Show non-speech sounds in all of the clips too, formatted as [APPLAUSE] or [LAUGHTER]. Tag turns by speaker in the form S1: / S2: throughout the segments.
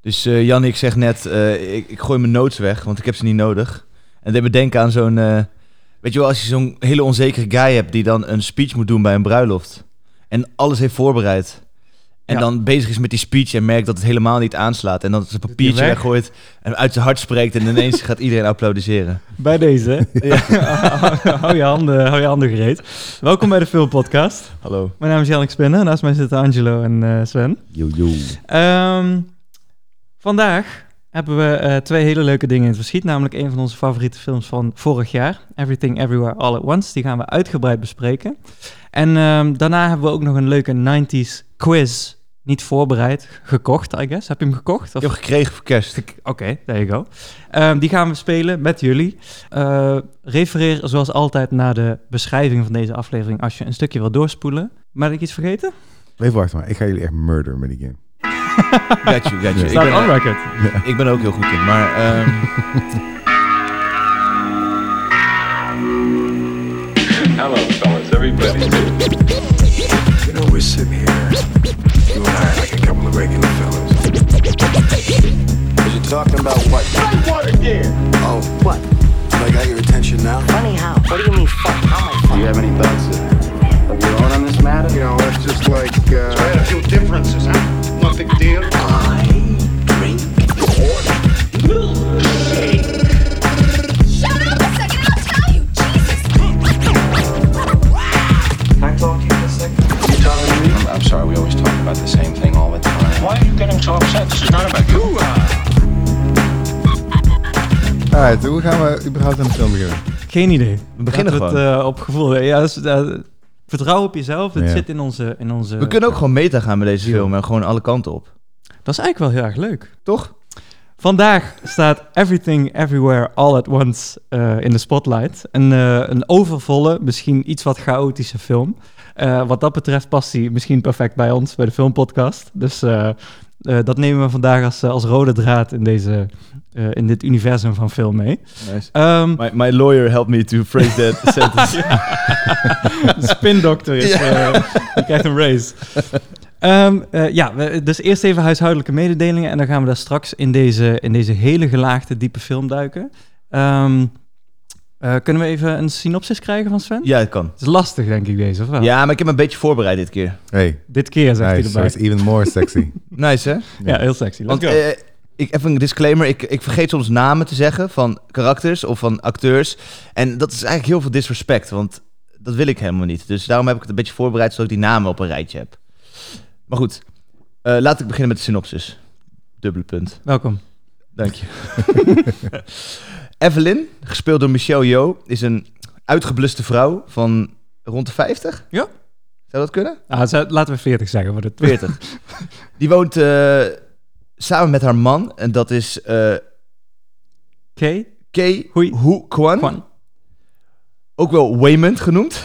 S1: Dus eh Jannik zegt net, eh, ik, ik gooi mijn notes weg, want ik heb ze niet nodig. En dat bedenken aan zo'n... eh, weet je wel, als je zo'n hele onzekere guy hebt die dan een speech moet doen bij een bruiloft. En alles heeft voorbereid. En
S2: Ja.
S1: dan bezig is met die speech en merkt dat het helemaal niet aanslaat. En dan zijn
S2: hij
S1: papiertje
S2: weg?
S1: weggooit en uit zijn hart spreekt. En
S2: [LAUGHS]
S1: ineens gaat iedereen applaudisseren.
S2: Bij deze. hè? [LAUGHS] hou, je handen, hou je handen gereed. Welkom bij de Filmpodcast.
S1: Hallo.
S2: Mijn naam is Jannik Spinnen. Naast mij zitten Angelo en eh, Sven.
S3: Yo, yo.
S2: Ehm, vandaag hebben we eh, twee hele leuke dingen in het verschiet. Namelijk een van onze favoriete films van vorig jaar. Everything Everywhere All at Once. Die gaan we uitgebreid bespreken. En ehm, daarna hebben we ook nog een leuke 90s quiz. Niet voorbereid. Gekocht, I guess. Heb je hem gekocht?
S1: Ik
S2: Of-
S1: heb gekregen voor kerst.
S2: Oké, there you go. Ehm, die gaan we spelen met jullie. Eh, refereer zoals altijd naar de beschrijving van deze aflevering als je een stukje wil doorspoelen. Maar heb ik iets vergeten?
S3: Even wachten maar, ik ga jullie echt murder met die game.
S1: Got you, got you. Ik
S2: Staat
S1: ben,
S2: on record.
S1: ik ben er ook heel goed in, maar... ehm,
S4: Hello, fellas, everybody.
S5: You know, we're sitting here, you and I, like a couple of regular fellas.
S6: You're talking about what? Oh, what? I got your attention now?
S7: Funny how? What do you mean fuck? How am I
S6: Do you have any thoughts of of your own on this matter? You know, it's just like, uh...
S8: I had a few differences, huh? No big deal.
S9: Shut up a second, I'll tell you. Jesus.
S6: I'm, I'm sorry, we always talk about the same thing all the time.
S4: Why are you getting so upset? This is not about you.
S3: Alright, hoe gaan we überhaupt aan de film beginnen?
S2: Geen idee.
S1: We beginnen
S2: Laten we Het, eh, op gevoel. Ja, dus, eh, vertrouw op jezelf. Het
S3: Ja.
S2: zit in onze, in onze...
S1: We kunnen ook gewoon meta gaan met deze film en gewoon alle kanten op.
S2: Dat is eigenlijk wel heel erg leuk.
S1: Toch?
S2: Vandaag staat Everything Everywhere All at Once eh, in de spotlight. Een, eh, een overvolle, misschien iets wat chaotische film. Eh, wat dat betreft past hij misschien perfect bij ons, bij de filmpodcast. Dus eh, eh, dat nemen we vandaag als, eh, als rode draad in, deze, eh, in dit universum van film mee.
S1: Nice.
S2: Ehm
S1: My, my lawyer helped me to phrase that [LAUGHS] sentence.
S2: Spindokter is. eh die krijgt een race. Ehm, eh, ja, we- dus eerst even huishoudelijke mededelingen. En dan gaan we daar straks in deze, in deze hele gelaagde, diepe film duiken. Ehm, eh, kunnen we even een synopsis krijgen van Sven?
S1: Ja, het kan.
S2: Het is lastig, denk ik, deze, of wel?
S1: Ja, maar ik heb me een beetje voorbereid dit keer.
S3: Hey,
S2: Dit keer, zegt
S3: nice. So
S2: hij
S3: it's
S2: erbij.
S3: even more sexy.
S1: Nice, hè?
S2: Ja, heel sexy. Let's
S1: Want
S2: go.
S1: eh, ik, even een disclaimer. Ik, ik vergeet soms namen te zeggen van karakters of van acteurs. En dat is eigenlijk heel veel disrespect, want dat wil ik helemaal niet. Dus daarom heb ik het een beetje voorbereid, zodat ik die namen op een rijtje heb. Maar goed, eh, laat ik beginnen met de synopsis. Dubbele punt.
S2: Welkom.
S1: Dank
S2: [LAUGHS]
S1: je. Evelyn, gespeeld door Michelle Yeoh, is een uitgebluste vrouw van rond de 50.
S2: Ja.
S1: Zou dat kunnen?
S2: Ah, zou- laten we 40 zeggen. Voor de [LAUGHS]
S1: 40. Die woont eh, samen met haar man en dat is eh
S2: Oké.
S1: Kei
S2: Hui.
S1: Hu Kwan.
S2: Kwan.
S1: Ook wel Waymond genoemd. [LAUGHS]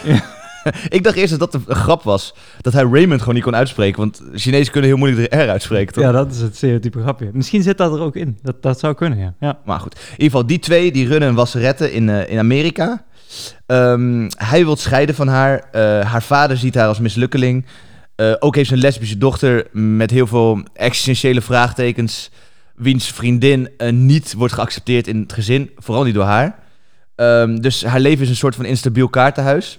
S1: Ik dacht eerst dat dat een grap was. Dat hij Raymond gewoon niet kon uitspreken. Want Chinezen kunnen heel moeilijk de R uitspreken. toch?
S2: Ja, dat is het stereotype grapje. Misschien zit dat er ook in. Dat, dat zou kunnen, ja. ja.
S1: Maar goed, in ieder geval die twee die runnen een wasserette in, eh, in Amerika. Ehm, hij wil scheiden van haar. Eh, haar vader ziet haar als mislukkeling. Eh, ook heeft ze een lesbische dochter met heel veel existentiële vraagtekens. Wiens vriendin eh, niet wordt geaccepteerd in het gezin, vooral niet door haar. Ehm, dus haar leven is een soort van instabiel kaartenhuis.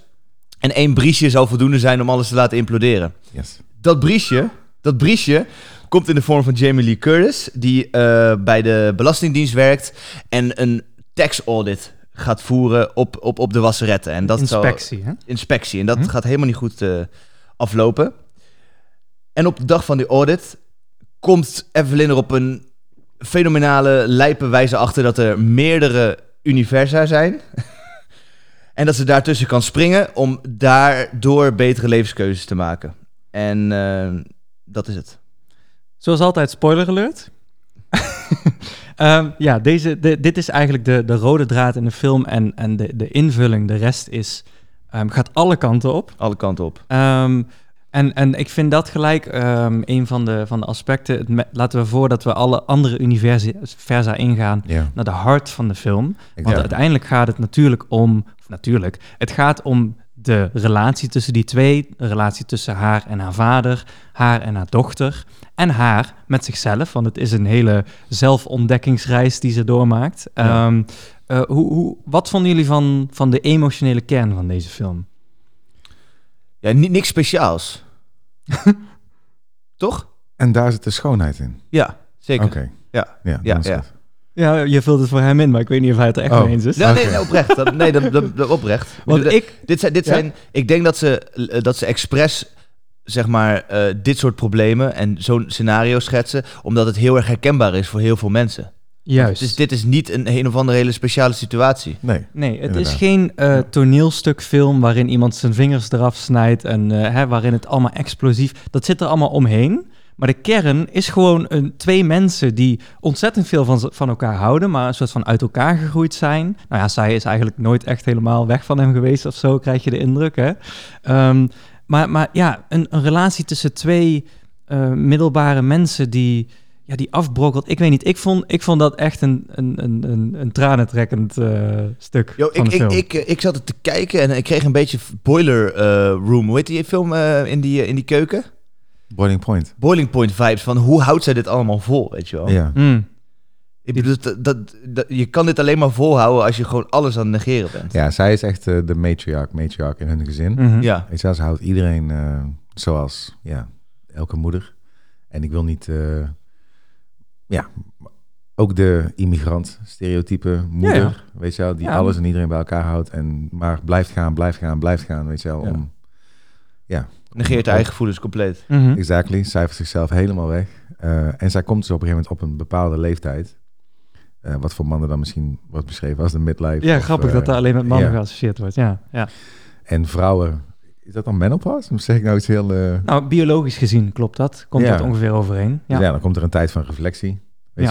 S1: En één briesje zou voldoende zijn om alles te laten imploderen
S3: [LAUGHS] Yes.
S1: dat briesje, dat briesje komt in de vorm van Jamie Lee Curtis, die eh, bij de Belastingdienst werkt en een tax audit gaat voeren op, op, op de wasseretten. En dat zou-
S2: Inspectie, hè?
S1: inspectie. En dat
S3: Mhm.
S1: gaat helemaal niet goed eh, aflopen. En op de dag van die audit komt Evelyn er op een fenomenale, lijpe wijze achter dat er meerdere universa zijn. [LAUGHS] en dat ze daartussen kan springen om daardoor betere levenskeuzes te maken. En eh, dat is het.
S2: Zoals altijd, spoiler alert. [LAUGHS] Ehm, ja, deze, de- dit is eigenlijk de, de rode draad in de film en, en de, de invulling, de rest is, ehm, gaat alle kanten op.
S1: Alle kanten op.
S2: Ehm, en, en ik vind dat gelijk ehm, een van de, van de aspecten. Het me- laten we voor dat we alle andere universa ingaan
S3: Ja.
S2: naar de hart van de film.
S3: Ik-
S2: Want
S3: ja.
S2: uiteindelijk gaat het natuurlijk om, of natuurlijk, het gaat om de relatie tussen die twee, de relatie tussen haar en haar vader, haar en haar dochter en haar met zichzelf, want het is een hele zelfontdekkingsreis die ze doormaakt. Ehm, eh, hoe, hoe, wat vonden jullie van, van de emotionele kern van deze film?
S1: Ja, ni- niks
S3: [LAUGHS]
S1: speciaals. Toch?
S3: En daar zit de schoonheid in.
S1: Ja, zeker.
S3: Oké.
S1: Ja.
S3: Ja,
S1: Ja,
S3: dan is
S1: ja.
S3: goed.
S2: Ja, je vult het voor hem in, maar ik weet niet of hij het er echt
S3: Oh.
S2: mee eens is.
S1: Nou, Nee, nee,
S3: Oké.
S1: nee, oprecht. Dat, nee, dat, dat, dat oprecht. Ik
S2: Want
S1: bedoel,
S2: ik,
S1: Dit zijn, dit
S2: Ja?
S1: zijn ik denk dat ze, eh, dat ze expres, zeg maar, eh, dit soort problemen en zo'n scenario schetsen, omdat het heel erg herkenbaar is voor heel veel mensen.
S2: juist.
S1: Dus dit is niet een een of andere hele speciale situatie.
S3: Nee.
S2: Nee, het
S3: Inderdaad.
S2: is geen eh toneelstuk film waarin iemand zijn vingers eraf snijdt en eh, hè, waarin het allemaal explosief. Dat zit er allemaal omheen. Maar de kern is gewoon een, twee mensen die ontzettend veel van, ze- van elkaar houden, maar een soort van uit elkaar gegroeid zijn. Nou ja, zij is eigenlijk nooit echt helemaal weg van hem geweest of zo, krijg je de indruk. Hè? Ehm, maar, maar ja, een, een relatie tussen twee eh, middelbare mensen die, ja, die afbrokkelt. Ik weet niet, ik vond, ik vond dat echt een, een, een, een, een tranentrekkend eh, stuk
S1: Yo,
S2: van
S1: ik,
S2: de film.
S1: ik, ik, eh, ik zat het te kijken en ik kreeg een beetje Boiler eh, Room. Hoe heet die film eh, in, die, eh, in die keuken?
S3: Boiling point.
S1: Boiling Point vibes van hoe houdt zij dit allemaal vol, weet je wel?
S3: Ja.
S2: Hmm.
S1: Ik bedoel, dat, dat, dat- je kan dit alleen maar volhouden als je gewoon alles aan het negeren bent.
S3: Ja, zij is echt eh, de matriarch, matriarch in hun gezin.
S2: Mhm.
S1: Ja.
S3: Weet je wel, ze houdt iedereen eh, zoals ja, elke moeder. En ik wil niet... eh, ja, ook de immigrant stereotype moeder,
S2: Ja,
S3: weet je wel, die
S2: Ja.
S3: alles en iedereen bij elkaar houdt. En maar blijft gaan, blijft gaan, blijft gaan, weet je wel.
S1: Ja.
S3: Om,
S1: Negeert haar eigen gevoelens compleet.
S2: Mhm.
S3: exactly, cijfert zichzelf helemaal weg. Eh, en zij komt dus op een gegeven moment op een bepaalde leeftijd. eh, wat voor mannen dan misschien wordt beschreven als de midlife.
S2: Ja,
S3: of,
S2: grappig
S3: eh,
S2: dat daar alleen met mannen
S3: ja.
S2: geassocieerd wordt. Ja. Ja.
S3: En vrouwen, is dat dan menopause? Of zeg ik nou iets heel... eh,
S2: Nou, biologisch gezien klopt dat. Komt
S3: Ja.
S2: dat ongeveer overeen.
S3: Dus
S2: Ja.
S3: ja. dan komt er een tijd van reflectie. Weet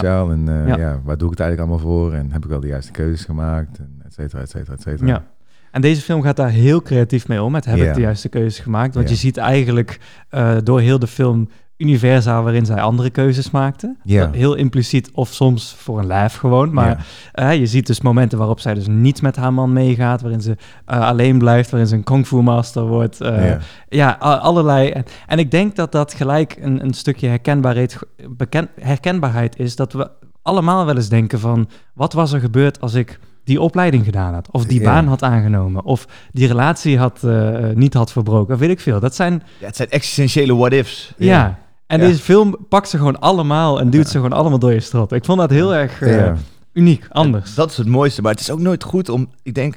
S2: Ja.
S3: je wel? En eh,
S2: Ja.
S3: ja. waar doe ik het eigenlijk allemaal voor? En heb ik wel de juiste keuzes gemaakt? En et cetera, et cetera, et cetera.
S2: Ja. En deze film gaat daar heel creatief mee om. Het heb
S3: Ja.
S2: ik de juiste keuzes gemaakt. Want
S3: Ja.
S2: je ziet eigenlijk eh, door heel de film universa waarin zij andere keuzes maakten.
S3: Ja.
S2: Dat Heel impliciet of soms voor een lijf gewoon. Maar eh, je ziet dus momenten waarop zij dus niet met haar man meegaat. Waarin ze eh, alleen blijft. Waarin ze een kung fu master wordt.
S3: Ja.
S2: eh,
S3: Ja.
S2: Ja, a- allerlei. En, en ik denk dat dat gelijk een, een stukje herkenbaarheid, beken- herkenbaarheid is. Dat we allemaal wel eens denken van... wat was er gebeurd als ik die opleiding gedaan had? Of die
S3: Ja.
S2: baan had aangenomen? Of die relatie had, eh, niet had verbroken? Of weet ik veel. Dat zijn...
S1: Ja, het zijn existentiële what-ifs.
S2: Ja. En
S3: Ja.
S2: deze film pakt ze gewoon allemaal... en duwt ze gewoon allemaal door je strot. Ik vond dat heel erg eh,
S3: Ja.
S2: uniek, anders.
S1: Dat is het mooiste. Maar het is ook nooit goed om... Ik denk,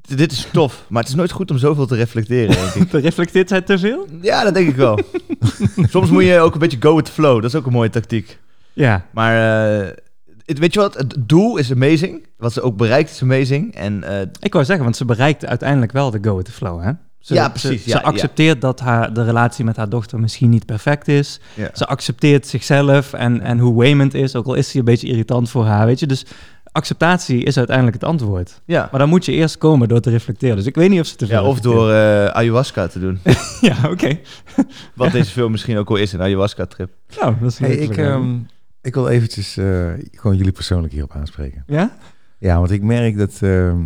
S1: d- dit is tof. Maar het is nooit goed om zoveel te reflecteren, denk ik.
S2: Reflecteert zij te veel?
S1: [LAUGHS] Ja, dat denk ik wel. [LAUGHS] Soms moet je ook een beetje go with the flow. Dat is ook een mooie tactiek.
S2: Ja.
S1: Maar eh, het, weet je wat? Het doel is amazing. Wat ze ook bereikt is amazing. En eh,
S2: Ik wou zeggen, want ze bereikt uiteindelijk wel de go with the flow, hè? Ze,
S1: Ja, precies,
S2: Ze,
S1: ja,
S2: ze
S1: ja.
S2: accepteert dat haar, de relatie met haar dochter misschien niet perfect is.
S1: Ja.
S2: Ze accepteert zichzelf en, en hoe Waymond is, ook al is hij een beetje irritant voor haar, weet je. Dus acceptatie is uiteindelijk het antwoord.
S1: ja.
S2: Maar dan moet je eerst komen door te reflecteren. Dus ik weet niet of ze te veel
S1: ja, of door eh, ayahuasca te [LAUGHS] doen.
S2: reflecteert. [LAUGHS] Ja, oké.
S1: Wat deze film misschien ook al is, een ayahuasca-trip.
S2: Nou, dat is een
S3: Hey,
S2: leuke
S3: ik,
S2: vergelijking.
S3: ehm, ik wil eventjes eh, gewoon jullie persoonlijk hierop aanspreken.
S2: Ja?
S3: Ja, want ik merk dat ehm,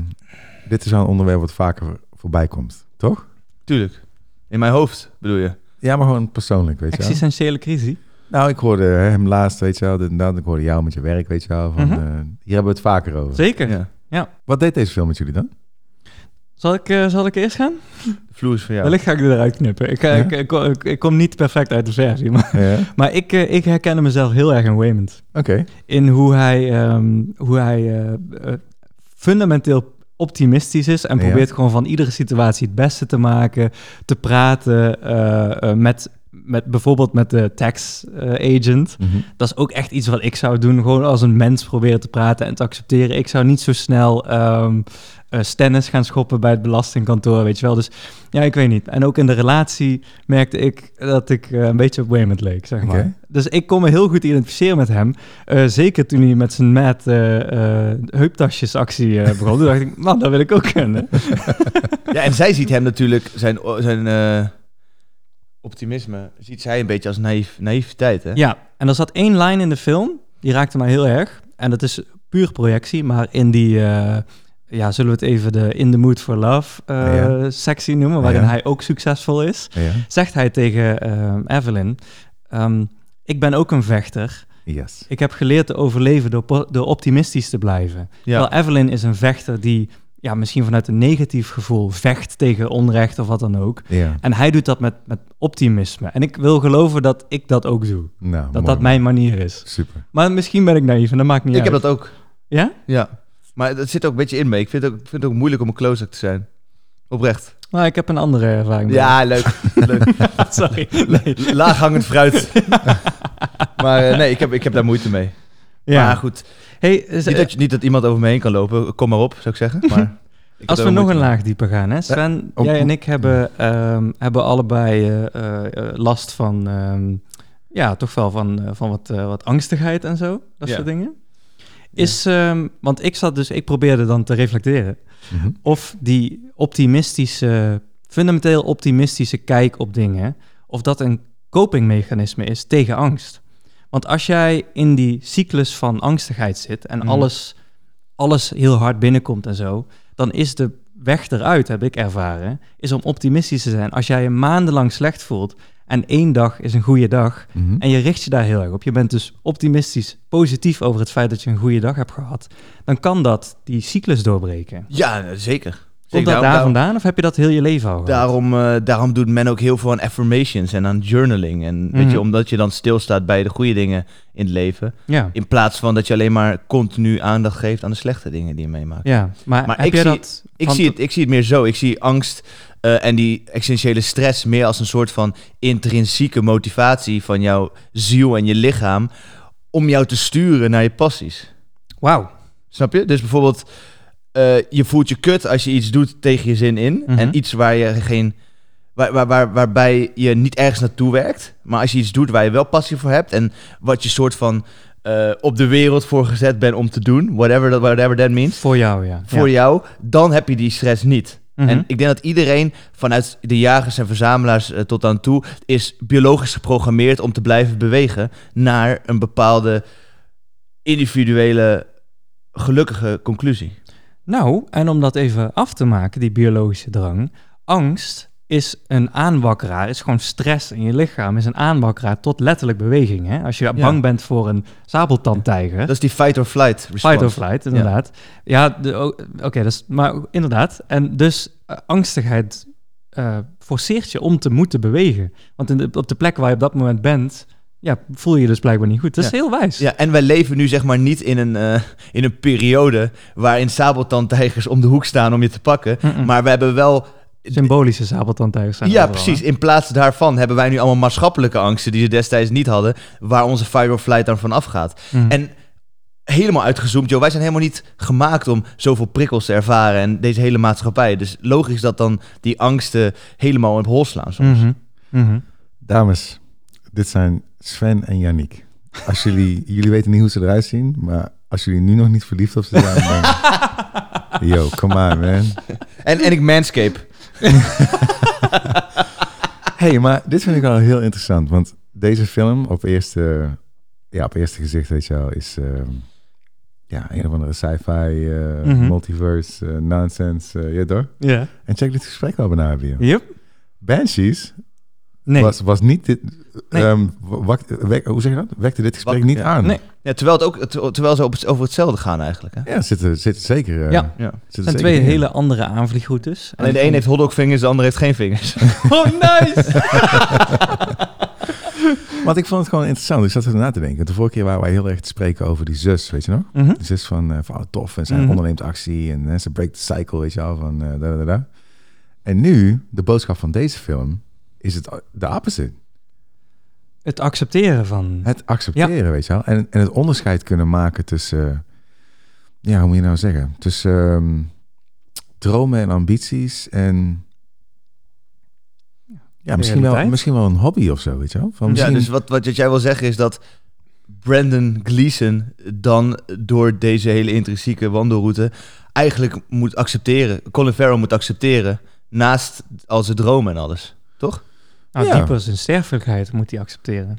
S3: dit is wel een onderwerp wat vaker voor- voorbij komt, toch?
S1: Tuurlijk. In mijn hoofd, bedoel je?
S3: Ja, maar gewoon persoonlijk, weet je wel.
S2: Existentiële crisis.
S3: Nou, ik hoorde hem laatst, weet je wel, dit en dat. Ik hoorde jou met je werk, weet je wel. Van,
S2: Mhm.
S3: eh, hier hebben we het vaker over.
S2: Zeker.
S1: Ja.
S3: Wat deed deze film met jullie
S2: [LAUGHS]
S3: dan?
S2: Zal, ik, eh, zal ik eerst gaan?
S1: De vloer is van jou.
S2: Wellicht ga ik er eruit knippen. Ik, eh,
S3: Ja?
S2: ik, ik, ik- ik kom niet perfect uit de versie, maar,
S3: Ja, Oké.
S2: maar ik, eh, ik herkende mezelf heel erg in Waymond. in hoe hij, ehm, hoe hij eh, eh, fundamenteel optimistisch is en
S3: Ja.
S2: probeert gewoon van iedere situatie het beste te maken, te praten eh, eh, met, met bijvoorbeeld met de tax eh, agent.
S3: Mhm.
S2: Dat is ook echt iets wat ik zou doen, gewoon als een mens proberen te praten en te accepteren. Ik zou niet zo snel ehm eh, stennis gaan schoppen bij het belastingkantoor, weet je wel. Dus ja, ik weet niet. En ook in de relatie merkte ik dat ik eh, een beetje op Waymond leek, zeg maar.
S3: Oké.
S2: Dus ik kon me heel goed identificeren met hem. Eh, zeker toen hij met zijn mad eh, eh, heuptasjesactie eh, begon. Toen dacht ik, man, dat wil ik ook kunnen.
S1: Ja, en zij ziet hem natuurlijk, zijn, zijn eh, optimisme, ziet zij een beetje als naïef, naïviteit, hè?
S2: Ja, en er zat één lijn in de film, die raakte mij heel erg. En dat is puur projectie, maar in die, eh, ja, zullen we het even de In the Mood for Love eh,
S3: Ja.
S2: sectie noemen, waarin
S3: Ja.
S2: hij ook succesvol is,
S3: Ja.
S2: zegt hij tegen ehm, Evelyn, ehm, ik ben ook een vechter.
S3: Yes.
S2: Ik heb geleerd te overleven door, po- door optimistisch te blijven.
S1: Ja.
S2: Terwijl Evelyn is een vechter die ja, misschien vanuit een negatief gevoel vecht tegen onrecht of wat dan ook.
S3: Ja.
S2: En hij doet dat met, met optimisme. En ik wil geloven dat ik dat ook doe.
S3: Nou,
S2: Dat
S3: mooi.
S2: dat mijn manier is.
S3: Super.
S2: Maar misschien ben ik naïef en dat maakt niet
S1: Ik heb
S2: uit.
S1: dat ook.
S2: Ja?
S1: Ja. Maar dat zit ook een beetje in me. Ik vind het ook, ik vind het ook moeilijk om een close-up te zijn. Oprecht.
S2: Nou, ik heb een andere ervaring.
S1: Ja, leuk. leuk.
S2: [LAUGHS]
S1: [LAUGHS]
S2: Sorry. Nee.
S1: Laaghangend fruit. [LAUGHS] maar eh, nee, ik heb, ik heb daar moeite mee.
S2: Ja. Dus, eh,
S1: Maar goed,
S2: Hey, is-
S1: niet dat, je- niet dat iemand over me heen kan lopen. Kom maar op, zou ik zeggen.
S2: [LAUGHS]
S1: Maar ik heb
S2: als
S1: daar
S2: we
S1: wel
S2: nog een
S1: moeite Eh,
S2: laag dieper gaan, hè? Sven,
S3: op-
S2: jij en ik
S1: Mm.
S2: hebben, ehm, hebben allebei eh, eh, eh, last van, ehm, ja, toch wel van, eh, van wat, eh, wat angstigheid en zo, dat
S1: Ja.
S2: soort dingen. Is, ehm, want ik zat dus, ik probeerde dan te reflecteren
S3: Mhm.
S2: of die optimistische, fundamenteel optimistische kijk op dingen, of dat een copingmechanisme is tegen angst. Want als jij in die cyclus van angstigheid zit en
S1: Mhm.
S2: alles, alles heel hard binnenkomt en zo, dan is de weg eruit, heb ik ervaren, is om optimistisch te zijn. Als jij je maandenlang slecht voelt en één dag is een goede dag
S3: Mhm.
S2: en je richt je daar heel erg op, je bent dus optimistisch, positief over het feit dat je een goede dag hebt gehad, dan kan dat die cyclus doorbreken.
S1: Ja, zeker. zeker.
S2: Komt dat
S1: Daarom-
S2: daar
S1: daarom-
S2: vandaan of heb je dat heel je leven al? gehad?
S1: Daarom, eh, daarom doet men ook heel veel aan affirmations en aan journaling. En weet
S2: Mhm.
S1: je, omdat je dan stilstaat bij de goede dingen in het leven.
S2: Ja.
S1: In plaats van dat je alleen maar continu aandacht geeft aan de slechte dingen die je meemaakt.
S2: ja. Maar,
S1: Maar
S2: heb
S1: ik
S2: jij
S1: zie-
S2: dat...
S1: Ik
S2: van-
S1: zie, het, ik zie het meer zo. Ik zie angst eh, en die existentiële stress meer als een soort van intrinsieke motivatie van jouw ziel en je lichaam. om jou te sturen naar je passies.
S2: Wauw.
S1: Snap je? Dus bijvoorbeeld, eh, je voelt je kut als je iets doet tegen je zin in.
S2: Mhm.
S1: En iets waar je geen. Waar, waar, waar, waarbij je niet ergens naartoe werkt. Maar als je iets doet waar je wel passie voor hebt. En wat je soort van eh, op de wereld voor gezet bent om te doen. Whatever that, whatever that means.
S2: Voor jou, ja.
S1: Voor
S2: ja.
S1: jou. Dan heb je die stress niet.
S2: Mhm.
S1: En ik denk dat iedereen vanuit de jagers en verzamelaars eh, tot aan toe is biologisch geprogrammeerd om te blijven bewegen naar een bepaalde individuele gelukkige conclusie.
S2: Nou, en om dat even af te maken, die biologische drang. Angst is een aanwakkeraar, is gewoon stress in je lichaam, is een aanwakkeraar tot letterlijk beweging. Hè? Als je bang bent voor een sabeltandtijger,
S1: Dat is die fight or flight response.
S2: Fight or flight, inderdaad. Ja, de- o- oké, dus, maar inderdaad. En dus eh, angstigheid eh, forceert je om te moeten bewegen. Want in de- op de plek waar je op dat moment bent, ja, voel je je dus blijkbaar niet goed. Dat is heel wijs.
S1: Ja, en wij leven nu zeg maar niet in een, eh, in een periode waarin sabeltandtijgers om de hoek staan om je te pakken.
S2: Mm-mm.
S1: Maar we hebben wel...
S2: Symbolische sabeltandtijgers zijn
S1: Ja,
S2: overal, hè?
S1: precies. In plaats daarvan hebben wij nu allemaal maatschappelijke angsten die ze destijds niet hadden, waar onze fight or flight dan van afgaat.
S2: Mm.
S1: En helemaal uitgezoomd, joh. Wij zijn helemaal niet gemaakt om zoveel prikkels te ervaren en deze hele maatschappij. Dus logisch dat dan die angsten helemaal op hol slaan. soms.
S2: Mhm, mhm.
S3: Dames, dit zijn Sven en Yannick.
S2: [LAUGHS]
S3: Als jullie, jullie weten niet hoe ze eruit zien, maar als jullie nu nog niet verliefd op ze zijn, dan...
S2: [LAUGHS]
S3: Yo, come on, man.
S1: En, en ik manscape.
S3: hey, maar dit vind ik wel heel interessant, want deze film op eerste, ja, op eerste gezicht, weet je wel, is ehm, ja, een of andere sci-fi, eh,
S2: Mhm.
S3: multiverse, eh, nonsense, eh, ja door.
S2: Ja.
S3: En check dit gesprek wel bijna weer.
S2: Yep.
S3: Banshees
S2: Nee.
S3: was, was niet dit,
S2: Nee.
S3: ehm, wak- wek- hoe zeg je dat? Wekte dit gesprek
S1: Wak-
S3: niet
S1: ja.
S3: aan.
S2: Nee.
S1: Ja, terwijl, het ook, ter- terwijl ze op, het- over hetzelfde gaan eigenlijk. Hè?
S3: Ja, er zitten, zitten zeker. eh,
S2: Ja.
S1: Ja.
S3: zitten zeker
S2: Het zijn twee
S3: dingen.
S2: hele andere aanvliegroutes. [LAUGHS]
S1: Alleen de een heeft hotdogvingers, de ander heeft geen vingers.
S2: Oh, nice!
S3: Want ik vond het gewoon interessant. Ik zat er na te denken. De vorige keer waren wij heel erg te spreken over die zus, weet je nog?
S2: Mhm.
S3: De zus van, eh van oh, tof en zij
S2: Mhm.
S3: onderneemt actie en eh, ze breekt de cycle, weet je wel, van eh, da, da, da. En nu, de boodschap van deze film, is het de opposite.
S2: Het accepteren van...
S3: Het accepteren, weet je wel. En, en het onderscheid kunnen maken tussen... eh, ja, hoe moet je nou zeggen? Tussen ehm, dromen en ambities en... Ja, misschien wel,
S2: Realiteit.
S3: misschien wel een hobby of zo, weet je wel. Van
S1: Ja,
S3: misschien-
S1: dus wat, wat jij wil zeggen is dat Brandon Gleeson dan door deze hele intrinsieke wandelroute eigenlijk moet accepteren, Colin Farrell moet accepteren, naast al zijn dromen en alles. Toch?
S2: Nou,
S3: Ja.
S2: dieper zijn sterfelijkheid moet hij accepteren.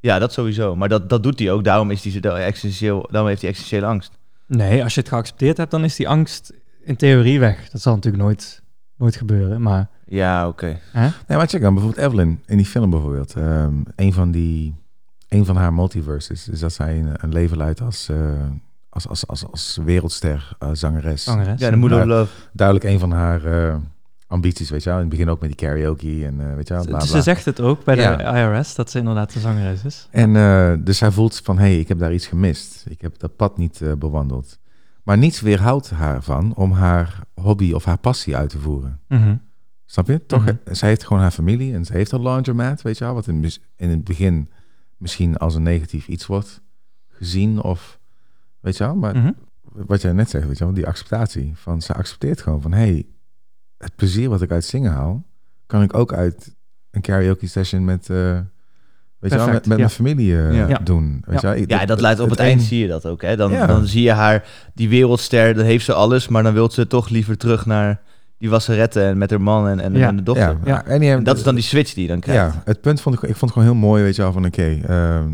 S1: Ja, dat sowieso. Maar dat, dat doet hij ook. Daarom, is hij, zo- daarom existentieel, daarom heeft hij existentiële angst.
S2: Nee, als je het geaccepteerd hebt, dan is die angst in theorie weg. Dat zal natuurlijk nooit, nooit gebeuren, maar...
S1: Ja, oké.
S3: Nee, maar check dan bijvoorbeeld Evelyn in die film bijvoorbeeld. Ehm, een, van die, een van haar multiverses is dat zij een, een leven leidt als, eh, als, als, als, als wereldster, eh, zangeres.
S2: Zangeres.
S1: Ja, de moeder
S3: Maar-
S1: love.
S3: Duidelijk een van haar eh, ambities, weet je wel. In het begin ook met die karaoke en eh, weet je wel,
S2: Ze-
S3: bla,
S2: Ze
S3: bla.
S2: zegt het ook bij de
S3: Ja.
S2: IRS, dat ze inderdaad de zangeres is.
S3: En eh, dus zij voelt van, hé, hey, ik heb daar iets gemist. Ik heb dat pad niet eh, bewandeld. Maar niets weerhoudt haar van om haar hobby of haar passie uit te voeren.
S2: Mhm.
S3: Snap je? Toch,
S2: Mhm.
S3: eh, zij heeft gewoon haar familie en ze heeft een laundromat, weet je wel. Wat in, mis- in het begin misschien als een negatief iets wordt gezien of, weet je wel. Maar
S2: Mhm.
S3: wat jij net zegt, weet je wel, die acceptatie. Van, ze accepteert gewoon van, hé, hey, het plezier wat ik uit zingen haal, kan ik ook uit een karaoke session met, eh, weet je wel, met,
S2: Perfect,
S3: met
S2: ja.
S3: mijn familie eh,
S1: Ja. Ja.
S3: doen. Weet
S2: Ja.
S3: Je wel? Ik-
S1: Ja, dat leidt op het,
S3: een-
S1: eind zie je dat ook. Hè? Dan,
S3: Ja.
S1: dan zie je haar, die wereldster, dan heeft ze alles, maar dan wil ze toch liever terug naar die wasserette en met haar man en, en,
S2: Ja.
S1: en de dochter.
S3: Ja,
S2: Ja.
S3: En die
S1: En
S3: hebben-
S1: dat is dan die switch die je dan krijgt.
S3: Ja, het punt vond ik, ik vond het gewoon heel mooi, weet je wel, van oké, ehm,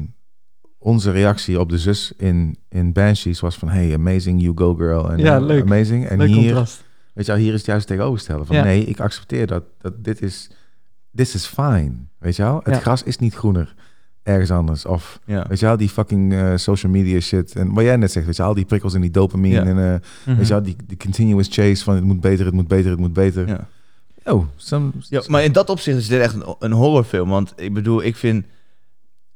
S3: onze reactie op de zus in, in Banshees was van hey, amazing, you go girl. En,
S2: Ja,
S3: eh,
S2: leuk.
S3: Amazing. En
S2: Leuk
S3: hier,
S2: contrast.
S3: weet je wel, hier is het juist tegenovergestelde van
S2: Ja.
S3: nee, ik accepteer dat, dat dit is, this is fine, weet je wel. Het
S2: Ja.
S3: gras is niet groener ergens anders. Of,
S1: Ja.
S3: weet je wel, die fucking eh, social media shit. En wat jij net zegt, weet je wel, al die prikkels en die dopamine
S1: Ja.
S3: en, eh,
S2: Mhm.
S3: weet je wel, die, die continuous chase van het moet beter, het moet beter, het moet beter.
S1: Ja.
S3: Oh, some,
S1: Ja, maar in dat opzicht is dit echt een, een horrorfilm. Want ik bedoel, ik vind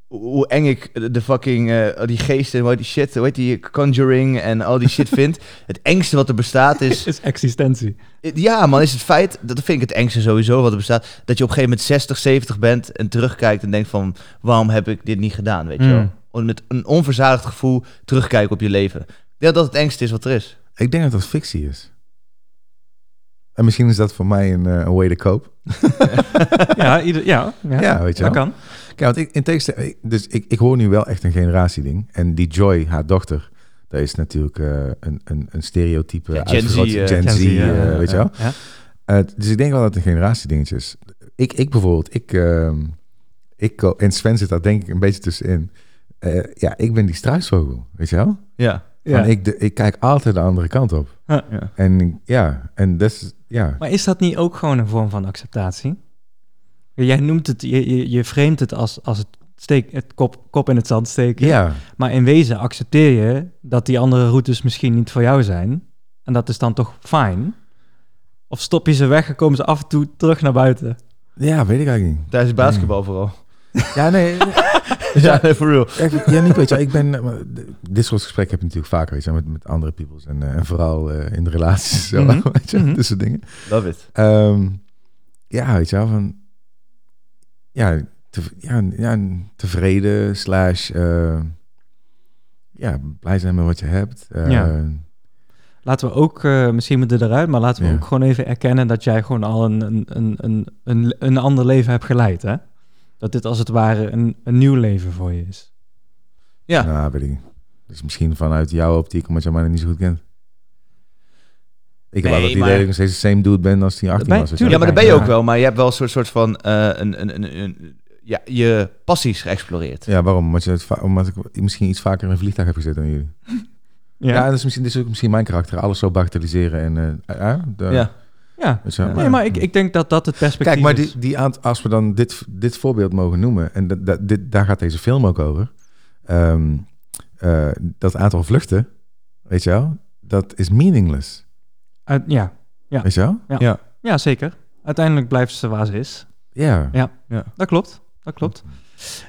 S1: hoe- hoe eng ik de- de fucking, eh, die geesten, hoe heet die shit, hoe heet die conjuring en al die shit [LAUGHS] vind. Het engste wat er bestaat is,
S2: is existentie.
S1: ja man, is het feit, dat vind ik het engste sowieso wat er bestaat, dat je op een gegeven moment 60, 70 bent en terugkijkt en denkt van, waarom heb ik dit niet gedaan, weet je
S2: Mm.
S1: wel. Om Met een onverzadigd gevoel terugkijken op je leven. Ja, dat het engste is wat er [LAUGHS] is.
S3: Ik denk dat dat fictie is. En misschien is dat voor mij een, eh, een way to cope.
S2: ja, ieder, ja, ja,
S3: Ja, weet je
S2: dat
S3: wel.
S2: kan.
S3: Kijk, want ik, in tegenstelling, ik- dus ik, ik hoor nu wel echt een generatieding. En die Joy, haar dochter, dat is natuurlijk eh, een, een, een stereotype.
S1: Ja, Gen Z,
S3: uitvergroot-
S1: eh,
S3: Gen
S2: Gen
S3: Z,
S2: Z, ja,
S3: eh,
S2: ja,
S3: weet je
S2: ja.
S3: wel.
S2: Ja.
S3: Eh, dus ik denk wel dat het een generatiedingetje is. Ik, ik bijvoorbeeld, ik, ehm, ik, ko- en Sven zit daar denk ik een beetje tussenin. Eh, ja, ik ben die struisvogel, weet je wel.
S1: [LAUGHS] Ja.
S2: Ja.
S3: Van, ik, de- ik kijk altijd de andere kant op.
S2: Ja.
S1: Ja.
S3: En ja, en dat is, ja.
S2: Maar is dat niet ook gewoon een vorm van acceptatie? Jij noemt het, je, je, je framet het als, als het, steek, het kop, kop in het zand steken.
S3: Ja,
S2: Maar in wezen accepteer je dat die andere routes misschien niet voor jou zijn. En dat is dan toch fijn? Of stop je ze weg en komen ze af en toe terug naar buiten?
S3: ja, weet ik
S1: [LAUGHS]
S3: eigenlijk niet.
S1: Tijdens basketbal vooral.
S3: Ja, nee.
S1: Mm. [LAUGHS] Ja, nee, for real.
S3: echt, [LAUGHS] ja, niet, weet je wel, Ik ben... eh, maar d- Dit soort gesprekken heb ik natuurlijk vaker, weet je wel, met, met andere peoples. En, eh, en vooral eh, in de relaties, zo,
S2: Mhm.
S3: [LAUGHS] weet je wel,
S2: Mhm.
S3: dit soort dingen.
S1: Love it.
S3: Ehm, ja, weet je wel, van... Ja, te- ja, ja tevreden slash... eh, ja, blij zijn met wat je hebt. Eh,
S2: Ja. Laten we ook, eh, misschien moeten we eruit, maar laten we
S3: Ja.
S2: ook gewoon even erkennen dat jij gewoon al een, een, een, een, een, een ander leven hebt geleid. Hè? Dat dit als het ware een, een nieuw leven voor je is.
S1: Ja.
S3: Nou, weet ik niet. Dus misschien vanuit jouw optiek, omdat jij mij nog niet zo goed kent. Ik heb
S1: Nee,
S3: altijd het
S1: maar-
S3: idee dat ik nog steeds de same dude ben als die 18
S2: Ben-
S3: was. weet je wel.
S1: Ja, maar dat ben
S2: Ja.
S1: je ook wel. Maar je hebt wel een soort, soort van... eh, een, een, een, een- ja, je passies geëxploreerd.
S3: Ja, waarom? Omdat, je het va- omdat ik misschien iets vaker in een vliegtuig heb gezeten dan jullie. Ja, dat is misschien, dit is ook misschien mijn karakter. Alles zo bagatelliseren en... eh, eh, de-
S1: Ja.
S2: Ja.
S3: weet je wel.
S2: Nee, maar ik, ik denk dat dat het perspectief
S3: Kijk, maar
S2: is.
S3: die, die aant- als we dan dit, dit voorbeeld mogen noemen... en dat- dat- dit, daar gaat deze film ook over... ehm, eh, dat aantal vluchten, weet je wel... dat is meaningless,
S2: Uit- ja.
S3: weet je wel?
S2: ja, zeker. Uiteindelijk blijft ze waar ze is.
S3: Ja.
S2: Dat klopt, dat klopt.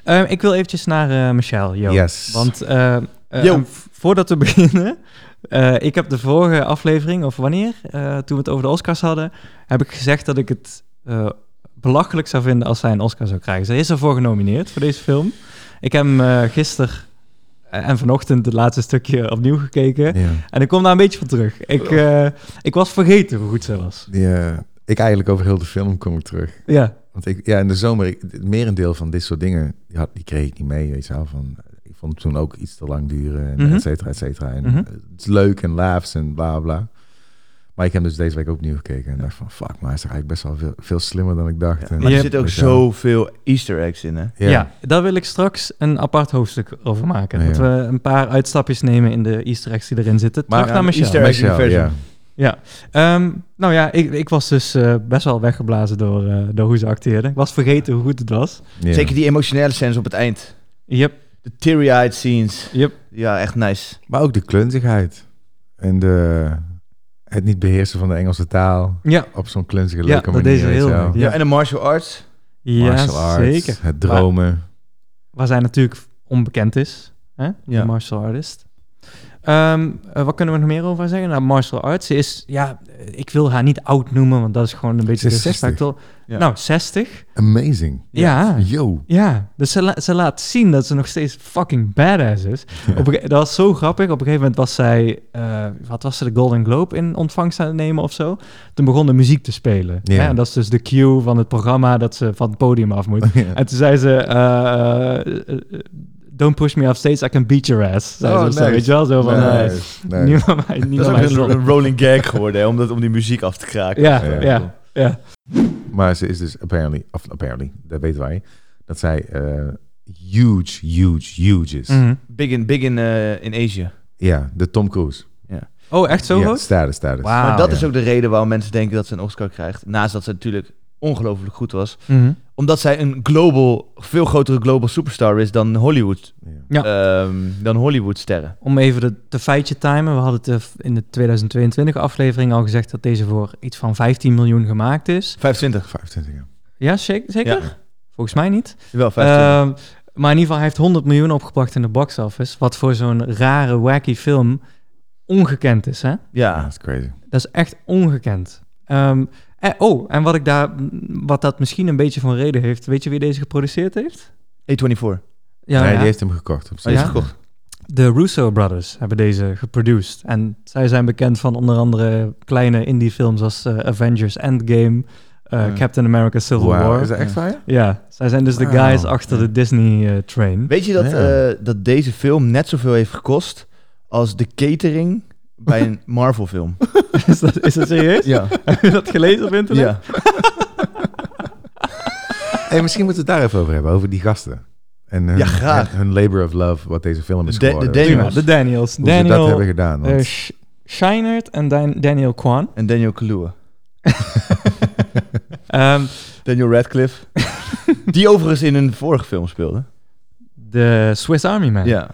S2: Ehm, ik wil eventjes naar eh, Michelle, Jo.
S3: Yes.
S2: Want eh, eh,
S1: Yo.
S2: en v- voordat we [LAUGHS] beginnen, eh, ik heb de vorige aflevering, of wanneer, eh, toen we het over de Oscars hadden, heb ik gezegd dat ik het eh, belachelijk zou vinden als zij een Oscar zou krijgen. Ze is ervoor genomineerd voor deze film. Ik heb hem eh, gisteren eh, en vanochtend het laatste stukje opnieuw gekeken.
S3: Ja. Oh.
S2: En ik kom daar een beetje van terug. Ik, eh, ik was vergeten hoe goed ze was.
S3: Ja, ik eigenlijk over heel de film kom ik terug.
S2: Ja,
S3: Want ik, ja, in de zomer, ik, het merendeel van dit soort dingen, die, had, die kreeg ik niet mee, weet je wel. Van, ik vond het toen ook iets te lang duren, en
S2: Mhm.
S3: et cetera, et cetera. En
S2: Mhm.
S3: eh, het is leuk en laafs en bla, bla. Maar ik heb dus deze week ook opnieuw gekeken en dacht van, fuck, maar hij is er eigenlijk best wel veel, veel slimmer dan ik dacht.
S1: Maar
S3: En-
S2: Je
S1: er
S2: hebt-
S1: zitten ook
S3: weet je wel.
S1: zoveel easter eggs in, hè?
S2: Ja. daar wil ik straks een apart hoofdstuk over maken.
S3: Ja.
S2: Dat we een paar uitstapjes nemen in de easter eggs die erin zitten.
S3: Maar
S2: Terug naar
S3: aan
S2: Michelle.
S1: easter-
S3: Michelle,
S1: version.
S3: ja.
S2: Ja, Ehm, nou ja, ik, ik was dus eh, best wel weggeblazen door, eh, door hoe ze acteerden. Ik was vergeten hoe goed het was.
S3: Ja.
S1: Zeker die emotionele scènes op het eind.
S2: Yep,
S1: De teary-eyed scenes.
S2: yep.
S1: Ja, echt nice.
S3: Maar ook de klunzigheid. En de, het niet beheersen van de Engelse taal.
S2: Ja,
S3: Op zo'n klunzige,
S2: Ja,
S3: leuke
S2: dat
S3: manier.
S2: deed ze
S3: weet
S2: heel
S3: je wel.
S2: leuk.
S1: Ja, en de martial arts.
S2: ja
S3: Martial arts,
S2: zeker.
S3: het dromen.
S2: Waar zij natuurlijk onbekend is, hè?
S1: Ja.
S2: Een martial artist. Ehm, eh, wat kunnen we nog meer over haar zeggen? Nou, martial arts, ze is, ja, eh, ik wil haar niet oud noemen, want dat is gewoon een beetje
S3: Ze is
S2: disrespectful.
S1: Ja.
S2: Nou, 60.
S3: Amazing.
S2: Ja. ja.
S3: Yo. [LAUGHS]
S2: dus ze, la- ze laat zien dat ze nog steeds fucking badass is. Op een gege- dat was zo grappig. Op een gegeven moment was zij, eh, wat was ze, de Golden Globe in ontvangst aan het nemen of zo. Toen begon de muziek te spelen.
S3: Ja.
S2: Hè? En dat is dus de cue van het programma dat ze van het podium af moet.
S3: Ja.
S2: En toen zei ze... eh, eh, Don't push me off stage, I can beat your ass. Zei
S3: Oh,
S2: ze of zo,
S3: nice.
S2: weet je wel? Zo van, eh,
S3: Nice, nice.
S2: Niemand [LAUGHS] mij,
S1: Dat
S2: niemand mij
S1: is ook
S2: stopt.
S1: een rolling gag geworden, hè, om, dat, om die muziek af te kraken.
S2: Ja,
S3: Ja.
S2: ja, ja.
S3: Maar ze is dus apparently, of apparently, dat weten wij, dat zij eh, huge, huge, huge is.
S2: Mhm.
S1: Big in, big in, eh, in Asia.
S3: Ja, de Tom Cruise.
S2: Oh, echt zo
S3: ja,
S2: hoog?
S3: status, status.
S2: Wauw.
S1: maar dat is
S3: Ah, ja.
S1: ook de reden waarom mensen denken dat ze een Oscar krijgt. Naast dat ze natuurlijk ongelooflijk goed was.
S2: Mhm.
S1: Omdat zij een global, veel grotere global superstar is dan Hollywood.
S3: Ja.
S1: ehm, dan Hollywood sterren.
S2: Om even de, de feitje timen. We hadden het eh, in de 2022 aflevering al gezegd dat deze voor iets van 15 miljoen gemaakt is.
S1: 25.
S3: 25 jaar.
S2: Ja, ze- zeker? Volgens mij niet.
S1: Wel 25.
S2: Ehm, maar in ieder geval, hij heeft 100 miljoen opgebracht in de box office. Wat voor zo'n rare, wacky film ongekend is, hè?
S3: Ja,
S1: ja.
S3: dat is crazy.
S2: Dat is echt ongekend. Ehm, en- oh, en wat, ik daar, wat dat misschien een beetje van reden heeft. Weet je wie deze geproduceerd heeft?
S1: A24.
S2: Ja,
S3: nee,
S2: ja. Oh,
S3: die heeft hem gekocht. Op
S1: Hij is
S2: Ja?
S1: gekocht.
S2: De Russo Brothers hebben deze geproduced. En zij zijn bekend van onder andere kleine indie films als eh, Avengers Endgame, eh,
S1: Ja.
S2: Captain America Civil
S3: Wow.
S2: War.
S3: Hmm. Is dat echt
S1: Ja.
S3: waar?
S2: Ja, zij zijn dus de
S3: Wauw.
S2: guys achter de Disney eh, train.
S1: Weet je dat,
S3: Ja.
S1: eh, dat deze film net zoveel heeft gekost als de catering bij een Marvel film?
S2: [LAUGHS] is, dat, is dat
S3: [LAUGHS]
S2: serieus?
S1: Ja.
S2: Heb je dat gelezen op [LAUGHS] internet?
S1: ja.
S3: Hey, misschien moeten we het daar even over hebben, over die gasten. En hun,
S1: Ja, graag.
S3: hun, hun labor of love, wat deze film is
S1: De- de
S3: geworden.
S1: Daniels.
S2: Prima, de Daniels.
S3: Hoe
S2: Daniel
S3: ze dat hebben gedaan. want-
S2: eh, Sh- Scheinert en Dan- Daniel Kwan.
S1: En Daniel Kaluuya.
S2: Ehm,
S3: [LAUGHS]
S1: Daniel Radcliffe. die overigens in een vorige film speelde.
S2: de Swiss Army Man.
S1: Ja.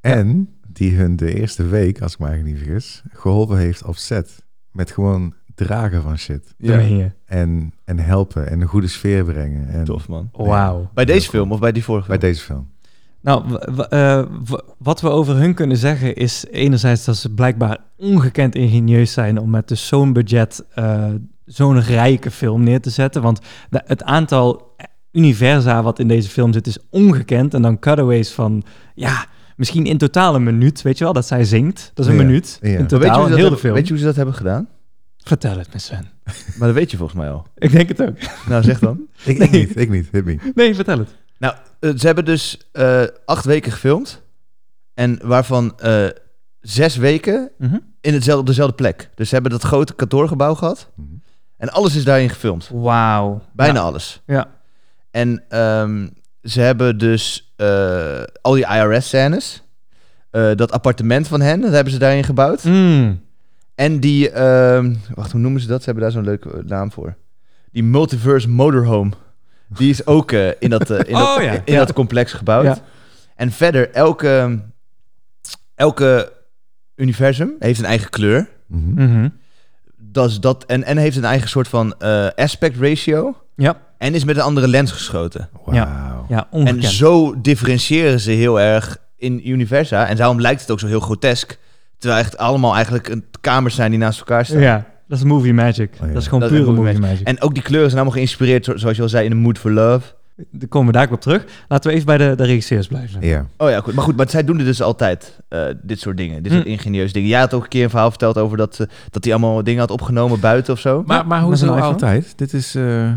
S3: en die hun de eerste week, als ik me eigenlijk niet vergis, geholpen heeft op set. Met gewoon dragen van shit.
S2: Dat meen je.
S3: En, en helpen en een goede sfeer brengen. En
S1: Tof, man.
S2: Wauw.
S1: Bij deze film of bij die vorige
S3: Bij
S1: film?
S3: deze film.
S2: Nou, w- w- eh, w- wat we over hun kunnen zeggen is enerzijds dat ze blijkbaar ongekend ingenieus zijn om met dus zo'n budget eh, zo'n rijke film neer te zetten. Want de- het aantal eh, universa wat in deze film zit is ongekend. En dan cutaways van, ja, misschien in totaal een minuut, weet je wel, dat zij zingt. Dat is een
S3: Ja,
S2: minuut
S3: ja.
S2: in
S3: Maar
S1: Maar weet, je
S2: totaal,
S1: hoe ze dat
S2: in heel de
S1: hebben-
S2: film.
S1: weet je hoe ze dat hebben gedaan?
S2: Vertel het me, Sven.
S1: Maar dat weet je volgens mij al.
S2: Ik denk het ook.
S1: Nou, zeg dan.
S3: Ik, ik niet, ik niet. Hit me.
S2: Nee, vertel het.
S1: nou, eh, ze hebben dus eh, acht weken gefilmd. En waarvan eh, zes weken
S2: Mhm.
S1: in hetzelfde, op dezelfde plek. Dus ze hebben dat grote kantoorgebouw gehad.
S3: Mhm.
S1: En alles is daarin gefilmd.
S2: Wauw.
S1: Bijna alles.
S2: Ja.
S1: En ehm, ze hebben dus eh, al die IRS-scènes. eh, dat appartement van hen, dat hebben ze daarin gebouwd.
S2: Mm.
S1: En die, ehm, wacht, hoe noemen ze dat? Ze hebben daar zo'n leuke eh, naam voor. Die Multiverse Motorhome. Die is ook eh, in, dat, eh, in,
S2: [LAUGHS] Oh,
S1: dat,
S2: ja.
S1: in
S2: Ja.
S1: dat complex gebouwd.
S2: Ja.
S1: En verder, elke, elke universum heeft een eigen kleur.
S3: Mhm.
S2: Mhm.
S1: Dat is dat, en, en heeft een eigen soort van eh, aspect ratio.
S2: Ja.
S1: En is met een andere lens geschoten.
S3: Wauw.
S2: Ja,
S1: En
S2: ongekend.
S1: zo differentiëren ze heel erg in universa. En daarom lijkt het ook zo heel grotesk. Terwijl echt allemaal eigenlijk een, kamers zijn die naast elkaar staan.
S2: Ja, dat is movie magic.
S3: ja.
S2: Dat is gewoon
S1: Dat is
S2: pure
S1: movie
S2: movie magic.
S1: En ook die kleuren zijn allemaal geïnspireerd, zo- zoals je al zei, in de Mood for Love.
S2: Daar komen we daar ook op terug. Laten we even bij de, de regisseurs blijven.
S3: Ja.
S1: Oh ja, goed. Maar goed, maar zij doen het dus altijd, eh, dit soort dingen. Dit soort
S2: Hm. ingenieus
S1: ingenieus dingen. Jij had ook een keer een verhaal verteld over dat hij dat hij allemaal dingen had opgenomen buiten of zo.
S3: Maar, maar
S2: Met een
S3: hoezo
S2: iPhone?
S3: altijd? Dit is, eh,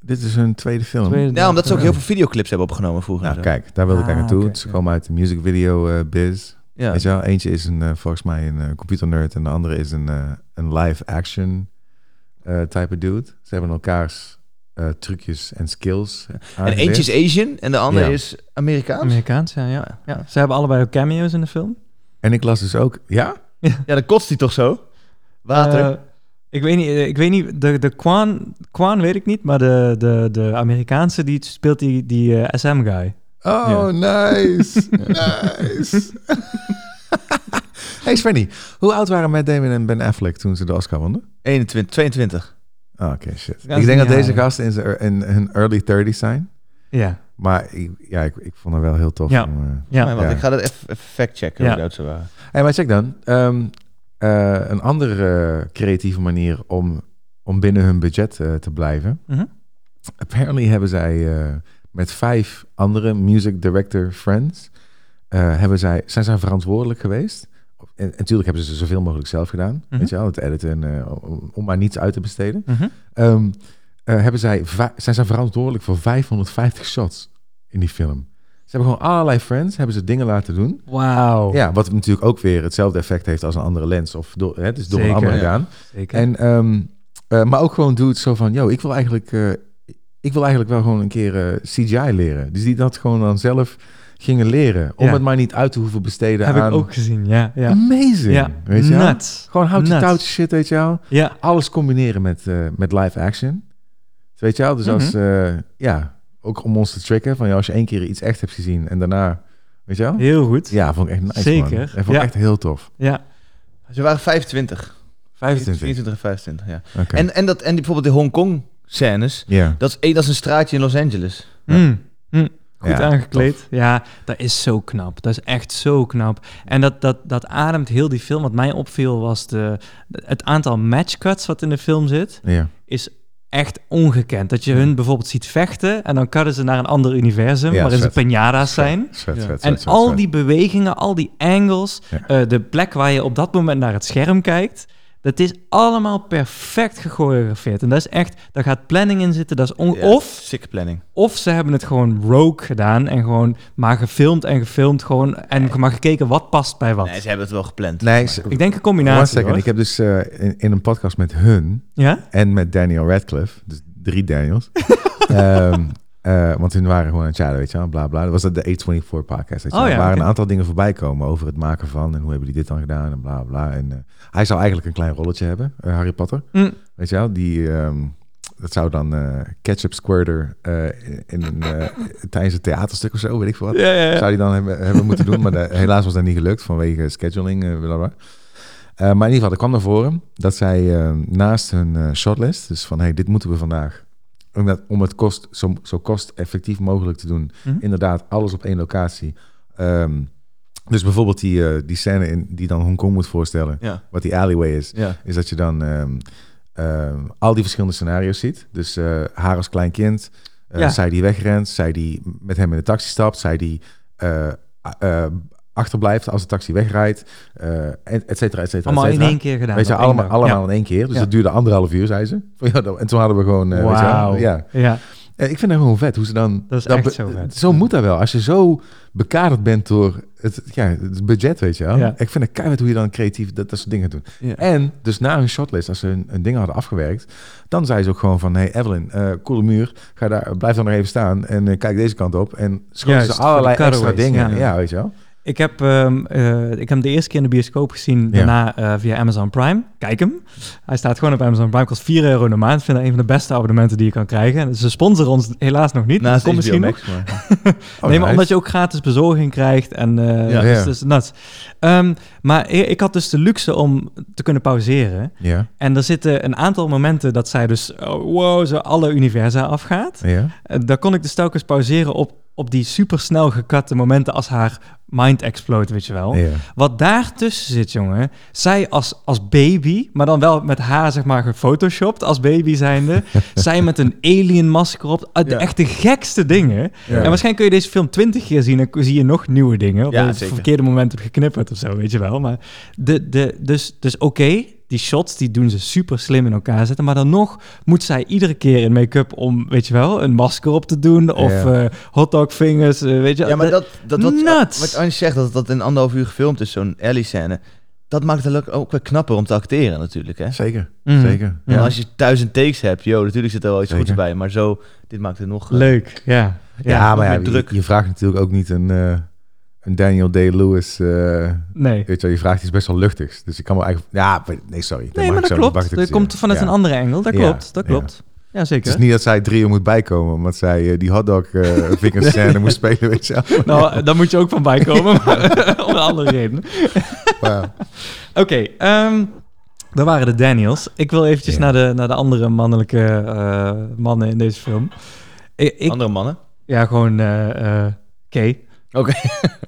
S3: dit is hun tweede film.
S2: Tweede-
S1: Ja, omdat ze ook heel veel videoclips hebben opgenomen vroeger. en
S3: Nou,
S1: zo.
S3: kijk, daar wilde ik
S2: Ah,
S3: aan naartoe.
S2: oké,
S3: het is
S2: ja.
S3: gewoon uit de music video eh, biz.
S1: Ja.
S3: Weet je wel? Eentje is een, eh, volgens mij een eh, computer nerd en de andere is een, eh, een live action eh, type dude. Ze hebben elkaars eh, trucjes en skills. eh,
S1: En eentje is Asian en de ander
S3: Ja.
S1: is Amerikaans.
S2: Amerikaans, ja, ja, ja. Ze hebben allebei ook cameo's in de film.
S3: En ik las dus ook, ja?
S1: Ja, dan kotst hij toch zo? Water.
S2: Eh, ik weet niet, eh, ik weet niet de, de Kwan, Kwan weet ik niet, maar de, de, de Amerikaanse die speelt die, die eh, SM-guy.
S3: Oh, [LAUGHS] nice. nice. [LAUGHS] hey Svenny, hoe oud waren Matt Damon en Ben Affleck toen ze de Oscar wonnen?
S1: 21, 22.
S3: Oh, Oké, shit.
S2: gaan
S3: Ik
S2: ze
S3: denk dat
S2: niet
S3: deze
S2: halen.
S3: gasten in, zijn- in hun early 30s zijn.
S2: Ja,
S3: Maar ik, ja, ik, ik vond haar wel heel tof.
S2: Ja.
S3: om, eh,
S2: ja.
S1: Maar wacht,
S3: Ja.
S1: ik ga dat even even factchecken
S2: Ja.
S1: hoe oud ze waren.
S3: Hey, maar check dan. Ehm, eh, een andere eh, creatieve manier om, om binnen hun budget eh, te blijven.
S2: Mhm.
S3: Apparently hebben zij eh, met vijf andere music director friends... eh, hebben zij, zijn zij verantwoordelijk geweest. En, en natuurlijk hebben ze zoveel mogelijk zelf gedaan.
S2: Mhm.
S3: Weet je wel, het editen, eh, om, om maar niets uit te besteden.
S2: Mhm.
S3: Ehm, eh, hebben zij, va- zijn zij verantwoordelijk voor 550 shots in die film. Ze hebben gewoon allerlei friends, hebben ze dingen laten doen...
S2: Wauw.
S3: Ja, wat natuurlijk ook weer hetzelfde effect heeft als een andere lens. Of door, hè, dus door
S2: Zeker,
S3: een andere
S2: ja.
S3: gedaan.
S2: Zeker.
S3: En, ehm, eh, maar ook gewoon doet zo van, yo, ik wil eigenlijk, eh, ik wil eigenlijk wel gewoon een keer eh, CGI leren. Dus die dat gewoon dan zelf gingen leren. Om
S2: Ja.
S3: het maar niet uit te hoeven besteden
S2: Heb
S3: aan...
S2: ik ook gezien, ja. ja.
S3: ehm, Amazing,
S2: Ja,
S3: weet je wel?
S2: nuts.
S3: Gewoon houtje
S2: Nuts.
S3: touwtje shit, weet je wel?
S2: Ja,
S3: Alles combineren met, eh, met live action. Weet je wel? Dus als,
S2: Mhm.
S3: eh, ja, ook om ons te tricken. Van, ja, als je één keer iets echt hebt gezien en daarna, weet je wel?
S2: heel goed. Ja.
S3: Ja, vond ik echt nice,
S2: Zeker,
S3: man. Dat vond ik
S2: ja.
S3: echt heel tof.
S1: Ze waren 25.
S3: 25.
S1: 24 en 25, ja.
S3: Oké.
S1: En, en, dat, en die, bijvoorbeeld de Hongkong scènes.
S3: Ja.
S1: Dat is, één- dat is een straatje in Los Angeles.
S2: Mm, mm. Goed
S3: Ja,
S2: aangekleed. Ja, dat is zo knap. Dat is echt zo knap. En dat, dat, dat ademt heel die film. Wat mij opviel was de, het aantal matchcuts wat in de film zit.
S3: Ja.
S2: is echt ongekend. Dat je hun bijvoorbeeld ziet vechten en dan cutten ze naar een ander universum
S3: Mm. Ja,
S2: waarin
S3: vet.
S2: ze penjada's zijn.
S3: Vet, vet, vet,
S2: En
S3: vet,
S2: al
S3: vet.
S2: die bewegingen, al die angles,
S3: Ja.
S2: eh, de plek waar je op dat moment naar het scherm kijkt, dat is allemaal perfect gechoreografeerd. En dat is echt, daar gaat planning in zitten. Dat is on-
S1: Ja,
S2: of,
S1: Sick planning.
S2: of ze hebben het gewoon rogue gedaan en gewoon maar gefilmd en gefilmd gewoon en maar gekeken wat past bij wat.
S1: Nee, ze hebben het wel gepland.
S3: Nee, ze-
S2: Ik denk een
S3: one
S2: combinatie.
S3: second.
S2: hoor.
S3: Ik heb dus eh, in, in een podcast met hun
S2: Ja?
S3: en met Daniel Radcliffe, dus drie Daniels.
S2: [LAUGHS]
S3: Ehm, eh, want hun waren gewoon aan het chatten, weet je wel, bla bla. Dat was dat de A24 podcast. Weet
S2: Oh
S3: je wel.
S2: ja,
S3: er waren
S2: oké.
S3: een aantal dingen voorbij komen over het maken van en hoe hebben die dit dan gedaan en bla bla. En eh, hij zou eigenlijk een klein rolletje hebben, eh, Harry Potter.
S2: Mm.
S3: Weet je wel, die, ehm, dat zou dan eh, ketchup squirter eh, in, een, eh, tijdens een theaterstuk of zo, weet ik veel wat.
S2: Ja, ja, ja.
S3: Zou die dan hebben, hebben moeten doen, maar de- helaas was dat niet gelukt vanwege scheduling. eh, bla, bla. Eh, maar in ieder geval, er kwam naar voren dat zij eh, naast hun eh, shortlist, dus van hey, dit moeten we vandaag, om, dat, om het kost, zo, zo kost-effectief mogelijk te doen, inderdaad alles op één locatie. Ehm, dus bijvoorbeeld die, eh, die scène in, die dan Hongkong moet voorstellen,
S1: Ja.
S3: wat die alleyway is,
S1: Ja.
S3: is dat je dan ehm, ehm, al die verschillende scenario's ziet. Dus eh, haar als klein kind, eh,
S2: Ja.
S3: zij die wegrent, zij die met hem in de taxi stapt, zij die eh, eh, achterblijft als de taxi wegrijdt, eh, et et cetera, et cetera. et
S2: Allemaal in
S3: cetera.
S2: één keer gedaan.
S3: Weet je,
S2: op één
S3: allemaal,
S2: dag.
S3: allemaal in één keer. Dus
S2: Ja.
S3: dat duurde anderhalf uur, zei ze. [LAUGHS] Van, ja, dat- En toen hadden we gewoon... eh, weet je wel,
S2: Wauw.
S3: ja.
S2: ja.
S3: Eh, Ik vind dat gewoon vet hoe ze dan...
S2: Dat is echt
S3: be-
S2: zo vet.
S3: Zo moet dat wel. Als je zo bekaderd bent door het, ja, het budget, weet je wel.
S2: Ja.
S3: Ik vind het keihard hoe je dan creatief dat, dat soort dingen doet.
S1: Ja.
S3: En dus na hun shotlist, als ze hun, hun dingen hadden afgewerkt... dan zei ze ook gewoon van... hey Evelyn, eh, coole muur. Ga daar, blijf dan nog even staan en eh, kijk deze kant op. En schoten
S2: Juist,
S3: ze
S2: voor de
S3: allerlei extra
S2: cutaways,
S3: dingen. Ja.
S2: ja.
S3: weet je wel.
S2: Ik heb, ehm, eh, ik heb hem de eerste keer in de bioscoop gezien,
S3: Ja.
S2: daarna eh, via Amazon Prime. Kijk hem. Hij staat gewoon op Amazon Prime. Kost 4 euro in de maand. Ik vind dat een van de beste abonnementen die je kan krijgen. En Ze sponsoren ons helaas nog niet.
S1: Naast
S2: dat komt
S1: HBO
S2: misschien nog.
S1: Max, maar...
S3: Oh,
S2: nee, maar
S3: nice.
S2: omdat je ook gratis bezorging krijgt. En eh ja,
S3: Ja.
S2: dus,
S3: Ja.
S2: dus nuts. Ehm, maar ik, ik had dus de luxe om te kunnen pauzeren.
S3: Ja,
S2: En er zitten een aantal momenten dat zij dus, oh, wow, ze alle universa afgaat.
S3: ja.
S2: Eh, Daar kon ik dus telkens pauzeren op, op die supersnel gekatte momenten als haar mind explode, weet je wel.
S3: Ja.
S2: Wat daartussen zit, jongen. Zij als, als baby, maar dan wel met haar, zeg maar, gefotoshopt als baby
S1: [LAUGHS]
S2: zijnde. zij met een alien masker op. Ah, De
S1: Ja.
S2: echt de gekste dingen.
S3: Ja.
S2: En waarschijnlijk kun je deze film twintig keer zien en kun- zie je nog nieuwe dingen. Of
S1: Ja,
S2: je het
S1: zeker.
S2: verkeerde moment hebt geknipperd of zo, weet je wel. Maar de, de, dus, dus oké, die shots die doen ze super slim in elkaar zetten. Maar dan nog moet zij iedere keer in make-up om, weet je wel, een masker op te doen. Of
S3: Ja.
S2: eh hotdog fingers, eh, weet je
S1: Ja, maar dat, dat wat,
S2: Nuts!
S1: wat Ange zegt, dat dat in anderhalf uur gefilmd is, zo'n alley scène. Dat maakt het ook wel knapper om te acteren natuurlijk, hè?
S3: Zeker,
S2: Mm.
S3: zeker.
S1: En als je duizend takes hebt, joh, natuurlijk zit er wel iets
S3: Zeker.
S1: goeds bij. Maar zo, dit maakt het nog... eh,
S2: Leuk, ja.
S3: Ja, maar ja,
S1: met druk.
S3: Je, je vraagt natuurlijk ook niet een, eh, een Daniel Day-Lewis... eh,
S2: Nee.
S3: weet je wel, je vraagt iets best wel luchtigs. Dus ik kan wel eigenlijk... Ja, maar- nee, sorry.
S2: Nee, maar
S3: ik
S2: dat
S3: zo- mag
S2: klopt.
S3: ik
S2: Dat
S3: niet
S2: komt
S3: zeggen.
S2: vanuit
S3: Ja.
S2: een andere engel. Dat
S3: Ja,
S2: klopt, dat
S3: ja.
S2: klopt. Ja,
S3: Het is
S2: zeker.
S3: niet dat zij drie uur moet bijkomen, omdat zij eh, die hotdog
S2: [LAUGHS]
S3: eh vingers scène moest spelen, weet je wel.
S2: Nou, daar moet je ook van
S3: [LAUGHS]
S2: bijkomen, maar [LAUGHS] om een andere reden.
S3: Maar
S2: [LAUGHS] Oké, ehm, dat waren de Daniels. Ik wil eventjes
S3: Ja.
S2: naar, de, naar de andere mannelijke eh, mannen in deze film. Ik, ik-
S1: Andere mannen.
S2: ja, gewoon eh eh, Kay.
S1: Oké.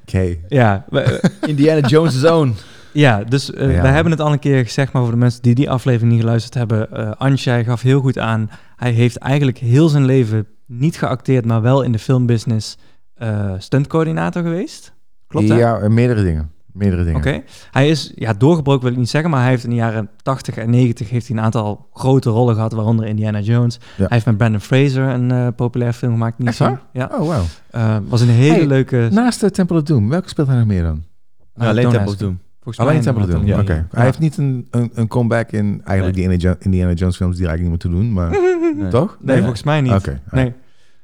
S3: Oké.
S2: Ja, we-
S1: Indiana [LAUGHS] Jones' own.
S2: Ja, dus eh,
S3: Ja.
S2: we hebben het al een keer gezegd, maar voor de mensen die die aflevering niet geluisterd hebben, eh Anshay gaf heel goed aan. Hij heeft eigenlijk heel zijn leven niet geacteerd, maar wel in de filmbusiness eh, stuntcoördinator geweest. Klopt hè?
S3: Ja, eh, meerdere dingen. Meerdere dingen.
S2: Oké. Hij is, ja, doorgebroken wil ik niet zeggen, maar hij heeft in de jaren 80 en 90 heeft hij een aantal grote rollen gehad, waaronder Indiana Jones. Hij heeft met Brandon Fraser een eh, populair film gemaakt. Niet
S3: Echt waar?
S2: zien. Ja.
S3: Oh, wauw.
S2: Eh, was een hele
S3: Hey,
S2: leuke...
S3: Naast de Temple of Doom, welke speelt hij nog meer dan?
S1: Nou, alleen
S2: Don't
S1: Temple
S2: ask.
S1: Doom.
S2: Volgens mij
S3: Alleen
S2: inderdaad
S3: Temple of Doom,
S2: wel.
S3: oké.
S2: Ja.
S3: Hij heeft niet een, een, een comeback in eigenlijk die Indiana Jo- Indiana Jones films die er eigenlijk niet meer toe doen, maar toch?
S2: Nee, volgens mij niet.
S3: Oké.
S2: Nee.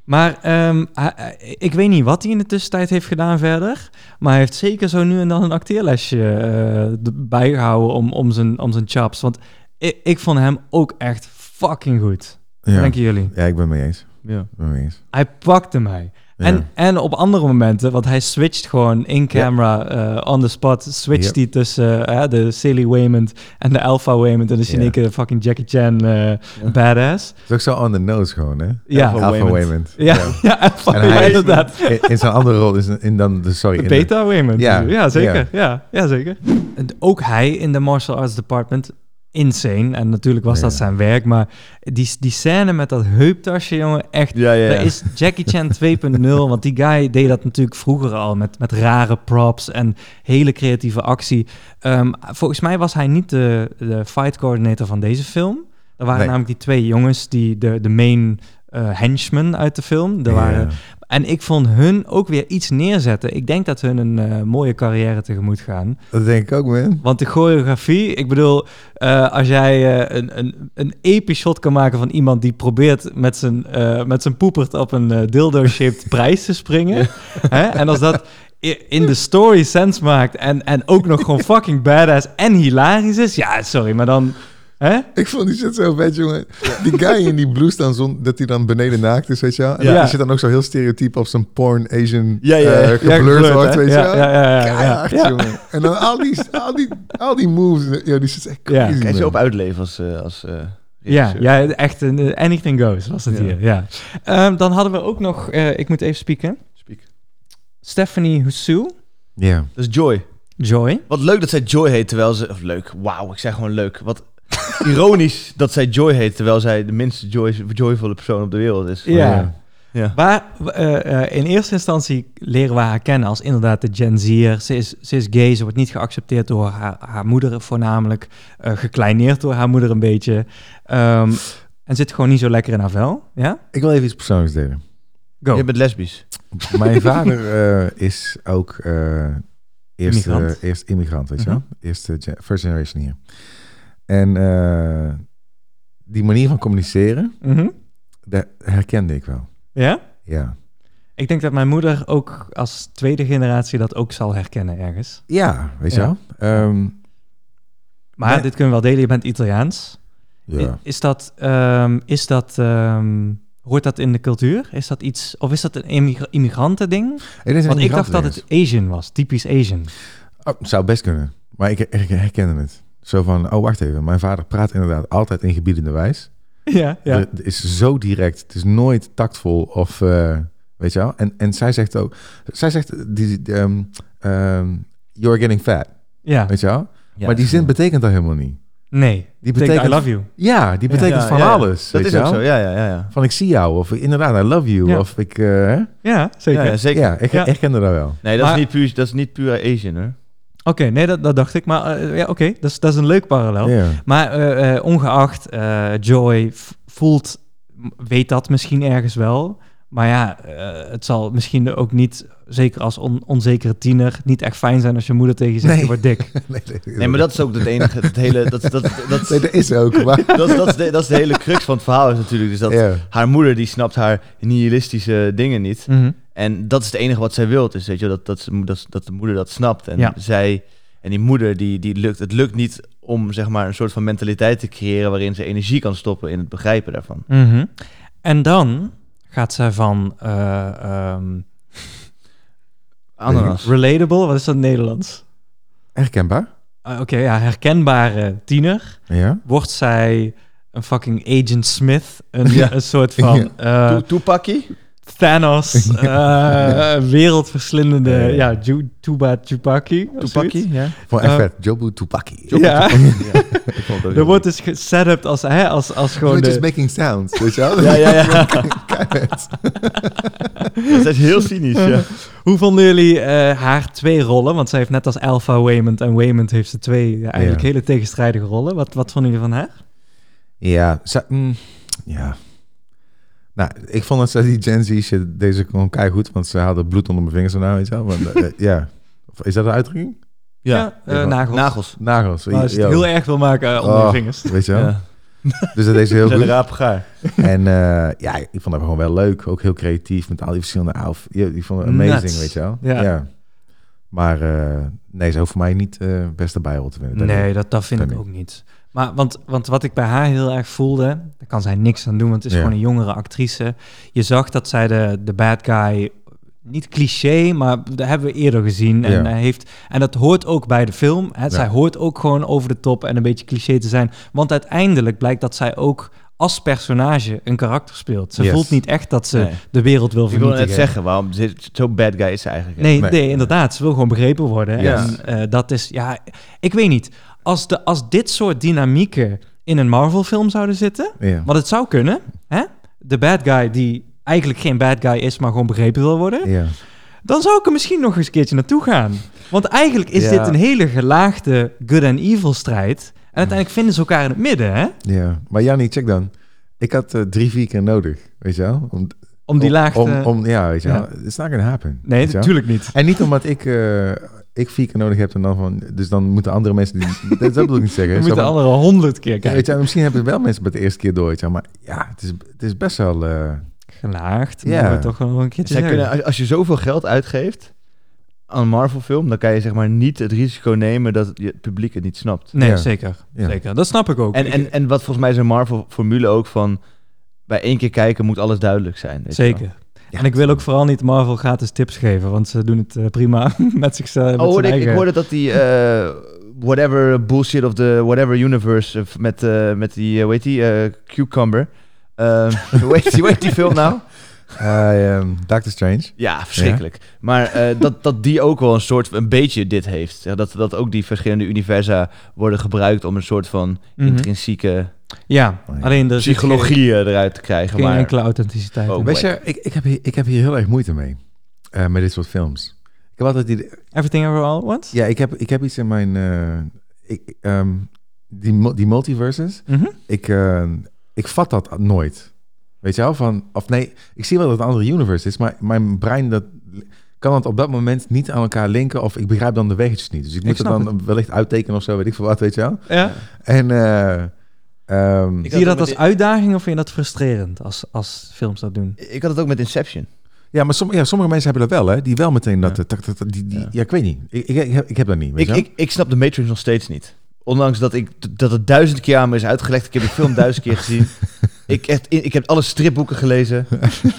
S2: Maar ehm, hij- hij- ik weet niet wat hij in de tussentijd heeft gedaan verder. Maar hij heeft zeker zo nu en dan een acteerlesje eh, d- bijgehouden om, om, zijn, om zijn chops. Want ik, ik vond hem ook echt fucking goed.
S3: Ja.
S2: Denken jullie?
S3: ja, ik ben mee eens.
S1: Ja.
S3: Ik ben mee eens.
S2: Hij pakte mij.
S3: Ja.
S2: En, en op andere momenten, want hij switcht gewoon in camera, eh, on the spot, switcht
S3: Yep.
S2: hij tussen eh, de silly Waymond en de alpha Waymond. En dan is hij in één
S3: Ja.
S2: keer de fucking Jackie Chan eh, badass.
S3: Het is ook zo on the nose gewoon, hè?
S2: Ja.
S3: Alpha
S1: Waymond.
S3: Waymond.
S2: Ja, ja. alpha
S3: En hij
S2: Waymond,
S3: is-
S2: inderdaad.
S3: In, in zijn andere rol is een- in dan de sorry. in de-
S2: Beta Waymond.
S3: Ja,
S2: Ja, ja zeker. Ja. Ja, zeker. En ook hij in de martial arts department. Insane. En natuurlijk was
S3: Ja.
S2: dat zijn werk. Maar die, die scène met dat heuptasje, jongen. Echt.
S1: Ja, ja, ja.
S2: Dat is Jackie
S1: [LAUGHS]
S2: Chan 2.0. want die guy deed dat natuurlijk vroeger al. Met, met rare props en hele creatieve actie. Ehm, volgens mij was hij niet de, de fight coordinator van deze film. Er waren
S3: Nee.
S2: namelijk die twee jongens die de, de main eh, henchmen uit de film. Er
S3: Ja.
S2: waren en ik vond hun ook weer iets neerzetten. Ik denk dat hun een eh, mooie carrière tegemoet gaan.
S3: Dat denk ik ook, man.
S2: Want de choreografie, ik bedoel, eh, als jij eh, een, een, een episch shot kan maken van iemand die probeert met zijn, eh, met zijn poepert op een eh,
S3: [LAUGHS]
S2: dildo-shaped prijs te springen. Hè? En als dat i- in de story sense maakt en, en ook nog
S3: [LAUGHS]
S2: gewoon fucking badass en hilarisch is. Ja, sorry, maar dan. Hè?
S3: Ik vond die shit zo vet, jongen. Die guy in die blouse dan, zon, dat hij dan beneden naakt is, weet je wel. En
S2: Ja.
S3: die zit dan ook zo heel stereotyp op zijn porn Asian
S1: Ja, ja, ja,
S3: eh, geblurred
S2: geblurred,
S3: wordt,
S2: hè?
S3: weet je
S2: Ja,
S3: wel.
S2: ja, ja, ja, ja.
S3: Keihard,
S2: Ja.
S3: jongen. En dan al die, al die, al die moves, ja, die shit is echt
S2: Ja.
S3: crazy,
S1: Kan je
S3: man.
S1: ze op uitleven als... eh, als eh,
S2: Ja,
S1: regisseur?
S2: ja, echt een eh, anything goes was het
S1: Ja.
S2: hier. Ja. Ehm, dan hadden we ook nog, eh, ik moet even spieken.
S1: Speak.
S2: Stephanie Hsu,
S3: Ja.
S1: Dat is Joy.
S2: Joy.
S1: Wat leuk dat zij Joy heet, terwijl ze... Of leuk, wauw, ik zeg gewoon leuk. [LAUGHS] Wat ironisch dat zij Joy heet, terwijl zij de minste joy, joyvolle persoon op de wereld is.
S3: Oh,
S2: Ja.
S1: Ja.
S2: Waar, eh, eh, in eerste instantie leren we haar kennen als inderdaad de Gen Z'er. Ze is, ze is gay, ze wordt niet geaccepteerd door haar, haar moeder voornamelijk. eh, gekleineerd door haar moeder een beetje. Ehm, en zit gewoon niet zo lekker in haar vel. Ja?
S3: Ik wil even iets persoonlijks delen.
S2: Go.
S1: Je bent lesbisch.
S3: Mijn vader eh, is ook eh eerst,
S2: Immigrant. Mhm.
S3: eh, eerst immigrant, weet je wel. Eerste gen- first generation hier. En eh, die manier van communiceren,
S2: Mhm.
S3: dat herkende ik wel.
S2: Ja?
S3: Ja.
S2: Ik denk dat mijn moeder ook als tweede generatie dat ook zal herkennen ergens.
S3: Ja, weet je
S2: Ja.
S3: wel. Ehm,
S2: Maar
S3: Nee.
S2: dit kunnen we wel delen, je bent Italiaans. I-
S3: ja.
S2: Is dat, ehm, is dat ehm, hoort dat in de cultuur? Is dat iets, of is dat een immigra- immigrantending?
S3: Het is een
S2: Want ik dacht dat
S3: immigrant
S2: het Asian was, typisch Asian.
S3: Oh, het zou best kunnen. Maar ik, ik herkende het. Zo van, oh wacht even. Mijn vader praat inderdaad altijd in gebiedende
S2: [LAUGHS]
S3: wijs.
S2: Ja,
S3: Er- Het is zo direct. Het is nooit tactvol of... eh, weet je wel? En, en zij zegt ook... Zij zegt, die, die, ehm, ehm, you're getting fat.
S2: ja.
S3: Weet je wel?
S1: Ja,
S3: maar die
S1: echt,
S3: zin
S1: ja.
S3: betekent dat helemaal niet.
S2: Nee,
S3: Die
S2: betekent I
S3: betekent-
S2: love you.
S3: Ja, die betekent
S1: Ja,
S3: van
S1: ja, ja.
S3: alles.
S1: Dat
S3: weet
S1: is ook
S3: je wel?
S1: zo, ja, ja, ja. ja.
S3: Van ik zie jou. Of inderdaad, I love you.
S2: Ja.
S3: Of ik... eh, hè?
S2: Ja, zeker.
S1: Ja, ja, zeker.
S3: ja, ik
S2: Ja.
S3: herkende dat wel.
S1: Nee, dat,
S2: Maar-
S1: is niet puur, dat is niet puur Asian, hoor.
S2: Oké, nee, dat, dat dacht ik. Maar eh, ja, oké, dat, is, dat is een leuk parallel.
S1: [LAUGHS]
S3: Ja.
S2: Maar eh, eh, ongeacht, eh, Joy v- voelt, m- weet dat misschien ergens wel. Maar ja, eh, het zal misschien ook niet zeker als on- onzekere tiener, niet echt fijn zijn als je moeder tegen je zegt,
S3: Nee.
S2: je wordt dik.
S3: Nee, nee,
S1: Nee, maar dat is ook het enige, het hele, dat, [LAUGHS] dat, dat, dat,
S3: Nee, dat
S1: [LAUGHS]
S3: is ook. Maar,
S1: dat, dat, is de, dat is de hele crux van het verhaal is natuurlijk. Dus dat
S3: Ja.
S1: haar moeder, die snapt haar nihilistische dingen niet.
S2: Mhm.
S1: En dat is het enige wat zij wilt, is weet je, dat, dat, ze mo- dat, ze- dat de moeder dat snapt. En
S2: Ja.
S1: zij en die moeder, die, die lukt, het lukt niet om zeg maar, een soort van mentaliteit te creëren waarin ze energie kan stoppen in het begrijpen daarvan.
S2: Mhm. En dan gaat zij van eh, ehm,
S1: Ananas.
S2: relatable, wat is dat in het Nederlands?
S3: herkenbaar.
S2: Ah, Oké, ja, herkenbare tiener.
S3: Ja.
S2: Wordt zij een fucking Agent Smith, een,
S3: Ja.
S2: een soort van eh,
S1: Toe- Toepakkie?
S2: Thanos, eh, wereldverslindende,
S3: Eh.
S2: ja, Ju- Tuba Chupaki. of zoiets.
S1: Toepakkie, ja.
S3: Voor echt vet. Jobu Tupaki.
S2: [LAUGHS] Ja,
S3: Ik vond het ook
S2: er
S3: heel
S2: wordt dus geset-up als, hè, als, als
S3: leuk.
S2: gewoon
S3: We're just
S2: de,
S3: making sounds, weet je wel?
S1: Ja, ja,
S2: [LAUGHS]
S1: ja. [LAUGHS] Dat is heel cynisch, ja.
S2: Hoe vonden jullie eh, haar twee rollen? Want zij heeft net als Alpha Waymond en Waymond heeft ze twee ja, eigenlijk
S3: Ja.
S2: hele tegenstrijdige rollen. Wat, wat vonden jullie van haar?
S3: Ja, ze- mm, ja. Nou, ik vond dat ze die Gen Z shit, deze kon goed, want ze hadden bloed onder mijn vingers en nou, weet je wel. Want, eh, ja. Of Is dat een uitdrukking?
S2: eh, nagels.
S1: Nagels.
S3: Nagels.
S2: Maar als je het
S3: yo.
S2: heel erg wil maken eh, onder je
S3: Oh,
S2: vingers.
S3: Weet je wel?
S1: Ja.
S3: [LAUGHS] Dus dat deze heel
S1: Zijn de
S3: goed.
S1: rapen gaar.
S3: En eh, ja, ik vond haar gewoon wel leuk. Ook heel creatief met al die verschillende outf- Ja, Ik vond het amazing,
S2: Nuts.
S3: weet je wel.
S2: Ja.
S3: Maar eh, nee, ze hoeft voor mij niet eh beste bijrol te winnen. Dat
S2: Nee, dat, dat vind
S3: dat
S2: ik
S3: niet.
S2: ook niet. Maar want, want wat ik bij haar heel erg voelde, daar kan zij niks aan doen, want het is
S3: Ja.
S2: gewoon een jongere actrice. Je zag dat zij de, de bad guy, niet cliché, maar dat hebben we eerder gezien. En,
S3: Ja.
S2: hij heeft, en dat hoort ook bij de film. Hè? Zij hoort ook gewoon over de top en een beetje cliché te zijn. Want uiteindelijk blijkt dat zij ook als personage een karakter speelt. Ze
S3: Yes.
S2: voelt niet echt dat ze
S1: Nee.
S2: de wereld wil
S1: Ik wil
S2: vernietigen.
S1: net zeggen, waarom ze- zo bad guy is ze eigenlijk. hè?
S2: Nee, nee,
S3: Nee.
S2: inderdaad. Ze wil gewoon begrepen worden.
S3: Ja.
S2: En eh, dat is, ja, ik weet niet. Als, de, als dit soort dynamieken in een Marvel-film zouden zitten,
S3: Ja.
S2: wat het zou kunnen, hè? de bad guy die eigenlijk geen bad guy is, maar gewoon begrepen wil worden,
S3: Ja.
S2: dan zou ik er misschien nog eens een keertje naartoe gaan. Want eigenlijk is
S3: Ja.
S2: dit een hele gelaagde good en evil strijd. En uiteindelijk vinden ze elkaar in het midden, hè?
S3: ja. Maar Jannie, check dan. Ik had eh, drie, vier keer nodig, weet je wel. Om,
S2: Om die laagte...
S3: Om, om, ja, weet je
S2: Ja.
S3: wel. It's not gonna happen.
S2: nee,
S3: weet je wel.
S2: natuurlijk niet.
S3: En niet omdat ik, eh, ik vier keer nodig heb en dan van... Dus dan moeten andere
S2: [LAUGHS]
S3: mensen... Die, dat, dat wil ik niet zeggen.
S2: We
S3: Zo
S2: moeten de
S3: van-
S2: andere honderd keer
S3: Ja,
S2: kijken.
S3: weet je, wel, misschien hebben wel mensen bij de eerste keer door, weet je wel, maar ja, het is, het is best wel... eh,
S2: Gelaagd,
S3: Ja.
S2: moeten we toch wel een keertje
S1: Zij
S2: zeggen.
S1: kunnen, als, als je zoveel geld uitgeeft aan een Marvel-film, dan kan je zeg maar niet het risico nemen dat je het publiek het niet snapt.
S2: Nee,
S3: Ja.
S2: zeker.
S3: Ja.
S2: Zeker. Dat snap ik ook.
S1: En,
S2: Ik-
S1: en, en wat volgens mij is een Marvel-formule ook van bij één keer kijken moet alles duidelijk zijn. weet je wel.
S2: zeker. en ik wil ook vooral niet Marvel gratis tips geven, want ze doen het eh, prima [LAUGHS] met zichzelf. met
S1: Oh, hoorde
S2: zijn
S1: ik, ik
S2: eigen-
S1: hoorde dat die eh, whatever bullshit of the whatever universe eh, met, eh, met die, eh, hoe heet die, eh, cucumber. Eh, [LAUGHS] hoe, heet die, hoe heet die film nou?
S3: eh, ehm, Doctor Strange.
S1: Ja, verschrikkelijk. Maar
S2: [LAUGHS]
S1: eh, dat, dat die ook wel een soort, een beetje dit heeft. Ja, Dat, dat ook die verschillende universa worden gebruikt om een soort van
S2: Mhm.
S1: intrinsieke
S2: Ja,
S3: Oh, ja.
S2: alleen er zit
S1: psychologie eh, eruit te
S2: geen,
S1: krijgen.
S2: geen
S1: Maar
S2: enkele authenticiteit.
S1: Oh.
S2: in.
S3: Weet je, ik, ik, heb hier, ik heb hier heel erg moeite mee, eh, met dit soort films. Ik heb altijd die...
S2: Everything Ever All at Once?
S3: Ja, ik heb, ik heb iets in mijn... eh, ik, ehm, die, mu- die multiverses,
S2: Mhm.
S3: ik, eh, ik vat dat nooit. Weet je wel? Van, of nee, ik zie wel dat het een andere universe is, maar mijn brein dat, kan het op dat moment niet aan elkaar linken of ik begrijp dan de weggetjes niet. Dus ik moet het
S2: snap
S3: dan wellicht uittekenen of zo, weet ik veel wat, weet je wel?
S2: Ja.
S3: En eh, ehm,
S1: Ik
S2: Zie je
S1: had
S2: dat
S1: het met
S2: als uitdaging of vind je dat frustrerend als, als films dat doen?
S1: ik had het ook met Inception.
S3: ja, maar somm- ja, sommige mensen hebben dat wel, hè? Die wel meteen dat.
S1: Ja.
S3: eh, tak, tak, tak, die, die,
S1: Ja.
S3: ja. ik weet niet. Ik, ik, ik, heb, ik heb dat niet. Weet
S1: Ik,
S3: je wel?
S1: ik, ik snap de Matrix nog steeds niet. Ondanks dat, ik, dat het duizend keer aan me is uitgelegd. Ik heb de film duizend keer
S2: [LAUGHS]
S1: gezien. Ik, echt, ik heb alle stripboeken gelezen.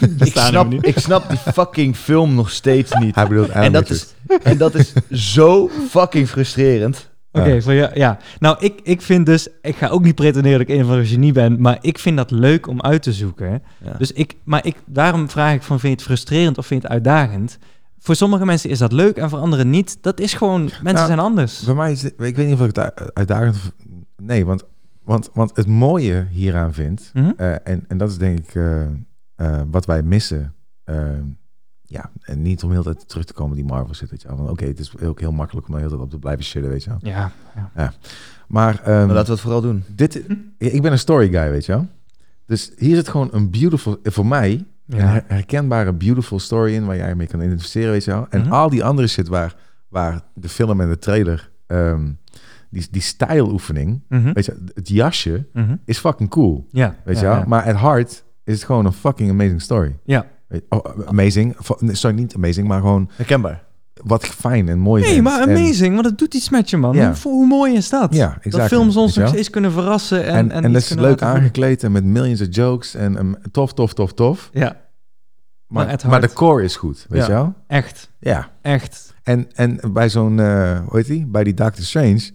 S1: ik,
S2: staan
S1: snap,
S2: hem niet.
S1: ik snap die fucking film nog
S2: [LAUGHS]
S1: steeds niet.
S3: Hij bedoelt
S1: [LAUGHS]
S3: dus-
S1: En dat,
S2: dus.
S1: is, en dat is zo fucking frustrerend.
S2: Oké,
S3: Ja.
S2: voor jou- ja. Nou, ik, ik vind dus, ik ga ook niet pretenderen dat ik een van de genie ben, maar ik vind dat leuk om uit te zoeken.
S1: Ja.
S2: Dus ik, maar ik, daarom vraag ik van, vind je het frustrerend of vind je het uitdagend? Voor sommige mensen is dat leuk en voor anderen niet. Dat is gewoon, mensen
S3: Nou,
S2: zijn anders.
S3: Bij mij is dit- ik weet niet of ik het u- uitdagend. of- Nee, want, want, want het mooie hieraan vind.
S2: Mhm.
S3: eh, en, en dat is denk ik eh, eh, wat wij missen. eh, ja, en niet om heel de tijd terug te komen die Marvel zit. Weet je wel. Van, Oké, het is ook heel makkelijk om daar heel de tijd op te blijven shitten, weet je wel.
S2: Ja, ja.
S3: Maar,
S1: Maar
S3: ehm,
S1: Nou, laten we het vooral doen.
S3: dit, ik ben een story guy, weet je wel. Dus hier zit gewoon een beautiful, voor mij, een her- herkenbare, beautiful story in waar jij mee kan identificeren, weet je wel. En
S1: Mhm.
S3: al die andere shit waar, waar de film en de trailer, ehm, die, die stijloefening,
S1: Mhm.
S3: weet je, het jasje
S1: Mhm.
S3: is fucking cool,
S1: Ja.
S3: weet
S1: ja,
S3: je wel.
S1: ja.
S3: Maar at heart is het gewoon een fucking amazing story.
S2: Ja.
S3: Weet- oh, amazing, Fu- nee, sorry, niet amazing, maar gewoon
S1: Herkenbaar.
S3: wat fijn en mooi.
S2: Nee,
S3: vindt.
S2: maar
S3: En-
S2: amazing, want het doet iets met je, man.
S3: Ja.
S2: Hoe, hoe mooi is dat?
S3: Ja, exactly,
S2: dat films
S3: weet
S2: ons
S3: je
S2: nog
S3: wel.
S2: steeds kunnen verrassen. En,
S3: En,
S2: en,
S3: en,
S2: iets
S3: dat is
S2: kunnen
S3: leuk
S2: laten voelen.
S3: aangekleed en met millions of jokes en ehm, tof, tof, tof, tof.
S2: Ja,
S3: Maar,
S2: Maar at
S3: maar,
S2: heart.
S3: de core is goed, weet
S1: Ja.
S3: je wel?
S2: echt.
S3: Ja.
S2: Echt.
S3: En, en bij zo'n, eh hoe heet die? Bij die Doctor Strange.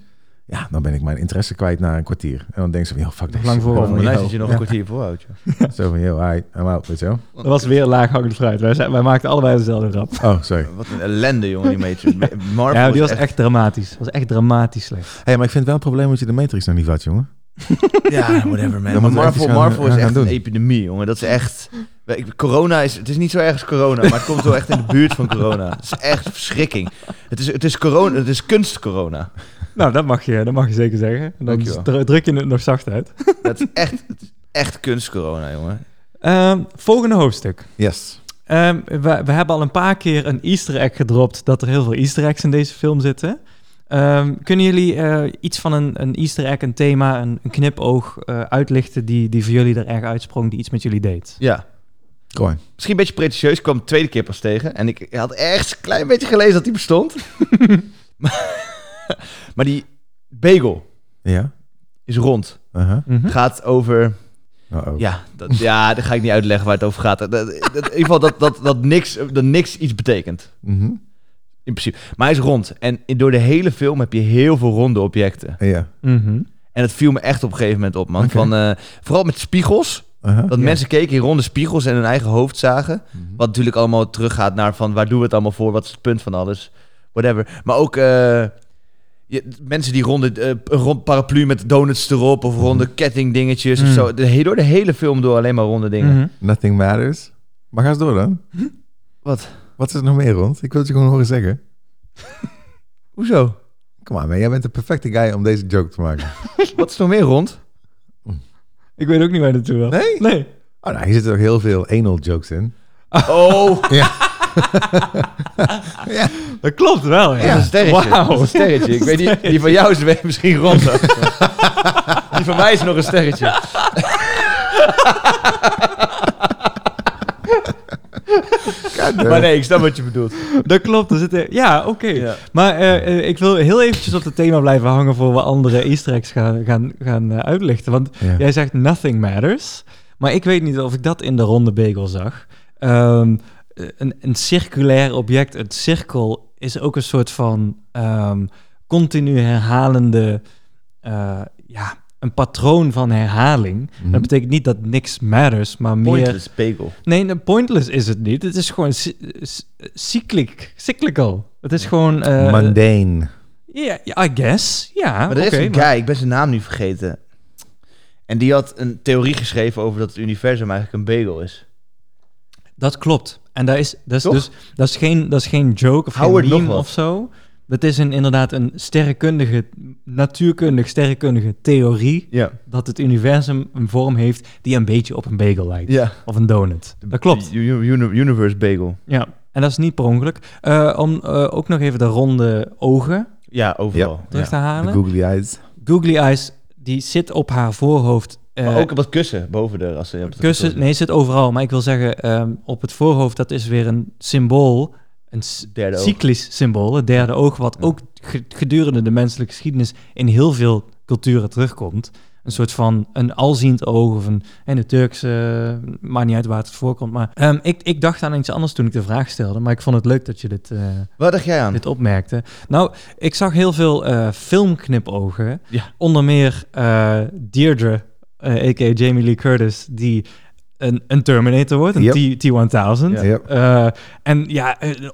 S3: Ja, dan ben ik mijn interesse kwijt na een kwartier. En dan denk ze van, joh, fuck this.
S2: Lang voor.
S3: Zo
S1: Oh,
S3: van,
S1: maar
S2: nice
S1: nice
S3: yo.
S1: dat je nog een kwartier voorhoudt. joh.
S3: [LAUGHS] Zo van, yo, hi, I'm out, weet je wel?
S2: Dat was weer laag hangend fruit. Wij, zijn- wij maakten allebei dezelfde rap.
S3: Oh, sorry.
S1: Wat een ellende, jongen, die [LAUGHS] Matrix. Marvel
S2: Ja, die
S1: is
S2: was echt dramatisch. was echt dramatisch slecht.
S3: hey, maar ik vind het wel een probleem dat je de Matrix nog niet vat, jongen.
S1: Ja, whatever man.
S3: Dan
S1: Maar
S3: moeten we echt
S1: Marvel,
S3: iets gaan-
S1: Marvel is
S3: gaan
S1: echt
S3: doen.
S1: een epidemie, jongen. Dat is echt... Ik- Corona is... Het is niet zo erg als corona, maar het komt wel echt in de buurt van corona. Het is echt verschrikking. Het is, het is, corona, het is kunst-corona.
S2: Nou, dat mag je, dat mag je zeker zeggen. Dan
S1: Dankjewel.
S2: dru- druk je het nog zacht uit.
S1: Dat is echt, het is echt kunst-corona, jongen.
S2: Ehm, volgende hoofdstuk.
S3: Yes.
S2: Ehm, we, we hebben al een paar keer een easter egg gedropt dat er heel veel easter eggs in deze film zitten. Ehm, kunnen jullie eh, iets van een, een easter egg, een thema, een, een knipoog eh, uitlichten die, die voor jullie er erg uitsprong, die iets met jullie deed?
S1: Ja.
S3: Go on.
S1: Misschien een beetje pretentieus. Ik kwam de tweede keer pas tegen. En ik had ergens een klein beetje gelezen dat die [LAUGHS] bestond. maar, maar die bagel
S3: Ja?
S1: is rond.
S3: Uh-huh.
S1: Gaat over...
S3: Uh-oh.
S1: Ja, dat, ja, dat ga ik niet uitleggen waar het over gaat. Dat, dat- in ieder geval dat, dat, dat, niks, dat niks iets betekent.
S3: Mhm.
S1: In principe. Maar hij is rond. En in- door de hele film heb je heel veel ronde objecten.
S3: Ja.
S2: Mhm.
S1: En dat viel me echt op een gegeven moment op, man.
S3: Oké.
S1: Van, eh, vooral met spiegels.
S3: Uh-huh.
S1: Dat mensen keken in ronde spiegels en hun eigen hoofd zagen. Wat natuurlijk allemaal teruggaat naar van waar doen we het allemaal voor? Wat is het punt van alles? Whatever. Maar ook eh, je, mensen die ronde, eh, een rond paraplu met donuts erop of ronde kettingdingetjes
S2: Mm.
S1: of zo. De, he- door de hele film door alleen maar ronde dingen.
S2: Mhm.
S3: Nothing matters. Maar ga eens door dan.
S1: Wat?
S3: Wat is er nog meer rond? Ik wil het je gewoon horen zeggen.
S1: [LAUGHS] Hoezo?
S3: Kom maar, man. Jij bent de perfecte guy om deze joke te
S1: [LAUGHS]
S3: maken.
S1: Wat is er nog meer rond?
S2: Ik weet ook niet waar je naartoe wil.
S3: Nee?
S2: Nee.
S3: Oh, nou, hier zitten ook heel veel anal jokes in.
S1: Oh,
S2: Dat klopt wel. Ja.
S1: een sterretje.
S2: Wauw.
S1: Dat is Een sterretje. Ik weet niet, die van jou is weer misschien rond. [LAUGHS] die van mij is nog een sterretje. [LAUGHS] Maar nee, ik snap wat je bedoelt.
S2: [LAUGHS] Dat klopt. Er zitten... Ja, oké.
S1: Ja.
S2: Maar eh, eh, ik wil heel eventjes op het thema blijven hangen voor we andere easter eggs gaan, gaan, gaan eh, uitlichten. Want
S3: Ja.
S2: Jij zegt nothing matters. Maar ik weet niet of ik dat in de ronde bagel zag. Ehm, een, een circulair object, een cirkel, is ook een soort van ehm, continu herhalende. eh, ja, een patroon van herhaling.
S3: Mhm.
S2: Dat betekent niet dat niks matters, maar meer.
S1: Pointless bagel.
S2: Nee, nee, pointless is het niet. Het is gewoon cy- c- cyclic, cyclical. Het is gewoon. eh,
S3: Mundane.
S2: Ja, ja, I guess. Ja,
S1: Maar er
S2: oké,
S1: is een guy, ik ben zijn naam nu vergeten. En die had een theorie geschreven over dat het universum eigenlijk een bagel is.
S2: Dat klopt. En daar is, dat is
S1: Toch?
S2: dus dat is geen, dat is geen joke of
S1: Howard
S2: geen
S1: nog
S2: meme
S1: wat.
S2: of zo. Dat is een, inderdaad een sterrenkundige, natuurkundig sterrenkundige theorie
S1: Ja.
S2: dat het universum een vorm heeft die een beetje op een bagel lijkt.
S1: ja.
S2: Of een donut. Dat klopt.
S1: Universe bagel.
S2: Ja. En dat is niet per ongeluk. Eh, om eh, ook nog even de ronde ogen
S1: Ja, overal.
S2: terug te
S3: De
S1: eh,
S2: halen.
S3: googly eyes.
S2: Googly Eyes, die zit op haar voorhoofd. eh,
S1: Maar ook op dat kussen, boven de rassen. Ja, op dat
S2: Kussen, nee, zit overal. Maar ik wil zeggen, ehm, op het voorhoofd, dat is weer een symbool. Een s-
S1: Derde oog.
S2: cyclisch symbool, het derde oog, wat ook ge- gedurende de menselijke geschiedenis in heel veel culturen terugkomt. Een soort van een alziend oog of een en de Turkse, eh, maakt niet uit waar het voorkomt. Maar ehm, ik, ik dacht aan iets anders toen ik de vraag stelde, maar ik vond het leuk dat je dit, eh,
S1: Waar dacht jij aan?
S2: dit opmerkte. Nou, ik zag heel veel eh, filmknipogen.
S1: Ja.
S2: Onder meer eh, Deirdre, eh a.k.a. Jamie Lee Curtis, die een, een Terminator wordt, een
S3: Yep.
S2: T- T-1000.
S1: Ja.
S3: Yep.
S2: Eh, en ja, een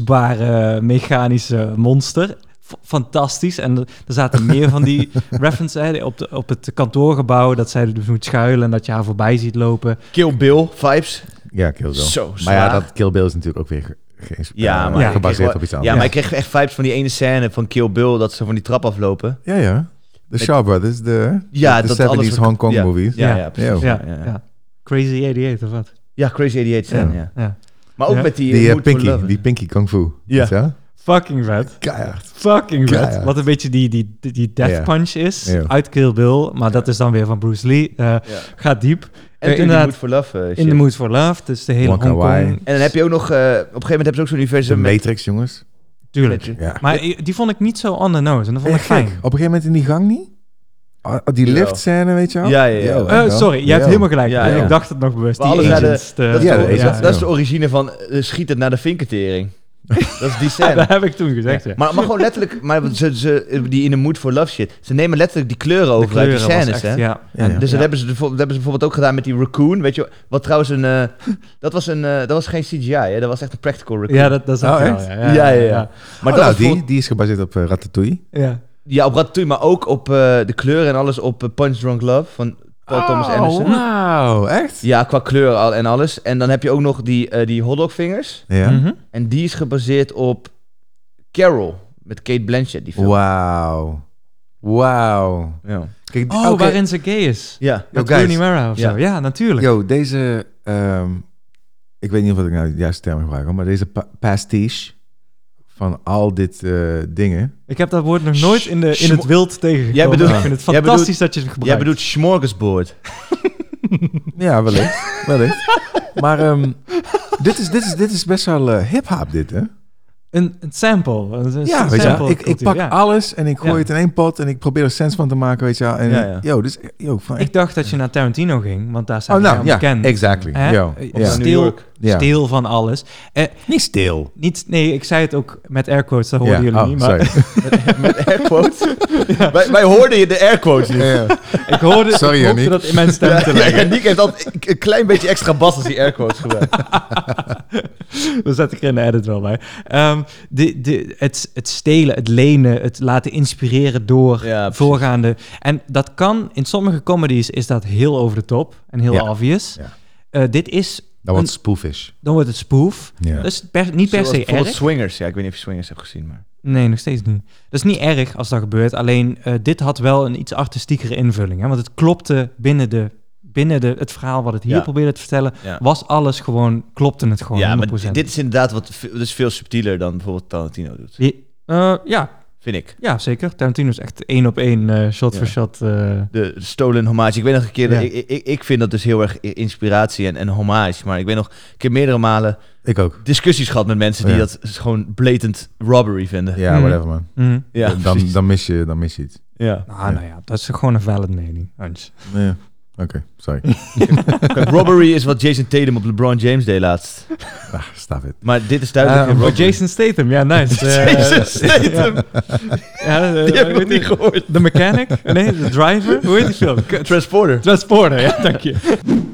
S2: onverwoestbare mechanische monster. F- Fantastisch. En er er zaten meer van die references hè, op, de, op het kantoorgebouw. Dat zij dus moet schuilen en dat je haar voorbij ziet lopen.
S1: Kill Bill vibes.
S3: Ja, Kill Bill.
S1: Zo
S3: maar ja,
S1: zwaar.
S3: dat Kill Bill is natuurlijk ook weer ge- ge-
S1: Ja,
S3: eh,
S1: maar ik kreeg
S3: gebaseerd
S1: wel-
S3: op iets
S1: Ja,
S3: anders.
S1: maar ik kreeg echt vibes van die ene scène van Kill Bill, dat ze van die trap aflopen.
S3: Ja, ja. De Shaw Brothers, de,
S1: Ja,
S3: de
S1: dat
S3: 70s
S1: alles...
S3: Hong Kong
S1: ja.
S3: movies.
S1: Oh, Ja, ja,
S2: Ja.
S1: precies.
S3: Ja.
S1: Ja,
S2: Ja, ja. Crazy 88 of wat?
S1: Ja, Crazy 88 Stan, ja.
S3: Ja.
S2: Ja.
S1: Maar ook
S2: Ja.
S1: met die... eh,
S3: Die eh,
S1: Mood for
S3: Pinky,
S1: Lovin'.
S3: die Pinky Kung Fu.
S1: Ja.
S3: Weet je wel?
S2: Fucking vet.
S3: Keihard.
S2: Fucking vet.
S3: Keihard.
S2: Wat een beetje die, die, die- die death
S3: Ja.
S2: punch is
S3: Ja.
S2: uit Kill Bill. Maar dat is dan weer van Bruce Lee. Eh, Gaat diep.
S1: En
S2: Eh,
S1: natuurlijk die Mood
S2: inderdaad,
S1: for Love eh, shit.
S2: In the Mood for Love. Dus de hele
S3: Wonka Wai.
S2: Hongkong.
S1: En dan heb je ook nog... eh, op een gegeven moment hebben ze ook zo'n
S3: De
S1: universum... met-
S3: Matrix, jongens.
S1: [LAUGHS]
S2: Tuurlijk.
S1: met-
S3: Ja.
S2: Maar i- die vond ik niet zo on the nose. En dat vond
S3: Ja,
S2: ik fijn.
S3: gek. Op een gegeven moment in die gang niet? Ah, die
S1: Jawel.
S3: lift scène, weet je wel?
S1: Ja, ja, ja.
S3: Yo,
S1: Eh,
S2: Eh,
S3: wel.
S2: sorry, jij
S3: Yo.
S2: hebt helemaal gelijk.
S1: Ja,
S2: En
S1: ja.
S2: Ik dacht het nog bewust.
S1: Maar
S2: Die
S1: alles naar de-
S2: agents, eh, de-
S1: Dat, is
S3: Ja,
S1: de,
S3: dat is
S1: dat-
S3: het.
S1: dat is de origine van eh, schiet het naar de
S3: [LAUGHS]
S1: vinkertering. dat is die
S2: Ja,
S1: scène.
S2: dat heb ik toen gezegd. Ja.
S1: Maar, maar gewoon letterlijk, maar ze, ze, die in de mood for love shit. Ze nemen letterlijk die kleuren over uit die
S2: kleuren was
S1: scènes,
S2: echt-
S1: hè?
S2: Ja.
S3: Ja, ja.
S1: Dus
S2: Ja.
S1: dat, hebben ze, bijvo- dat hebben ze bijvoorbeeld ook gedaan met die raccoon, weet je wel. Wat trouwens een... eh, [LAUGHS] dat, was een eh, dat was geen CGI, hè? Dat was echt een practical raccoon.
S2: ja, dat, dat is echt
S3: Oh,
S2: wel,
S3: echt?
S1: ja, ja, ja. Maar dat
S3: Oh, nou,
S1: was
S3: die,
S1: bijvoorbeeld-
S3: die is gebaseerd op eh, Ratatouille.
S2: Ja.
S1: Ja, op Ratatouille, maar ook op eh, de kleuren en alles op eh, Punch Drunk Love van Paul
S3: Oh,
S1: Thomas
S2: Oh,
S1: Anderson.
S3: wauw. Echt?
S1: Ja, qua kleur al en alles. En dan heb je ook nog die, eh die hotdogvingers.
S3: Ja.
S2: Mhm.
S1: En die is gebaseerd op Carol met Kate Blanchett, die film.
S3: Wauw. Wauw.
S1: Ja.
S3: Kijk,
S2: Oh,
S3: oké.
S2: waarin ze gay is.
S1: ja.
S3: Yo,
S2: Met Rooney
S3: guys.
S2: Mara of
S1: Ja.
S2: zo. Ja, natuurlijk.
S3: Yo, deze... ehm, ik weet niet of ik nou de juiste term gebruik, hoor, maar deze pa- pastiche van al dit eh, dingen.
S2: Ik heb dat woord nog nooit in, de, in
S1: Schmo-
S2: het wild tegengekomen.
S1: Jij bedoelt-
S2: ik vind het
S1: jij bedoelt-
S2: fantastisch dat je het gebruikt.
S1: Jij bedoelt smorgasbord.
S3: Ja, wellicht.
S1: [LAUGHS]
S3: wellicht. Maar ehm, dit, is, dit, is, dit is best wel eh, hip-hop, dit, hè?
S2: een, een sample. Een, een
S3: Ja,
S2: sample
S3: weet je wel, ik, ik
S2: cultuur,
S3: pak
S2: ja.
S3: alles en ik gooi
S2: Ja.
S3: het in één pot en ik probeer er sens van te maken, weet je wel. En,
S1: Ja, ja.
S3: Yo, dus, yo, van,
S2: Ik dacht dat je naar Tarantino ging, want daar zijn
S3: oh,
S2: we
S3: nou,
S2: aan
S3: ja,
S2: bekend.
S3: exactly.
S2: Hè?
S3: Yo,
S2: Eh,
S3: ja.
S1: New
S2: Stil,
S1: York.
S3: Ja.
S2: stil van alles. Eh,
S3: Niet stil.
S2: niet, nee, ik zei het ook met air quotes, dat
S3: Ja,
S2: hoorden jullie
S3: oh,
S2: niet. Maar [LAUGHS]
S3: sorry.
S1: Met [LAUGHS] airquotes. wij, wij hoorden je de airquotes niet.
S3: Ja, ja.
S2: ik hoorde, ik
S3: [LAUGHS] Sorry,
S2: hoopte
S3: Yannick.
S2: dat in mijn stem
S1: [LAUGHS]
S3: [LAUGHS]
S1: Ja,
S2: te
S1: ja,
S2: leggen.
S1: ja, Nick heeft altijd een klein beetje extra bas als die airquotes gebruikt.
S2: Dat zet ik er in de edit wel bij. Ehm, de, de, het, het stelen, het lenen, het laten inspireren door
S1: Ja, precies.
S2: voorgaande. En dat kan, in sommige comedies is dat heel over de top en heel
S3: Ja.
S2: obvious.
S3: Ja.
S2: Eh, dit is,
S3: Dat wordt spoelfish.
S2: dan wordt het spoof.
S3: Ja.
S2: Dat is per- niet per
S1: Zoals
S2: se
S1: bijvoorbeeld
S2: erg.
S1: Swingers. Ja, ik weet niet of je Swingers hebt gezien, maar...
S2: Nee, nog steeds niet. Dat is niet erg als dat gebeurt. Alleen eh, dit had wel een iets artistiekere invulling. Hè? Want het klopte binnen, de, binnen de, het verhaal wat het hier
S1: Ja.
S2: probeerde te vertellen.
S1: Ja.
S2: Was alles gewoon, klopte het gewoon
S1: ja, maar
S2: 100%.
S1: dit is inderdaad wat, ve- dat is veel subtieler dan bijvoorbeeld Tarantino doet.
S2: Die- eh, ja,
S1: Vind ik.
S2: Ja, zeker. Tarantino is echt één op één, eh, shot
S1: Ja.
S2: voor shot. eh.
S1: De stolen hommage. Ik weet nog een keer,
S2: Ja.
S1: ik, ik, ik vind dat dus heel erg i- inspiratie en, en hommage. Maar ik weet nog, ik heb meerdere malen
S3: Ik ook.
S1: discussies gehad met mensen die
S3: Ja.
S1: dat s- gewoon blatant robbery vinden.
S3: Ja,
S2: Mm.
S3: whatever man.
S2: Mm.
S1: ja
S3: dan,
S1: precies.
S3: dan, mis je, dan mis je iets.
S1: [LAUGHS] Ja.
S2: Ah, nou ja, dat is gewoon een valid mening, Hans.
S3: Ja. Oké, sorry.
S1: Robbery is wat Jason Tatum op LeBron James deed laatst.
S3: ah, stop it.
S1: Maar dit is duidelijk
S3: Eh,
S1: een
S2: Voor
S1: robbery.
S2: Jason Statham, [LAUGHS] ja,
S1: [LAUGHS]
S2: nice. Eh,
S1: Jason Statham.
S2: ja, eh,
S1: [LAUGHS] Die heb ik
S2: hoe
S1: nog
S2: heet
S1: niet
S2: die?
S1: gehoord.
S2: The Mechanic? Nee, The Driver? Hoe heet die film? K-
S1: Transporter.
S2: Transporter, ja, dank je.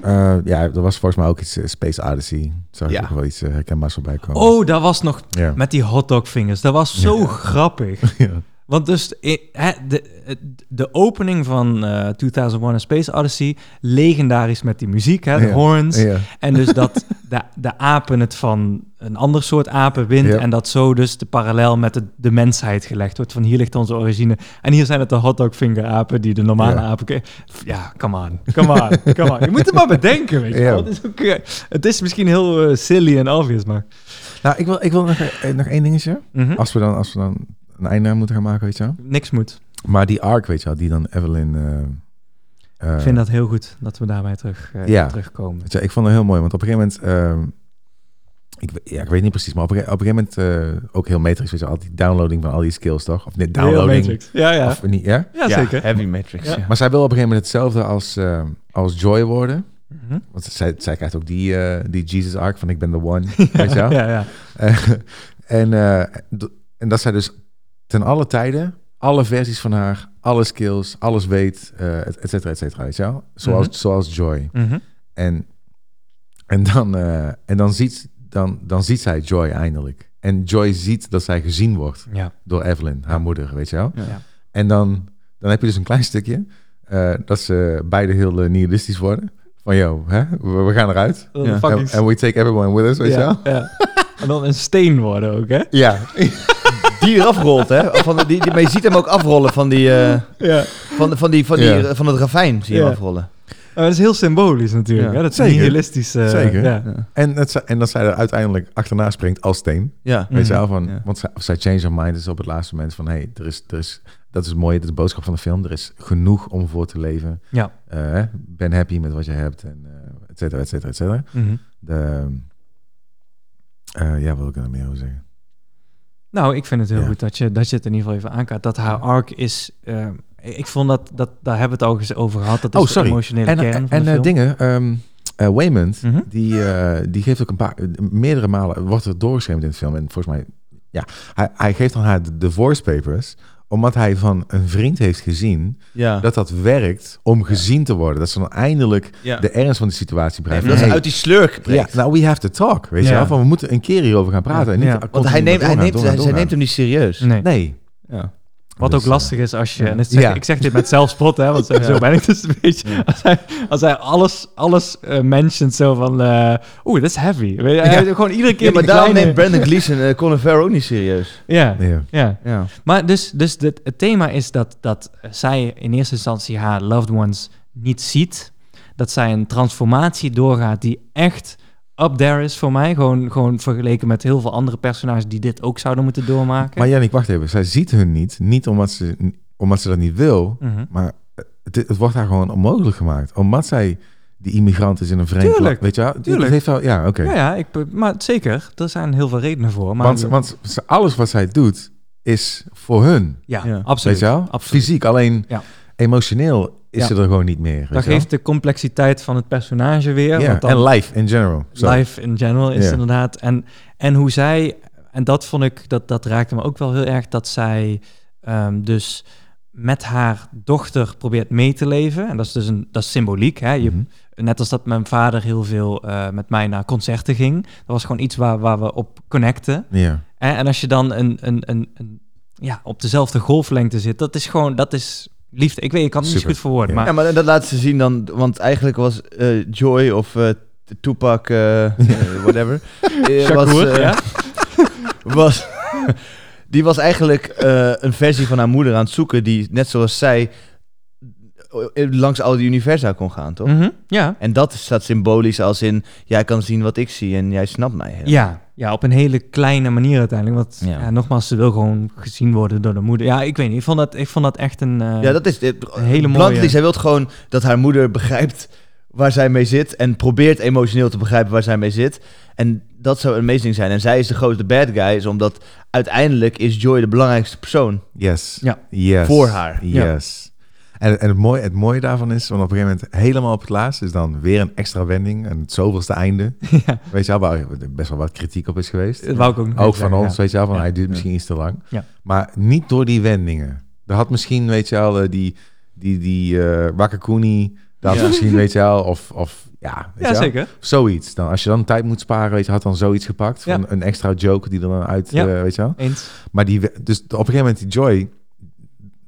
S3: Eh, ja, er was volgens mij ook iets eh, Space Odyssey. Zag
S1: Ja.
S3: ik ook wel iets eh, herkenbaars voorbij komen.
S2: Oh, dat was nog
S3: Ja.
S2: met die hotdogvingers. Dat was zo grappig.
S3: [LAUGHS] Ja.
S2: Want dus eh, hè, de, eh, de opening van eh 2001 A Space Odyssey, legendarisch met die muziek, hè, de
S3: Ja.
S2: horns.
S3: Ja.
S2: En dus
S3: [LAUGHS]
S2: dat de, de apen het van een ander soort apen wint.
S3: Ja.
S2: En dat zo dus de parallel met de, de mensheid gelegd wordt. Van hier ligt onze origine. En hier zijn het de hotdogfinger apen die de normale
S3: Ja.
S2: apen... ke- Ja, come on. Come on. Come on. Je moet het maar bedenken, weet je
S3: Ja.
S2: wel. Het is, ook, eh, het is misschien heel eh, silly en obvious, maar...
S3: Nou, ik wil, ik wil nog, eh, nog één dingetje.
S2: Mhm.
S3: Als we dan, als we dan een einde aan moeten gaan maken, weet je wel.
S2: Niks moet.
S3: Maar die arc, weet je wel, die dan Evelyn... eh, eh,
S2: Ik vind dat heel goed dat we daarbij terug, eh,
S3: Ja.
S2: terugkomen.
S3: Weet je, ik vond het heel mooi, want op een gegeven moment... ehm, ik, we- ja, ik weet niet precies, maar op een, ge- op een gegeven moment... eh, ook heel Matrix, weet je wel, al die downloading van al die skills, toch? Of nee, downloading.
S2: Heel Matrix. Ja, ja.
S3: Of niet, ja?
S2: ja, zeker.
S1: Heavy Matrix.
S2: Ja.
S1: Ja.
S3: Maar zij wil op een gegeven moment hetzelfde als, eh, als Joy worden.
S2: Mhm.
S3: Want zij, zij krijgt ook die, eh, die Jesus arc van ik ben de
S2: [LAUGHS]
S3: one. Weet je wel?
S2: Ja, ja.
S3: Eh, [LAUGHS] en, eh, d- en dat zij dus ten alle tijden alle versies van haar, alle skills, alles weet, eh et et cetera, et cetera. Weet je wel? Zoals,
S2: Mhm.
S3: zoals Joy.
S2: Mhm.
S3: En, en, dan, eh, en dan, ziet, dan, dan ziet zij Joy eindelijk. En Joy ziet dat zij gezien wordt
S2: Ja.
S3: door Evelyn, haar moeder, weet je wel.
S2: Ja.
S3: En dan, dan heb je dus een klein stukje eh, dat ze beide heel eh, nihilistisch worden. Van, yo, hè, we, we gaan eruit.
S2: Oh,
S1: Ja.
S2: fucking-
S3: And, and we take everyone with us, weet je wel.
S2: ja, ja. En dan een steen worden ook, hè?
S3: Ja,
S1: Die eraf rolt, hè? Of Van de- die, die, maar je ziet hem ook afrollen van, die, eh,
S2: Ja.
S1: van, van, die, van, die,
S3: Ja.
S1: van het ravijn. Zie je hem
S2: Ja.
S1: afrollen.
S2: Maar dat is heel symbolisch natuurlijk.
S1: Ja,
S2: Hè? Dat is
S3: zeker.
S2: nihilistisch. eh,
S3: Zeker.
S2: Ja.
S3: En, dat zij, en dat zij er uiteindelijk achterna springt als steen.
S1: Ja.
S3: Weet je
S2: Mhm.
S3: wel, van,
S1: Ja.
S3: want zij, of zij change her mind is op het laatste moment van... hey, er is, er is, dat is mooi, dat is de boodschap van de film. Er is genoeg om voor te leven.
S2: Ja.
S3: Eh, hè, ben happy met wat je hebt, en, eh, et cetera, et cetera, et cetera.
S2: Mhm.
S3: De, eh, ja, wat wil ik er nog meer over zeggen?
S2: Nou, ik vind het heel
S3: Ja.
S2: goed dat je, dat je het in ieder geval even aankaart. Dat haar arc is... eh, ik vond dat, dat... Daar hebben we het al eens over gehad. Dat is
S3: Oh, sorry.
S2: de emotionele
S3: En,
S2: kern
S3: en,
S2: van de
S3: eh,
S2: film.
S3: dingen, ehm eh, Waymond,
S2: Mhm.
S3: die, eh, die geeft ook een paar, meerdere malen, wordt er doorgeschreven in de film. En volgens mij, ja, hij, hij geeft aan haar de, de voice papers, omdat hij van een vriend heeft gezien
S1: Ja.
S3: dat dat werkt om gezien te worden. Dat ze dan eindelijk
S1: Ja.
S3: de ernst van de situatie
S1: Nee,
S3: begrijpt.
S1: dat is
S3: Hey,
S1: uit die slurk
S3: ja,
S1: geprikt.
S3: nou, we have to talk, weet je
S2: Ja.
S3: wel? Van, we moeten een keer hierover gaan praten. En niet,
S2: Ja.
S3: ah,
S1: Want hij
S3: continu
S1: neemt,
S3: maar
S1: hij neemt,
S3: doorgaan,
S1: zij
S3: doorgaan,
S1: neemt hem niet serieus.
S2: Nee.
S3: doorgaan. Nee.
S1: Ja.
S2: Wat
S3: Dus,
S2: ook
S3: eh,
S2: lastig is als je...
S1: ja.
S2: En dat zeg,
S3: Ja.
S2: Ik zeg dit met zelfspot, hè, want zo,
S1: Ja.
S2: zo ben ik dus een beetje. Als hij, als hij alles, alles eh mentioned, zo van... eh Oeh, dat is heavy. Weet je, hij- Gewoon iedere keer
S1: Ja, maar
S2: die
S1: daarom
S2: kleine-
S1: neemt Brandon Gleeson eh Colin Farrell ook niet serieus.
S2: Ja,
S3: Ja.
S2: ja.
S1: Ja.
S2: Maar dus, dus dit- het thema is dat, dat zij in eerste instantie haar loved ones niet ziet. Dat zij een transformatie doorgaat die echt up there is voor mij. Gewoon, gewoon vergeleken met heel veel andere personages die dit ook zouden moeten doormaken.
S3: Maar Jannik, wacht even. Zij ziet hun niet. Niet omdat ze, omdat ze dat niet wil.
S2: Mhm.
S3: Maar het, het wordt haar gewoon onmogelijk gemaakt. Omdat zij die immigrant is in een vreemd
S2: Tuurlijk,
S3: land. Weet je wel? Het-
S2: tuurlijk.
S3: Het heeft wel, ja, oké.
S2: Ja, ja, ik, be- maar zeker. Er zijn heel veel redenen voor. Maar
S3: want, want ze- alles wat zij doet is voor hun.
S2: ja,
S1: Ja.
S2: absoluut.
S3: weet je wel?
S2: absoluut.
S3: Fysiek. Alleen
S2: Ja.
S3: emotioneel is
S2: Ja.
S3: ze er gewoon niet meer. weet
S2: Dat
S3: je wel?
S2: geeft de complexiteit van het personage weer.
S3: Ja,
S2: want dan-
S3: En life in general. Zo.
S2: Live in general is
S3: Ja.
S2: inderdaad. En, en hoe zij, en dat vond ik, dat, dat raakte me ook wel heel erg, dat zij ehm, dus met haar dochter probeert mee te leven. En dat is dus een, dat is symboliek. Hè? Je,
S3: Mhm.
S2: Net als dat mijn vader heel veel eh, met mij naar concerten ging. Dat was gewoon iets waar, waar we op connecten.
S3: Ja.
S2: En, en als je dan een, een, een, een- ja, op dezelfde golflengte zit, dat is gewoon, dat is liefde. Ik weet, ik kan het niet
S3: Super.
S2: goed verwoorden,
S3: Ja.
S1: Ja,
S2: maar
S1: maar dat laat ze zien dan, want eigenlijk was eh, Joy of eh, Tupac, eh, eh,
S2: [LAUGHS]
S1: whatever. eh, was,
S2: Shakur,
S1: eh,
S2: ja?
S1: [LAUGHS] was, die was eigenlijk eh, een versie van haar moeder aan het zoeken, die net zoals zij eh, langs al die universa kon gaan, toch?
S2: Mhm, ja.
S1: En dat staat symbolisch als in, jij kan zien wat ik zie en jij snapt mij. hè?
S2: Ja, ja, op een hele kleine manier uiteindelijk. Want ja.
S1: Ja.
S2: nogmaals, ze wil gewoon gezien worden door de moeder. Ja, ik weet niet. Ik vond dat, ik vond dat echt een... eh,
S1: Ja, dat is dit.
S2: Een hele mooie-
S1: Bluntly, zij wil gewoon dat haar moeder begrijpt waar zij mee zit. En probeert emotioneel te begrijpen waar zij mee zit. En dat zou amazing zijn. En zij is de grootste bad guy, is omdat uiteindelijk is Joy de belangrijkste persoon.
S3: Yes.
S2: Ja.
S3: Yes.
S1: Voor haar.
S2: Ja.
S3: Yes. En, en het, mooie, het mooie daarvan is, want op een gegeven moment helemaal op het laatst is dan weer een extra wending en het zoveelste einde.
S2: [LAUGHS] Ja.
S3: Weet je wel, waar best wel wat kritiek op is geweest.
S2: dat wou ik ook nog
S3: Ook
S2: even
S3: van
S2: zeggen,
S3: ons, weet je wel, van
S2: Ja.
S3: hij duurt misschien iets te lang.
S2: Ja.
S3: Maar niet door die wendingen. Er had misschien, weet je wel, eh, die, die, die eh Wakakuni, dat had misschien, weet je wel, of, of ja, weet je
S2: Ja,
S3: wel,
S2: zeker.
S3: zoiets. Dan, als je dan tijd moet sparen, weet je, had dan zoiets gepakt. Van
S2: Ja.
S3: Een extra joke die er dan uit,
S2: Ja.
S3: eh, weet je wel.
S2: Eens.
S3: Maar die, we- dus op een gegeven moment die Joy,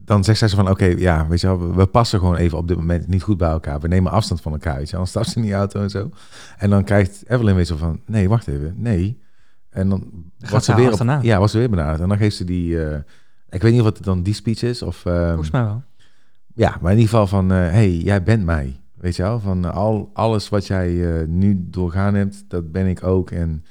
S3: dan zegt zij zo van, oké, ja, weet je wel, we- we passen gewoon even op dit moment niet goed bij elkaar. We nemen afstand van elkaar, weet je wel. Dan stapt ze in die auto en zo. En dan krijgt Evelyn weer zo van, nee, wacht even, nee. En dan
S2: gaat
S3: wordt
S2: ze
S3: ze weer
S2: haar achterna.
S3: op, ja, was ze weer benaderd. En dan geeft ze die, eh, ik weet niet of het dan die speech is of, ehm,
S2: Volgens mij wel.
S3: ja, maar in ieder geval van, eh, hey, jij bent mij, weet je wel. Van eh, al, alles wat jij eh, nu doorgaan hebt, dat ben ik ook. En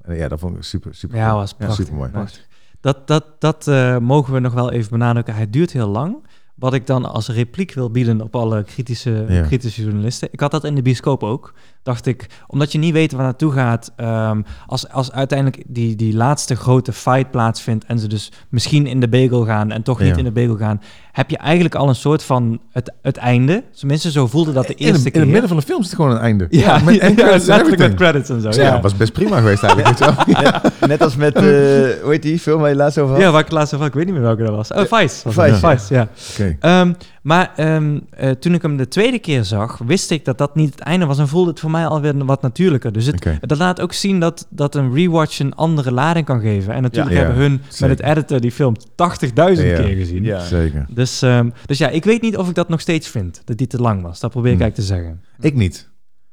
S3: eh, ja, dat vond ik super, super,
S2: Ja, was prachtig.
S3: super mooi.
S2: Prachtig. Dat, dat, dat eh, mogen we nog wel even benadrukken. Hij duurt heel lang. Wat ik dan als repliek wil bieden op alle kritische,
S3: Ja.
S2: kritische journalisten. Ik had dat in de bioscoop ook. Dacht ik, omdat je niet weet waar naartoe gaat. ehm, als, als uiteindelijk die, die laatste grote fight plaatsvindt. en ze dus misschien in de bagel gaan en toch niet
S3: Ja.
S2: in de bagel gaan. heb je eigenlijk al een soort van het, het einde. Tenminste, zo voelde dat de
S3: In
S2: eerste
S3: de- in,
S2: keer.
S3: het midden van de film zit gewoon een einde.
S2: ja, [LAUGHS]
S3: met
S2: ja,
S3: end credits en
S2: letterlijk met
S3: everything.
S2: credits en zo.
S3: Ja,
S2: Ja,
S3: was best prima geweest eigenlijk. weet [LAUGHS] je wel.
S1: Net als
S2: [LAUGHS]
S1: met, eh hoe heet die film waar je laatst over had?
S2: ja waar ik laatst over had, ik weet niet meer welke dat was. Oh, Vice. was het.
S1: Vice, ja.
S2: Vice, ja.
S3: Oké.
S2: Ehm, maar ehm, eh, toen ik hem de tweede keer zag, wist ik dat dat niet het einde was. En voelde het voor mij alweer wat natuurlijker. Dus het,
S3: Oké.
S2: dat laat ook zien dat, dat een rewatch een andere lading kan geven. En natuurlijk
S3: Ja.
S2: hebben
S3: Ja,
S2: hun
S3: zeker.
S2: met het editen die film 80.000
S3: Ja.
S2: keer gezien.
S1: Ja.
S3: Zeker.
S2: Dus, ehm, dus ja, ik weet niet of ik dat nog steeds vind. Dat die te lang was. Dat probeer ik
S3: Hmm.
S2: eigenlijk te zeggen.
S3: Ik niet.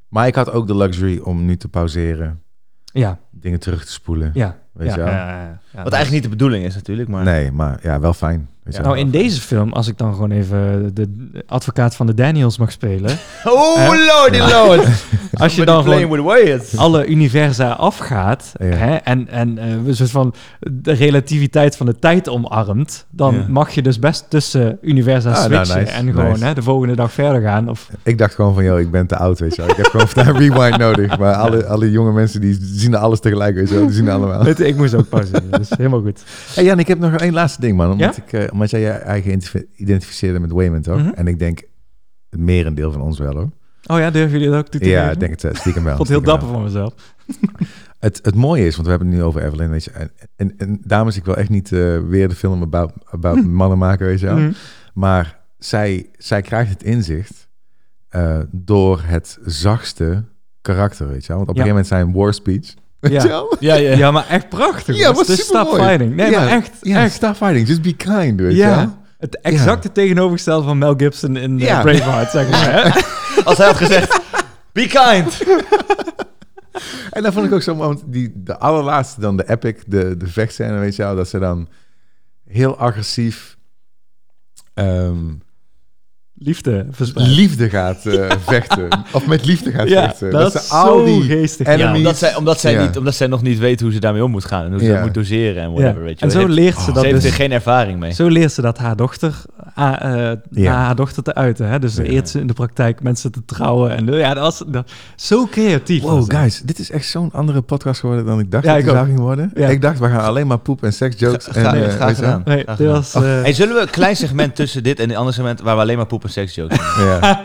S3: Maar ik had ook de luxury om nu te pauzeren,
S2: Ja,
S3: dingen terug te spoelen.
S2: ja.
S3: Weet
S2: ja,
S3: je wel?
S2: ja, ja, ja.
S1: Wat eigenlijk niet de bedoeling is natuurlijk, maar...
S3: Nee, maar ja, wel fijn. Weet Weet je
S2: Nou,
S3: wel.
S2: in deze film, als ik dan gewoon even de advocaat van de Daniels mag
S3: [LAUGHS]
S2: spelen.
S1: Oh,
S2: Hè?
S1: lordy lord.
S2: [LAUGHS] Als je dan
S1: playing
S2: gewoon
S1: with words.
S2: Dus alle universa afgaat
S3: Ja.
S2: hè, en, en eh, een soort van de relativiteit van de tijd omarmt, dan
S1: Ja.
S2: mag je dus best tussen universa
S3: Ah, nou,
S2: switchen
S3: nice,
S2: en gewoon
S3: nice.
S2: hè, de volgende dag verder gaan. Of,
S3: Ik dacht gewoon van, joh, ik ben te oud, weet je wel. Ik heb gewoon vandaag rewind nodig. Maar alle, alle jonge mensen die zien alles tegelijk, weet je wel. Die zien allemaal.
S2: Weet je, ik moest ook
S3: [LAUGHS]
S2: pauzeren, dus helemaal goed.
S3: Hey Jan, ik heb nog één laatste ding, man. Omdat,
S2: Ja?
S3: ik, eh, omdat jij je eigen identif- identificeerde met Wayman, toch?
S2: Mhm.
S3: En ik denk het merendeel van ons wel, hoor.
S2: Oh ja, durven jullie dat ook toe te
S3: Ja,
S2: geven?
S3: ik denk het eh, stiekem wel.
S2: Ik vond het heel
S3: stiekem
S2: dapper
S3: wel.
S2: van mezelf.
S3: Het, het mooie is, want we hebben het nu over Evelyn, weet je. En, en, en dames, ik wil echt niet eh, weer de film about,
S2: Hm.
S3: about mannen maken, weet je wel.
S2: Mhm.
S3: Maar zij, zij krijgt het inzicht eh, door het zachtste karakter, weet je wel. Want op
S2: Ja.
S3: een gegeven moment zijn war speech, weet
S2: Ja.
S3: je wel.
S1: Ja, ja.
S2: Ja, maar echt prachtig.
S3: Ja,
S2: Ja,
S3: was
S2: was dus stop
S3: supermooi.
S2: fighting. Nee,
S3: Ja,
S2: maar echt,
S3: Ja,
S2: echt.
S3: stop fighting, just be kind, weet je wel.
S2: Ja, het exacte tegenovergestelde van Mel Gibson in eh,
S3: Ja.
S2: Braveheart, zeg maar.
S3: [LAUGHS]
S2: Hè?
S1: Als hij had gezegd, be kind.
S3: En dat vond ik ook zo mooi, want die, de allerlaatste dan, de epic, de, de vechtscène, weet je wel, dat ze dan heel agressief ehm,
S2: Liefde verspreiden.
S3: liefde gaat eh, vechten. Of met liefde gaat
S2: Ja,
S3: vechten.
S2: dat is
S3: ze al
S2: zo
S3: die
S2: geestig.
S3: enemies-
S1: Ja, omdat zij, omdat, zij
S3: Ja.
S1: niet, omdat zij nog niet weet hoe ze daarmee om moet gaan. En hoe ze
S3: Ja.
S1: dat moet doseren en whatever,
S2: Ja.
S1: weet je wel.
S2: En zo
S1: Ze heeft-
S2: leert ze dat
S1: Ze heeft er
S2: dus.
S1: geen ervaring mee.
S2: Zo leert ze dat haar dochter, ah, eh,
S3: Ja.
S2: naar haar dochter te uiten. Hè? Dus
S3: Ja.
S2: eert ze in de praktijk mensen te trouwen. En, eh, ja, dat was dat, zo creatief. was
S3: Wow,
S2: dat.
S3: guys, dit is echt zo'n andere podcast geworden dan ik dacht
S2: Ja,
S3: dat
S2: ik
S3: het
S2: ook.
S3: zou ging worden.
S2: Ja.
S3: Ik dacht, we gaan alleen maar poep en seksjokes. en,
S1: Graag,
S3: eh,
S1: graag
S3: weet je wel.
S1: gedaan.
S2: Nee,
S1: Graag
S2: dit
S1: gedaan.
S2: was... eh,
S1: Hey, zullen we een klein segment tussen dit en een ander segment waar we alleen maar poep en seks jokes doen?
S3: Ja.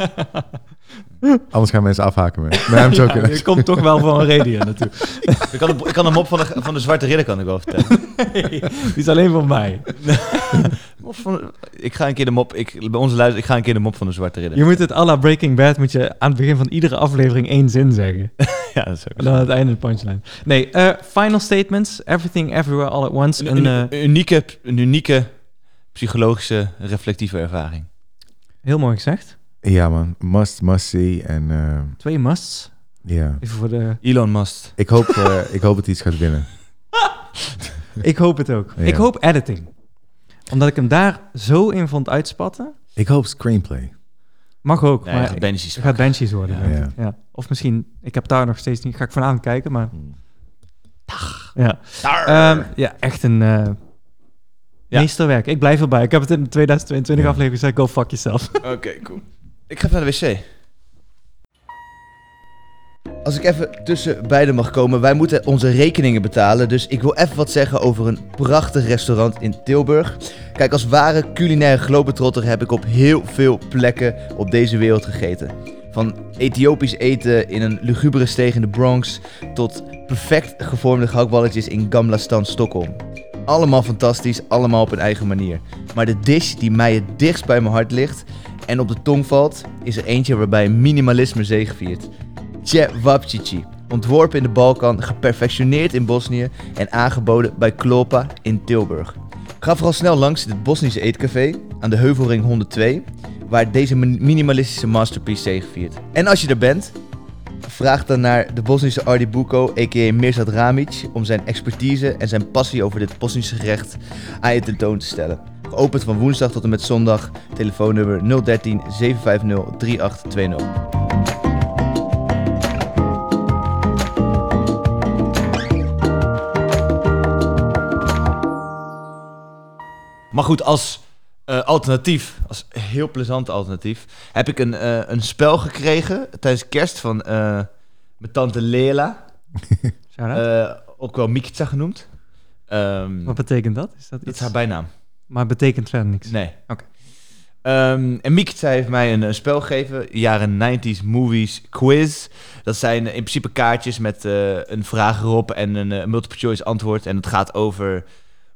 S3: Anders gaan mensen afhaken me. Nee, I'm
S2: [LAUGHS] ja,
S3: joking.
S2: je komt toch wel
S1: [LAUGHS]
S2: van een reden hier naartoe.
S1: Ik kan, een- ik kan een mop van de, van de Zwarte Ridder kan ik wel vertellen.
S2: Die is alleen van mij.
S1: Of van, ik ga een keer de mop, ik, bij onze luister, ik ga een keer de mop van de Zwarte Ridder.
S2: Je moet het à la Breaking Bad moet je aan het begin van iedere aflevering één zin zeggen.
S1: Ja, dat is ook
S2: En dan aan het einde de punchline. Nee, eh, final statements. Everything, everywhere, all at once.
S1: een,
S2: Een, eh,
S1: een unieke, een unieke psychologische, reflectieve ervaring.
S2: heel mooi gezegd.
S3: Ja, man. Must, must see. En eh, ja,
S2: Twee musts. Even voor de...
S1: Elon Musk.
S3: ik, hoop, eh, ik hoop dat hij iets gaat winnen.
S2: Ik hoop het ook.
S3: Ja.
S2: Ik hoop editing. Omdat ik hem daar zo in vond uitspatten.
S3: Ik hoop screenplay.
S2: Mag ook.
S1: Nee,
S2: maar
S1: gaat
S2: het
S1: Benji's.
S2: gaat Banshees worden.
S3: Ja.
S2: denk ik. Ja. Of misschien... Ik heb daar nog steeds niet... Ga ik vanavond kijken, maar... Ja. Ehm, ja, echt een... eh,
S1: Ja.
S2: Meesterwerk. Ik blijf erbij. Ik heb het in de 2022
S3: Ja. Eh,
S2: aflevering gezegd. Go fuck yourself.
S1: Oké, cool. Ik ga even naar de wc. Als ik even tussen beiden mag komen, wij moeten onze rekeningen betalen. Dus ik wil even wat zeggen over een prachtig restaurant in Tilburg. Kijk, als ware culinaire globetrotter heb ik op heel veel plekken op deze wereld gegeten. Van Ethiopisch eten in een lugubere steeg in de Bronx tot perfect gevormde gehaktballetjes in Gamla Stan, Stockholm. Allemaal fantastisch, allemaal op hun eigen manier. Maar de dish die mij het dichtst bij mijn hart ligt en op de tong valt, is er eentje waarbij minimalisme zegeviert. Cevapcici. Ontworpen in de Balkan, geperfectioneerd in Bosnië en aangeboden bij Klopa in Tilburg. Ga vooral snel langs dit Bosnische eetcafé aan de Heuvelring 102, waar deze min- minimalistische masterpiece zegeviert. En als je er bent, Vraag dan naar de Bosnische Ardi Buko, a.k.a. Mirsad Ramic, om zijn expertise en zijn passie over dit Bosnische gerecht aan je tentoon te stellen. Geopend van woensdag tot en met zondag, telefoonnummer 013 750 3820. Maar goed, als eh, alternatief, als heel plezant alternatief, heb ik een, eh, een spel gekregen tijdens kerst van eh, mijn tante Lela.
S2: Shout-out.
S1: eh, ook wel Mikitsa genoemd. Ehm,
S2: Wat betekent dat? Oh, Is dat,
S1: dat is
S2: iets?
S1: haar bijnaam.
S2: Maar betekent verder niks.
S1: Nee.
S2: Oké.
S1: Ehm, en Mikitsa heeft mij een, eh, spel gegeven, jaren 90s movies quiz. Dat zijn eh, in principe kaartjes met eh, een vraag erop en een eh, multiple choice antwoord. En het gaat over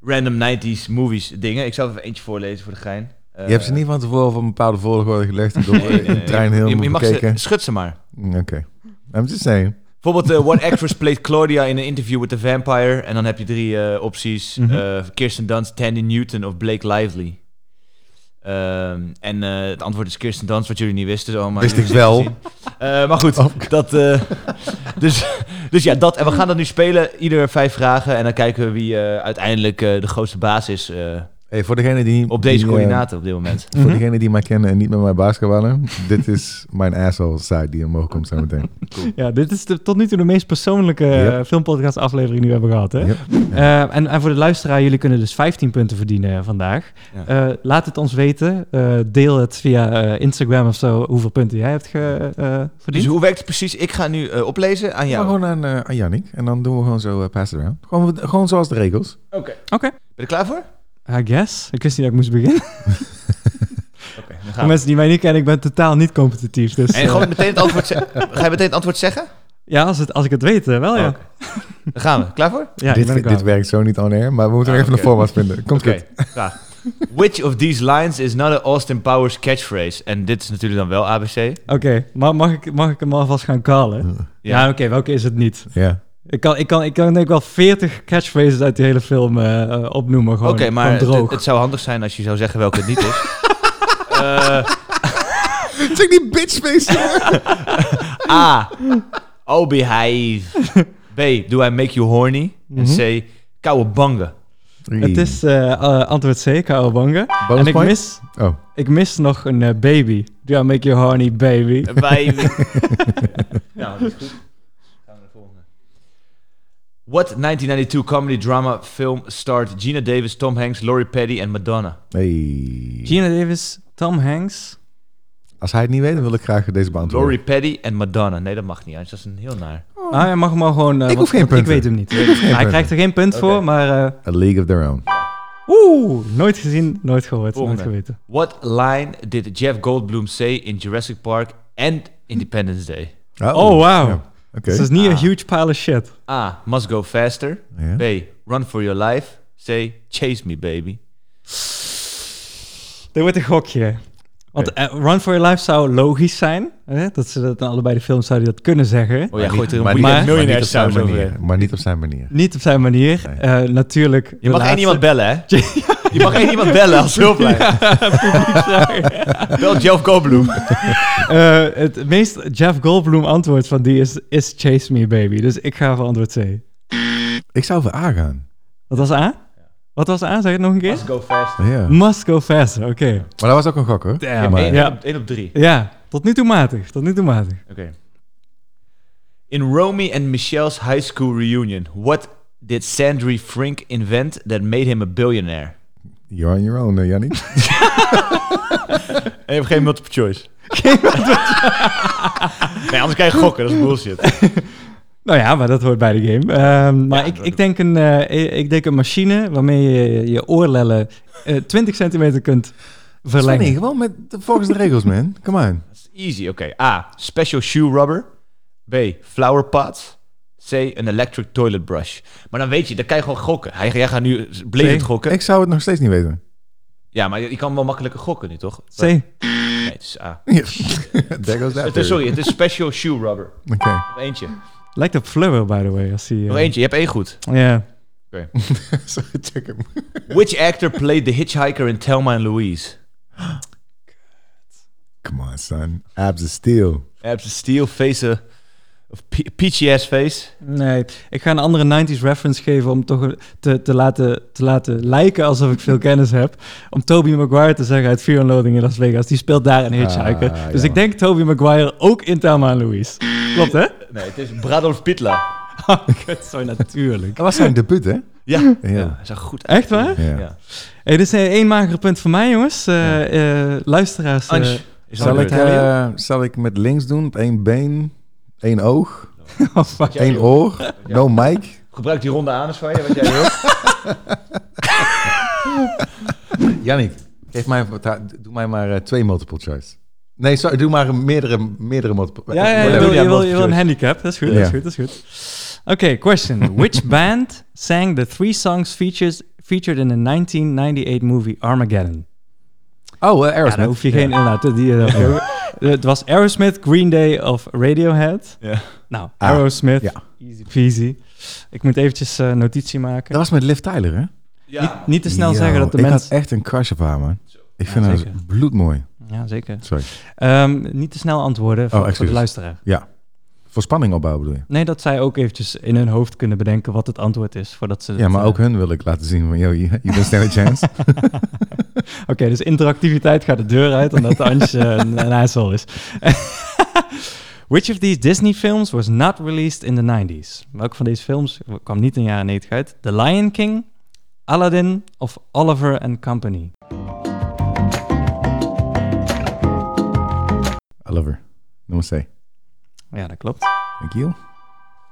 S1: random 90s movies dingen. Ik zal even eentje voorlezen voor de gein. Eh,
S3: Je hebt ze niet van tevoren van een bepaalde volgorde gelegd en door
S1: Nee, nee,
S3: in de
S1: nee.
S3: trein
S1: Je-
S3: heel
S1: je,
S3: veel
S1: mag ze,
S3: gekeken.
S1: Schud ze maar.
S3: Oké. I'm just saying.
S1: Bijvoorbeeld, eh, What Actress Played Claudia in an Interview with the Vampire. En dan heb je drie eh, opties.
S2: Mhm.
S1: Eh, Kirsten Dunst, Tandy Newton of Blake Lively. Ehm, en eh, het antwoord is Kirsten Dunst, wat jullie niet wisten. Oh, maar
S3: Wist
S1: jullie
S3: ik wel. Oh.
S1: zien. Eh, maar goed, dat... eh, [LAUGHS] dus, dus ja, dat. En we gaan dat nu spelen. Ieder vijf vragen. En dan kijken we wie eh, uiteindelijk eh, de grootste baas is eh,
S3: Hey, voor degene die...
S1: Op deze
S3: die, eh,
S1: coördinaten op dit moment.
S3: Voor degene die mij kennen en niet met mij basketballen, dit is [LAUGHS] mijn asshole side die omhoog komt zo meteen.
S2: Ja, dit is de- tot nu toe de meest persoonlijke
S3: Yep.
S2: eh, filmpodcast aflevering die we hebben gehad. Hè?
S3: Yep.
S2: Eh, en, en voor de luisteraar, jullie kunnen dus 15 punten verdienen vandaag. Eh, laat het ons weten. Eh, deel het via eh, Instagram of zo hoeveel punten jij hebt ge, eh,
S1: Dus
S2: verdiend.
S1: hoe werkt het precies? Ik ga nu eh, oplezen aan
S3: Maar
S1: jou.
S3: gewoon aan, eh, aan Yannick en dan doen we gewoon zo eh, pass it around. Gewoon, gewoon zoals de regels.
S1: Oké.
S2: Oké,
S1: Ben je er klaar voor?
S2: I guess. Ik wist niet dat ik moest beginnen.
S1: Oké.
S2: Voor [LAUGHS] mensen die mij niet kennen, ik ben totaal niet competitief. Dus,
S1: En
S2: eh,
S1: gewoon meteen het antwoord
S3: [LAUGHS]
S1: ze- Ga je meteen het antwoord zeggen?
S2: ja, als, het, als ik het weet, eh, wel ja.
S1: Oké. Daar gaan we. Klaar voor?
S2: ja ik ben er
S3: dit,
S2: klaar.
S3: dit werkt zo niet on air, maar we moeten
S1: Ah,
S3: nog even
S1: oké.
S3: een format vinden. Komt goed.
S1: graag. Which of these lines is not an Austin Powers catchphrase? En dit is natuurlijk dan wel ABC.
S2: Oké, maar mag ik, mag ik hem alvast gaan callen? Ja,
S1: Ja.
S2: oké, welke is het niet?
S3: Ja.
S2: Ik kan, ik, kan, ik kan denk ik wel 40 catchphrases uit die hele film eh, eh, opnoemen. Gewoon,
S1: Oké, maar
S2: gewoon droog.
S1: het, het zou handig zijn als je zou zeggen welke het niet is.
S3: Check die bitch [LAUGHS] face.
S1: [LAUGHS] [LAUGHS] A. Oh, behive. B. Do I make you horny?
S2: Mhm.
S1: En C. Koude bangen.
S2: Het is eh, eh, antwoord C, Kaobanga. En ik
S3: point?
S2: mis,
S3: Oh,
S2: ik mis nog een eh, baby. Do I make you horny, baby? [LAUGHS]
S1: Wij. nou, dat is goed. Gaan we naar de volgende. What 1992 comedy drama film starred Gina Davis, Tom Hanks, Laurie Petty en Madonna?
S3: hey.
S2: Gina Davis, Tom Hanks.
S3: Als hij het niet weet, dan wil ik graag deze beantwoorden.
S1: Laurie Petty en Madonna. Nee, dat mag niet. Anders is dat een heel naar.
S2: Ah, hij mag maar gewoon... eh,
S3: Ik
S2: want-
S3: hoef geen
S2: want Ik
S3: punten.
S2: weet hem niet. hij
S3: geen punten.
S2: krijgt er geen punt voor, maar... eh,
S3: A League of Their Own.
S2: Oeh, nooit gezien, nooit gehoord,
S1: Volgende.
S2: nooit geweten.
S1: What line did Jeff Goldblum say in Jurassic Park and Independence Day?
S2: Oh, wauw.
S3: Ja. Oké.
S2: Dus het is niet
S1: Ah.
S2: een huge pile of shit.
S1: A. Must go faster.
S3: Ja.
S1: B. Run for your life. C. Chase me, baby. Oh
S2: Dit wordt een gokje. Want eh, Run For Your Life zou logisch zijn. Hè? Dat ze dat in allebei de films zouden die dat kunnen zeggen.
S1: Oh, jij
S3: Maar
S1: gooit
S3: niet-
S1: er
S3: maar
S1: een
S3: niet-
S2: Weekend
S1: miljonair
S3: maar niet op
S1: miljonair saus
S3: zijn
S1: overheen.
S3: manier. Maar niet op zijn manier.
S2: Niet op zijn manier. Eh, natuurlijk.
S1: Je mag één iemand bellen, hè? Je mag één iemand bellen als hulplijn. [LAUGHS] Bel Jeff Goldblum.
S2: Eh, het meest Jeff Goldblum antwoord van die is, is Chase Me Baby. Dus ik ga voor antwoord C.
S3: Ik zou voor A gaan.
S2: Wat was A? Wat was A? Zeg het nog een keer?
S1: Go fast.
S3: Ja.
S2: Must go faster, oké.
S3: Maar dat was ook een gok, hoor.
S2: Mm. Damn.
S3: Maar-
S1: Eén
S2: Ja.
S1: op, één op drie.
S2: Ja, tot nu toe matig. Tot nu toe matig.
S1: Oké. In Romy and Michelle's high school reunion, what did Sandry Frink invent that made him a billionaire?
S3: You're on your own, eh, Yannick.
S1: En je hebt [LAUGHS] geen multiple choice. nee, anders kan je gokken. Dat is bullshit.
S2: Nou ja, maar dat hoort bij de game. Ehm, maar ik, ik, denk een, eh, ik denk een machine waarmee je je oorlellen eh, 20 centimeter kunt
S3: Nee,
S2: verlengen.
S3: gewoon met, volgens de regels, man. Come on.
S1: Easy, oké. A. Special shoe rubber. B. Flower pots. C. Een electric toilet brush. Maar dan weet je, dan kan je gewoon gokken. Hij, jij gaat nu blevend
S2: C.
S1: gokken.
S3: Ik zou het nog steeds niet weten. [LAUGHS]
S1: Ja, maar je, je kan wel makkelijker gokken nu, toch?
S2: C. Oké,
S1: Nee, het is A.
S3: Ja. There goes that
S2: [LAUGHS]
S1: Het is,
S2: Eh,
S3: theory.
S1: sorry, het is special shoe rubber.
S3: Oké. [LAUGHS]
S1: Nog eentje.
S2: Lijkt op Flubber, by the way. Als hij, eh,
S3: Oh,
S1: Nog eentje, je hebt één goed.
S2: Ja.
S3: Sorry, check hem.
S1: [LAUGHS] Which actor played the hitchhiker in Thelma and Louise?
S3: Come on, son. Abs is steel.
S1: Abs of Steel, face a... Of pe- peachy ass face.
S2: Nee, ik ga een andere 90s reference geven om toch te, te, laten, te laten lijken alsof ik veel kennis heb. Om Toby Maguire te zeggen uit Fear and Loathing in Las Vegas. Die speelt daar een hitchhiker.
S3: Ah,
S2: dus
S3: ja.
S2: ik denk Toby Maguire ook in Thelma en Louise. Klopt,
S3: [LAUGHS]
S2: hè?
S1: Nee, het is Bradolf Pitla.
S2: Kut, zo natuurlijk.
S3: Dat was zijn debuut, hè?
S1: Ja,
S3: Ja.
S1: ja. hij zag goed uit.
S2: Echt waar?
S3: Ja.
S1: Ja.
S2: Hey, dit is eh, één mager punt voor mij, jongens. Eh, eh, luisteraars. eh,
S1: Ange, is dat
S3: Zal, ik,
S1: leuk?
S3: eh, zal ik met links doen? Op één been, één oog,
S2: oh, fuck.
S3: één oor, no mic.
S1: Gebruik die ronde anus van je, wat jij wil.
S3: Jannik, geef mij, doe mij maar eh, twee multiple choice. Nee, sorry, doe maar een meerdere, meerdere multiple
S2: Ja, ja, je
S3: whatever.
S2: wil, je, wil, je
S1: multiple
S2: wil een
S1: choice.
S2: handicap. Dat is goed,
S3: Ja.
S2: dat is goed, dat is goed. Oké,
S3: [LAUGHS]
S2: question. Which band sang the three songs features, featured in the 1998 movie Armageddon?
S3: Oh, eh,
S2: Ja, daar
S3: Aerosmith.
S2: hoef je geen inlaat. Die, eh, Het was Aerosmith, Green Day of Radiohead.
S1: Ja.
S2: Nou, Aerosmith.
S3: Ah, ja.
S2: Easy peasy. Ik moet eventjes eh, notitie maken.
S3: Dat was met Liv Tyler, hè?
S1: [LAUGHS] Ja.
S2: Niet te snel
S3: Yo,
S2: zeggen dat de
S3: ik
S2: mensen...
S3: had echt een crush op haar, man. Ik vind haar
S2: zeker.
S3: bloedmooi.
S2: Ja, zeker.
S3: Sorry.
S2: Ehm, niet te snel antwoorden voor, voor de
S3: Oh, excuses.
S2: luisteraar.
S3: Ja. Voor spanning opbouwen bedoel je?
S2: Nee, dat zij ook eventjes in hun hoofd kunnen bedenken wat het antwoord is voordat ze.
S3: Ja,
S2: het,
S3: maar
S2: eh,
S3: ook hun wil ik laten zien van, yo, you you don't stand
S2: [LAUGHS]
S3: a chance.
S2: Oké, dus interactiviteit gaat de deur uit omdat Antje een, een asshole is. [LAUGHS] Which of these Disney films was not released in the 90s? Welke van deze films kwam niet in de jaren 90 uit? The Lion King, Aladdin of Oliver and Company?
S3: I love her. Namaste.
S2: Ja, dat klopt.
S3: Thank you.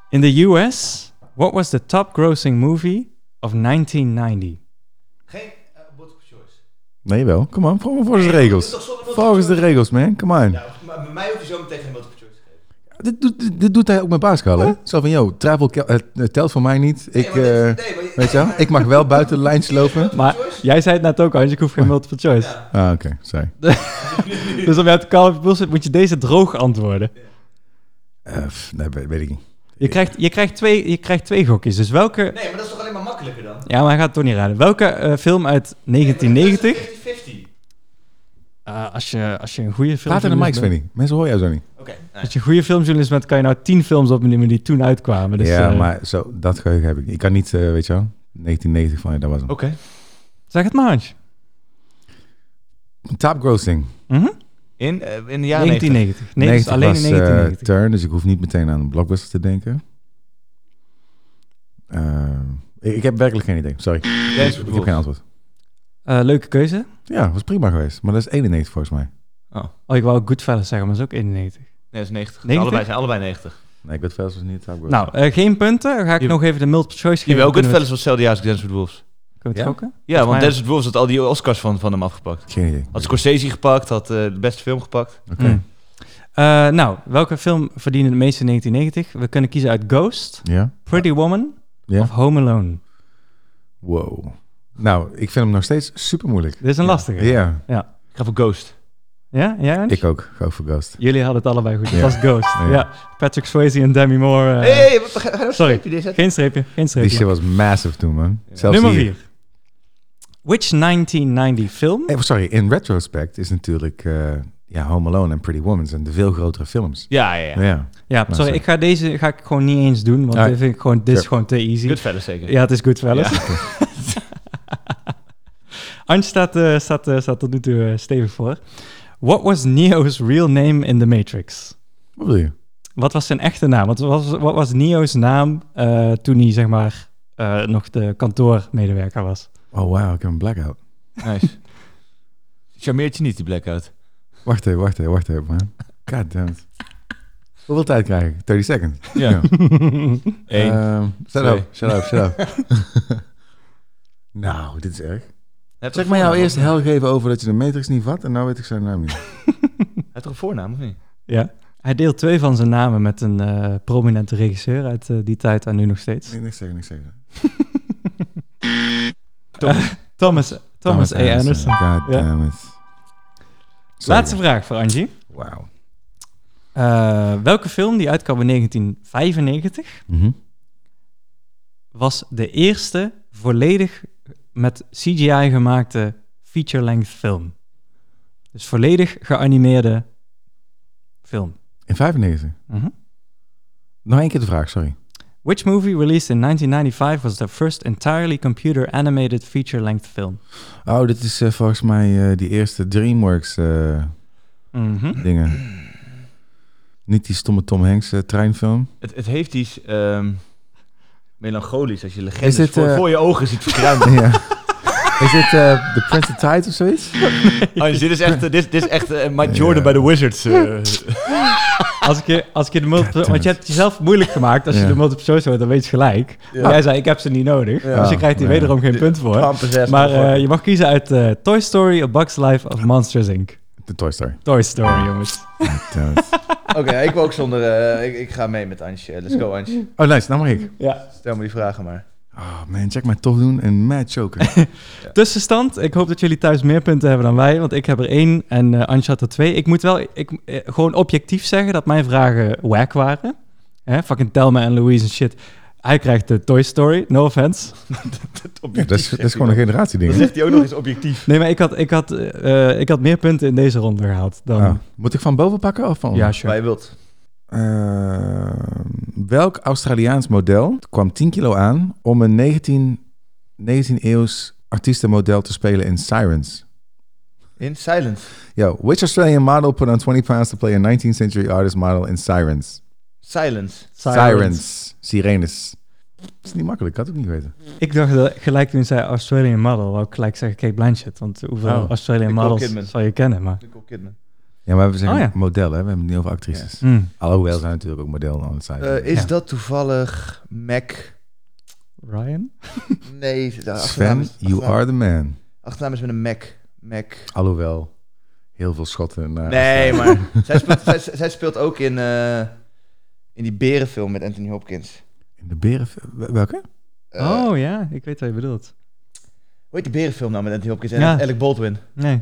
S2: In the US, what was the top grossing movie of 1990?
S1: Geen uh, multiple choice.
S3: Nee, wel. Kom on, volgens volgens de regels.
S1: toch zonder multiple
S3: Volgens de regels, man. Come on.
S1: Ja, maar bij mij hoef je zo meteen geen multiple choice te geven.
S3: Dit, doet- dit, dit doet hij ook met basketbal, hè? Zo van, yo, travel kel- eh, eh, telt voor mij niet. Ik,
S1: maar dit-
S3: eh,
S1: nee, maar je-
S3: weet je wel? Ik mag wel buiten de lijns lopen.
S2: Maar jij zei het net ook, Hans, ik hoef geen multiple choice.
S3: Ah, oké. Sorry.
S2: Dus om jou te kalm op bullshit moet je deze droog antwoorden.
S3: Eh, pff, nee, weet, weet ik niet.
S2: Je krijgt, je, krijgt twee, je krijgt twee gokjes, dus welke...
S1: Nee, maar dat is toch alleen maar makkelijker dan?
S2: Ja, maar hij gaat het toch niet raden. Welke eh, film uit 1990?
S1: 50-50.
S2: Eh, als, je, als je een goede film...
S3: Praat in de mic, Svenny. Mensen horen jou zo niet.
S1: Oké.
S2: Als je een goede filmjournalist bent, kan je nou tien films opnemen die toen uitkwamen. Dus,
S3: ja,
S2: eh,
S3: maar zo, dat geheugen heb ik niet. Ik kan niet, eh, weet je wel, 1990 van, dat was hem.
S1: Oké.
S2: Zeg het maar, Hans.
S3: Top grossing.
S2: Mhm.
S1: In, eh, in de jaren 90.
S2: 1990. Nee, dus
S3: 90
S2: alleen in
S3: was, eh,
S2: 1990.
S3: Turn, dus ik hoef niet meteen aan een blockbuster te denken. Eh, ik, ik heb werkelijk geen idee. Sorry.
S1: James
S3: ik heb geen antwoord.
S2: Eh, leuke keuze.
S3: Ja, was prima geweest. Maar dat is 91 volgens mij.
S2: Oh, ik wou ook Goodfellas zeggen, maar dat is ook 91.
S1: Nee, dat is 90.
S2: 90?
S1: Allebei zijn allebei 90.
S3: Nee, ik weet wel was niet. Top
S2: Nou, eh, geen punten. Dan ga ik
S1: Je-
S2: nog even de multiple choice geven.
S1: Jawel, ook
S2: Kunnen we
S1: Goodfellas was hetzelfde jaar als Dance with Wolves.
S2: het- kunnen we het gokken?
S1: Ja, want
S2: mij-
S1: Dance with Wolves had al die Oscars van, van hem afgepakt.
S3: geen idee.
S1: Had Scorsese gepakt, had eh, de beste film gepakt.
S3: Oké.
S2: Mm. Eh, nou, welke film verdiende het meeste in 1990? We kunnen kiezen uit Ghost,
S3: Ja?
S2: Pretty Woman
S3: Ja.
S2: of Home Alone.
S3: Wow. Nou, ik vind hem nog steeds super moeilijk.
S2: Dit is een lastige.
S3: Ja,
S1: Ik ga voor Ghost.
S2: Ja? Jij, Ernst?
S3: ik ook. Go for Ghost.
S2: Jullie hadden het allebei goed. Het
S3: Ja.
S2: was Ghost.
S3: Ja.
S2: Ja. Patrick Swayze en Demi Moore. eh,
S1: Hé, hey, wat ga, ga nou
S2: sorry.
S1: streepje neerzetten?
S2: Geen streepje, geen
S3: Die shit
S2: streepje.
S3: was massive toen, man. Zelfs
S2: Nummer
S3: hier.
S2: 4. Which 1990 film?
S3: Eh, sorry, in retrospect is natuurlijk eh, ja, Home Alone en Pretty Woman zijn de veel grotere films.
S1: Ja, ja, ja.
S3: Ja.
S2: Ja, sorry,
S3: sorry.
S2: ik ga deze ga ik gewoon niet eens doen, want
S3: Ah,
S2: dit, vind ik gewoon, dit is
S3: sure.
S2: gewoon te easy.
S1: Goodfellas zeker.
S2: Ja, het is Goodfellas. Ant staat, eh, staat, eh, staat tot nu toe eh, stevig voor. What was Neo's real name in The Matrix?
S3: Wat bedoel je?
S2: Wat was zijn echte naam? Wat was, wat was Neo's naam eh, toen hij zeg maar eh, nog de kantoormedewerker was?
S3: Oh, wow, ik heb een blackout.
S1: [LAUGHS] Nice. Charmeert je niet, die blackout.
S3: Wacht even, wacht even, wacht even, man. God damn it. Hoeveel tijd krijg ik? 30 seconds.
S1: Ja. [LAUGHS] Eh, Eén.
S3: Ehm, shut
S1: twee.
S3: up, shut up, shut up. [LAUGHS] nou, dit is erg.
S1: Heb
S3: Zeg maar jou eerst hel geven over dat je de Matrix niet vat en nou weet ik zijn naam niet.
S1: Hij toch een voornaam, of niet?
S2: Ja. Hij deelt twee van zijn namen met een eh, prominente regisseur uit eh, die tijd en nu nog steeds.
S3: Nee, niks zeggen, niks zeggen.
S2: Thomas, Thomas, A. Anderson.
S3: God
S2: Ja.
S3: damn it. Sorry.
S2: Laatste vraag voor Angie.
S3: Wauw.
S2: Eh, welke film die uitkwam in 1995
S3: Mhm.
S2: was de eerste volledig met CGI gemaakte feature-length film? Dus volledig geanimeerde film.
S3: In 95.
S2: Mhm.
S3: Nog één keer de vraag, sorry.
S2: Which movie released in 1995 was the first entirely computer animated feature-length film?
S3: Oh, dit is eh, volgens mij eh, die eerste DreamWorks eh,
S2: Mhm.
S3: [CLEARS THROAT] dingen. Niet die stomme Tom Hanks eh, treinfilm. [LAUGHS]
S1: Het, het heeft iets ehm, melancholisch als je
S3: Is
S1: legendes
S3: dit,
S1: voor,
S3: eh,
S1: voor je ogen ziet [LAUGHS] verkruimen.
S3: ja. Is dit eh The Prince of Tides of zoiets?
S1: Oh, dus dit is echt, eh, dit, dit is echt eh, Mike Jordan bij de Wizards. eh.
S2: Als ik je, als ik je de multiple...
S3: Goddammit.
S2: Want je hebt het jezelf moeilijk gemaakt. Als je
S3: Ja.
S2: de multiple choice hoort, dan weet je gelijk. Maar Jij zei, ik heb ze niet nodig.
S3: Ja.
S2: Dus je krijgt hier
S3: Ja.
S2: wederom geen punt voor.
S1: Kampen zes,
S2: Maar eh,
S1: motherfucker.
S2: je mag kiezen uit eh, Toy Story, A Bug's Life of Monsters, Inc.
S3: De Toy [LAUGHS] Story.
S2: Toy Story, jongens.
S3: Damn it.
S1: Oké, ik wil ook zonder... eh, ik, ik ga mee met Antje. Let's go, Antje.
S3: Oh, nice. Nou mag ik.
S2: Ja.
S1: Stel me die vragen maar.
S3: Oh man, check mij tof doen en mad choken.
S2: Tussenstand. Ik hoop dat jullie thuis meer punten hebben dan wij. Want ik heb er één en eh Antje had er twee. Ik moet wel ik, eh, gewoon objectief zeggen dat mijn vragen wack waren. Hè, fucking Thelma en Louise en shit. Hij krijgt de Toy Story. No offense.
S3: [LAUGHS] Ja, dat, is, dat is gewoon een generatie
S1: Dan
S3: [LAUGHS] ding.
S1: zegt hij ook nog eens objectief.
S2: Nee, maar ik had, ik had, eh, eh, ik had meer punten in deze ronde gehaald dan...
S3: Ah. Moet ik van boven pakken of van onder?
S2: Ja, sure.
S1: Waar je wilt.
S3: Eh, welk Australiaans model kwam 10 kilo aan om een 19, 19e-eeuws artiestenmodel te spelen in Sirens?
S1: In Silence.
S3: Yo, which Australian model put on 20 pounds to play a 19th century artist model in Sirens?
S1: Silence.
S3: Sirens. Sirenes. Dat is niet makkelijk, ik had het niet weten.
S2: Ik dacht dat gelijk toen je zei Australian Model, wou ik gelijk zeggen Kate Blanchett. Want hoeveel
S3: Oh,
S2: Australian
S1: Nicole
S2: Models
S1: Kidman.
S2: zou je kennen, maar...
S1: Nicole Kidman.
S3: Ja, maar we zeggen
S2: Oh ja.
S3: model, hè? We hebben het niet over actrices.
S2: Hmm.
S3: Alhoewel zijn natuurlijk ook modellen aan het zijn.
S1: Eh, is
S2: Ja.
S1: dat toevallig Mac?
S2: Ryan?
S1: Nee, de achternaam
S3: Sven,
S1: is,
S3: you
S1: achternaam-
S3: are the man.
S1: achternaam is met een Mac. Mac.
S3: Alhoewel, heel veel schotten naar...
S1: Nee, maar zij speelt, zij, zij speelt ook in, eh, in die berenfilm met Anthony Hopkins.
S3: In de beren... Welke?
S1: Eh,
S2: oh ja, ik weet wat je bedoelt.
S1: Hoe heet die berenfilm nou met Anthony Hopkins en
S2: Ja.
S1: Alec Baldwin?
S2: Nee.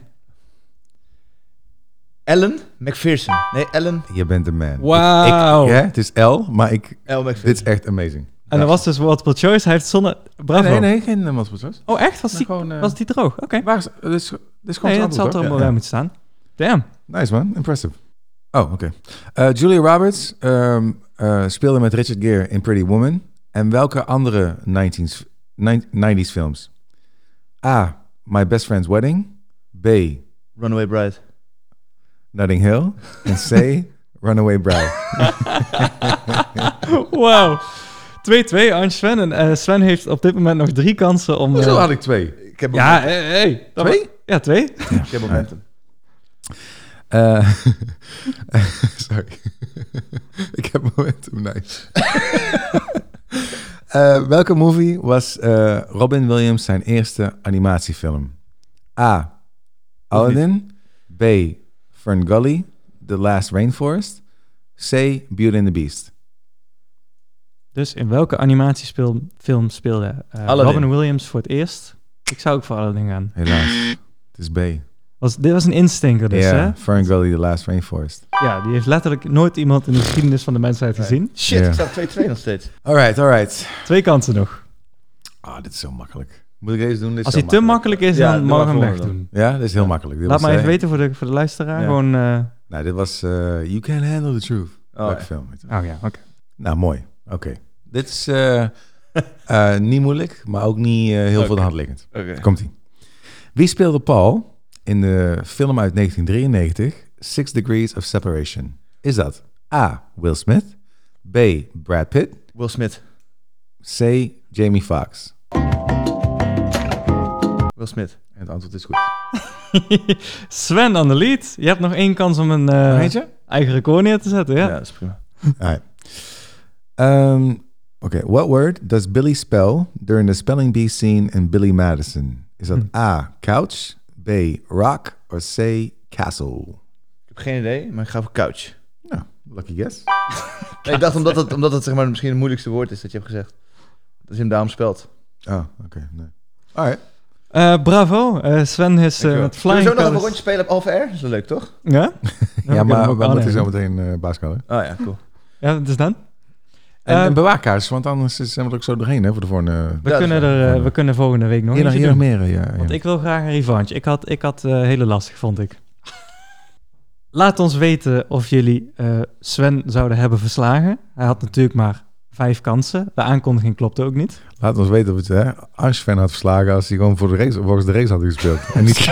S1: Ellen McPherson. Nee, Ellen
S3: Je bent de man.
S2: Wauw.
S3: Ik- ja, het is L, maar ik...
S1: L.
S3: Dit is
S1: McPherson.
S3: echt amazing.
S2: En er was dus multiple choice. Hij heeft zonder... Bravo.
S3: Nee, nee, geen uh, multiple choice.
S2: Oh echt? Was,
S3: Maar
S2: die,
S3: gewoon, eh,
S2: was die droog? Oké.
S3: Waar is... Dit is, dit is gewoon
S2: Nee, dat
S3: het
S2: zal
S3: antwoord,
S2: er
S3: hoor.
S2: wel
S3: Ja,
S2: bij moeten staan. Damn.
S3: ja. Nice man, impressive. Oh, oké. Eh, Julia Roberts ehm, eh, speelde met Richard Gere in Pretty Woman. En welke andere 19s, 90s films? A. My Best Friend's Wedding. B.
S1: Runaway Bride.
S3: Notting Hill en [LAUGHS] C. Runaway Bride.
S2: Wow. 2-2 aan Sven. En eh, Sven heeft op dit moment nog drie kansen om...
S3: Hoezo
S2: eh,
S3: had ik twee?
S1: Ik heb
S2: ja, hey, hey. Dat
S3: Twee?
S2: was- Ja, twee.
S1: Ik heb momentum.
S3: Eh, [LAUGHS] sorry. [LAUGHS] ik heb momentum, nice. [LAUGHS] Eh, welke movie was eh, Robin Williams zijn eerste animatiefilm? A. Aladdin. B. Fern Gully. The Last Rainforest. C. Beauty and the Beast.
S2: Dus in welke animatiefilm film speelde eh,
S1: Aladdin.
S2: Robin Williams voor het eerst? Ik zou ook voor Aladdin gaan.
S3: Helaas. Het is B. Ja,
S2: Was, dit was een instinker dus, hè?
S3: Fern Gully, The Last Rainforest.
S2: Ja, die heeft letterlijk nooit iemand in de geschiedenis van de mensheid gezien.
S1: Shit,
S3: Ja.
S1: ik sta 2-2 nog steeds.
S3: All right, all right.
S2: Twee kansen nog.
S3: Ah, dit is zo makkelijk. Moet ik deze doen? Dit is
S2: Als
S3: zo
S2: hij te makkelijk is,
S1: Ja,
S2: dan
S1: doe
S2: mag
S1: maar
S2: hem
S1: volgende
S2: wegdoen.
S3: Ja, dit is heel makkelijk. Dit
S2: Laat
S3: was,
S2: maar even
S3: eh,
S2: weten voor de, voor de luisteraar.
S1: Ja.
S2: Gewoon... eh,
S3: Nou, dit was eh, You Can Handle the Truth. Welke
S1: ja.
S3: film? weet je wel.
S2: Oh ja, oké.
S3: Nou, mooi. Oké. Dit is [LAUGHS] eh, eh, niet moeilijk, maar ook niet eh, heel veel voor de hand liggend.
S1: Oké.
S3: Komt-ie. Wie speelde Paul in de film uit 1993, Six Degrees of Separation? Is dat A. Will Smith, B. Brad Pitt,
S1: Will Smith.
S3: C. Jamie Foxx?
S1: Will Smith.
S3: En het antwoord is goed.
S2: [LAUGHS] Sven aan de lead. Je hebt nog één kans om een
S3: Nog
S2: eh,
S3: eentje?
S2: eigen record neer te zetten, ja?
S1: Ja, dat is prima.
S3: Alright. Um, okay, what word does Billy spell during the spelling bee scene in Billy Madison? Is dat A, couch, B, rock, or C, castle?
S1: Ik heb geen idee, maar ik ga voor couch.
S3: Nou, lucky guess.
S1: Nee, ik dacht omdat het, omdat het zeg maar, misschien het moeilijkste woord is dat je hebt gezegd. Dat je hem daarom spelt.
S3: Oh, okay. No. All right.
S2: Eh, bravo. Eh, Sven is eh, met
S1: Zullen we
S2: flying
S1: zo nog even een
S2: colours-
S1: rondje spelen op Alpha Air? Dat is wel leuk, toch? [LAUGHS]
S2: Ja?
S3: Ja,
S2: we kunnen hem
S3: maar
S2: ook
S3: nou, we moeten zo
S2: aannemen.
S3: meteen eh baaskalen.
S1: Oh ja, cool.
S2: Ja, dus dan?
S3: En,
S2: Eh,
S3: en bewaar kaars, want anders is- zijn we er ook zo doorheen hè, voor de volgende...
S2: We,
S1: Ja,
S2: kunnen,
S1: dat is
S2: er, eh, we kunnen volgende week nog
S3: Hier nog,
S2: eentje
S3: hier nog
S2: doen.
S3: meer, eh, ja.
S2: Want
S3: ja.
S2: ik wil graag een revanche. Ik had, ik had eh, hele lastig, vond ik. [LAUGHS] Laat ons weten of jullie eh, Sven zouden hebben verslagen. Hij had natuurlijk maar vijf kansen. De aankondiging klopte ook niet.
S3: Laat ons weten of het hè, Arsven had verslagen als hij gewoon voor de race, volgens de race had gespeeld. [LAUGHS] en niet,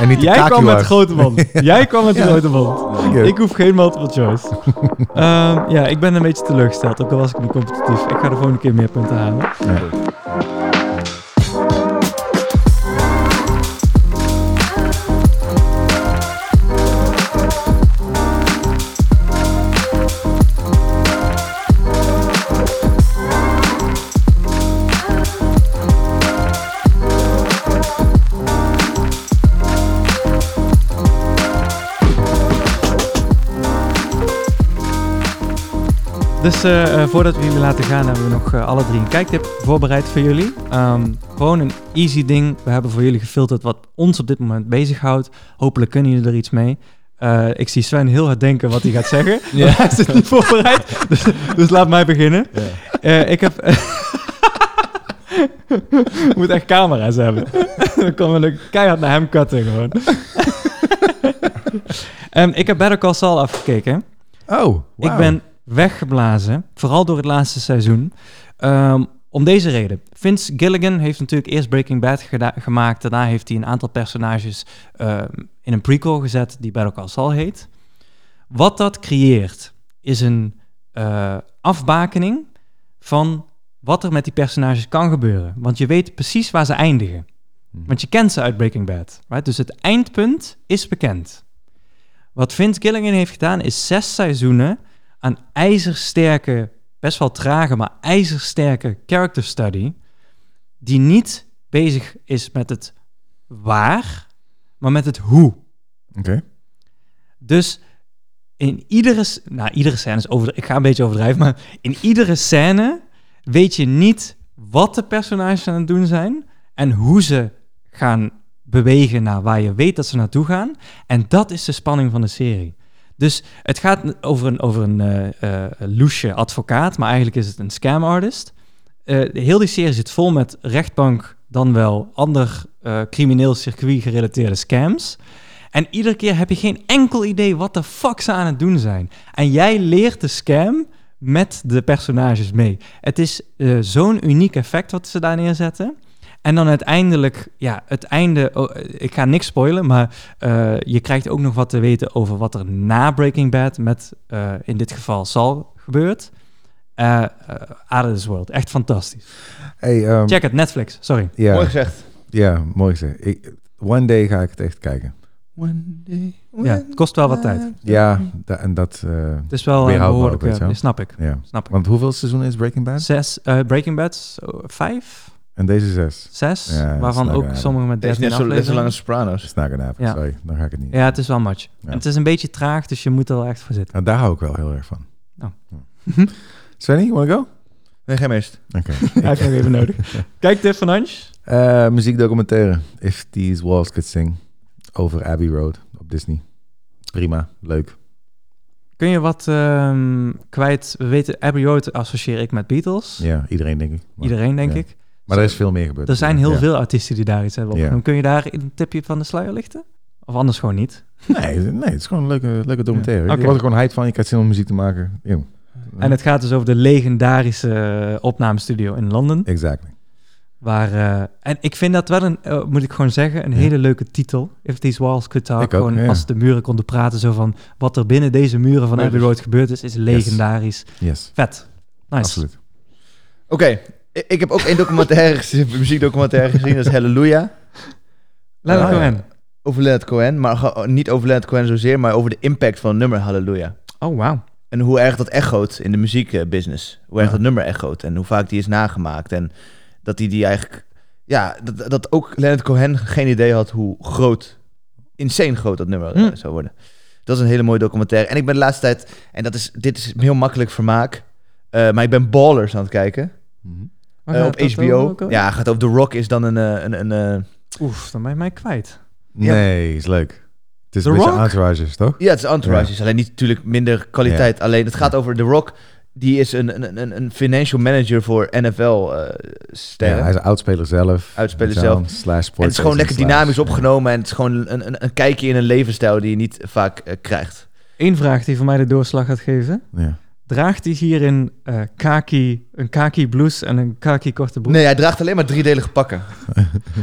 S3: en niet de
S2: Jij kwam
S3: Kakiwa's.
S2: met grote mond. Jij kwam met de
S3: [LAUGHS] Ja.
S2: grote mond.
S3: Oké.
S2: Ik hoef geen multiple
S3: [LAUGHS]
S2: choice. Ehm, ja, ik ben een beetje teleurgesteld. Ook al was ik niet competitief. Ik ga de volgende keer meer punten halen. Dus eh, eh, voordat we jullie laten gaan, hebben we nog eh, alle drie een kijktip voorbereid voor jullie. Ehm, gewoon een easy ding. We hebben voor jullie gefilterd wat ons op dit moment bezighoudt. Hopelijk kunnen jullie er iets mee. Eh, ik zie Sven heel hard denken wat hij gaat [LAUGHS] zeggen. Maar Hij is het niet [LAUGHS] voorbereid. Dus, dus laat mij beginnen. Eh, ik heb. [LAUGHS] Ik moet echt camera's hebben. [LAUGHS] Dan komen we keihard naar hem cutten [LAUGHS] gewoon. Ehm, ik heb Better Call Saul afgekeken.
S3: Oh,
S2: Ik ben weggeblazen. Vooral door het laatste seizoen. Ehm, om deze reden. Vince Gilligan heeft natuurlijk eerst Breaking Bad geda- gemaakt. Daarna heeft hij een aantal personages ehm, in een prequel gezet die Better Call Saul heet. Wat dat creëert is een eh, afbakening van wat er met die personages kan gebeuren. Want je weet precies waar ze eindigen. Want je kent ze uit Breaking Bad. Right? Dus het eindpunt is bekend. Wat Vince Gilligan heeft gedaan is zes seizoenen aan ijzersterke, best wel trage, maar ijzersterke character study. Die niet bezig is met het waar, maar met het hoe.
S3: Oké.
S2: Dus in iedere, s- nou iedere scène is over, ik ga een beetje overdrijven, maar in iedere scène weet je niet wat de personages aan het doen zijn en hoe ze gaan bewegen naar waar je weet dat ze naartoe gaan. En dat is de spanning van de serie. Dus het gaat over een, over een eh, eh, loesje advocaat, maar eigenlijk is het een scam artist. Eh, heel die serie zit vol met rechtbank, dan wel ander eh, crimineel circuit gerelateerde scams. En iedere keer heb je geen enkel idee wat de fuck ze aan het doen zijn. En jij leert de scam met de personages mee. Het is eh, zo'n uniek effect wat ze daar neerzetten. En dan uiteindelijk, ja, het einde. oh, eh, ik ga niks spoilen, maar eh, je krijgt ook nog wat te weten over wat er na Breaking Bad met eh, in dit geval Sal gebeurt. Eh eh, Out of this world. Echt fantastisch.
S3: Hey, ehm,
S2: Check het, Netflix. Sorry.
S3: Ja,
S1: Mooi gezegd.
S3: ja, mooi gezegd. Ik, one day ga ik het echt kijken.
S2: Ja, het kost wel wat tijd.
S3: Ja, da- en dat... eh,
S2: Het is wel een
S3: Weerhoudbaar ook,
S2: behoorlijke.
S3: weet je wel.
S2: snap ik.
S3: ja.
S2: Snap ik.
S3: Want hoeveel seizoen is Breaking Bad?
S2: Zes, eh, Breaking Bad, zo, vijf,
S3: En deze zes.
S2: zes,
S3: Ja, dat
S2: waarvan
S3: snap
S2: ook
S3: ik eigenlijk.
S2: sommige met
S1: Dit is
S2: 13
S1: net zo, net zo lang
S2: afleveringen.
S1: als Sopranos.
S3: Snakken avond,
S2: Ja.
S3: sorry. Dan ga ik het niet.
S2: Ja, het is wel much.
S3: Ja.
S2: En het is een beetje traag, dus je moet er wel echt voor
S3: [LAUGHS]
S2: zitten.
S3: Nou, daar hou ik wel heel erg van.
S2: Nou.
S3: Ja. [LAUGHS] Svenny, you wanna go?
S1: Nee, geen meest.
S2: [LAUGHS]
S3: Oké.
S2: Hij heeft nog even nodig.
S3: [LAUGHS]
S2: Kijk dit van Ange.
S3: Eh, muziekdocumentaire. If These Walls Could Sing. Over Abbey Road op Disney. Prima. Leuk.
S2: Kun je wat ehm, kwijt? We weten, Abbey Road associeer ik met Beatles.
S3: Ja, iedereen denk ik. Maar,
S2: Iedereen, denk
S3: ja.
S2: ik.
S3: Maar er is veel meer gebeurd.
S2: Er zijn heel
S3: Ja.
S2: veel artiesten die daar iets hebben
S3: Ja.
S2: opgenomen. Kun je daar een tipje van de sluier lichten? Of anders gewoon niet.
S3: Nee, nee, het is gewoon een leuke, leuke documentaire.
S2: Ja. Oké.
S3: Je wordt er gewoon hype van. Je krijgt zin om muziek te maken. Eeuw.
S2: En het gaat dus over de legendarische eh, opnamestudio in Londen.
S3: Exactly.
S2: Waar, eh, en ik vind dat wel een, eh, moet ik gewoon zeggen, een hele leuke titel. If These Walls Could Talk.
S3: Ik ook,
S2: gewoon
S3: ja.
S2: als de muren konden praten, zo van wat er binnen deze muren van
S1: Ja,
S2: Abbey
S1: dus-
S2: Road gebeurd is, is legendarisch.
S3: Yes.
S2: Vet. Nice.
S3: Absoluut.
S1: Oké, i- ik heb ook één documentaire gezien, [LAUGHS] muziekdocumentaire gezien, dat is Hallelujah.
S2: Leonard
S1: Ah, ja.
S2: Cohen.
S1: Over Leonard Cohen, maar ge- niet over Leonard Cohen zozeer, maar over de impact van het nummer Hallelujah.
S2: Oh, wauw.
S1: En hoe erg dat echoot in de muziekbusiness. Hoe erg
S3: Ja.
S1: dat nummer echoot en hoe vaak die is nagemaakt. En dat hij die eigenlijk... Ja, dat, dat ook Leonard Cohen geen idee had hoe groot, insane groot dat nummer eh,
S2: Hm.
S1: zou worden. Dat is een hele mooie documentaire. En ik ben de laatste tijd, en dat is, dit is heel makkelijk vermaak, eh, maar ik ben Ballers aan het kijken.
S2: Waar
S1: eh,
S2: gaat
S1: op
S2: dat
S1: HBO.
S2: over?
S1: Ja, gaat over The Rock is dan een... eh, een, een, eh,
S2: Oef, dan ben je mij kwijt.
S1: Ja.
S3: Nee, is leuk. Het is
S2: The
S3: een beetje
S2: Rock?
S3: entourages, toch?
S1: Ja, het is entourage.
S3: Ja.
S1: is alleen niet natuurlijk minder kwaliteit. Alleen het gaat over The Rock. Die is een, een, een, een financial manager voor eh,
S3: Ja,
S1: NFL-sterren.
S3: hij is een oudspeler zelf.
S1: Oudspeler
S3: Weet je wel,
S1: zelf.
S3: Slash
S1: en het is gewoon lekker
S3: sportagent
S1: dynamisch
S3: slash-
S1: opgenomen. En het is gewoon een, een, een kijkje in een levensstijl die je niet vaak eh, krijgt.
S2: Eén vraag die voor mij de doorslag gaat geven.
S3: Ja.
S2: Draagt hij hierin eh, kaki, een kaki blouse en een kaki korte broek?
S1: Nee, hij draagt alleen maar driedelige pakken.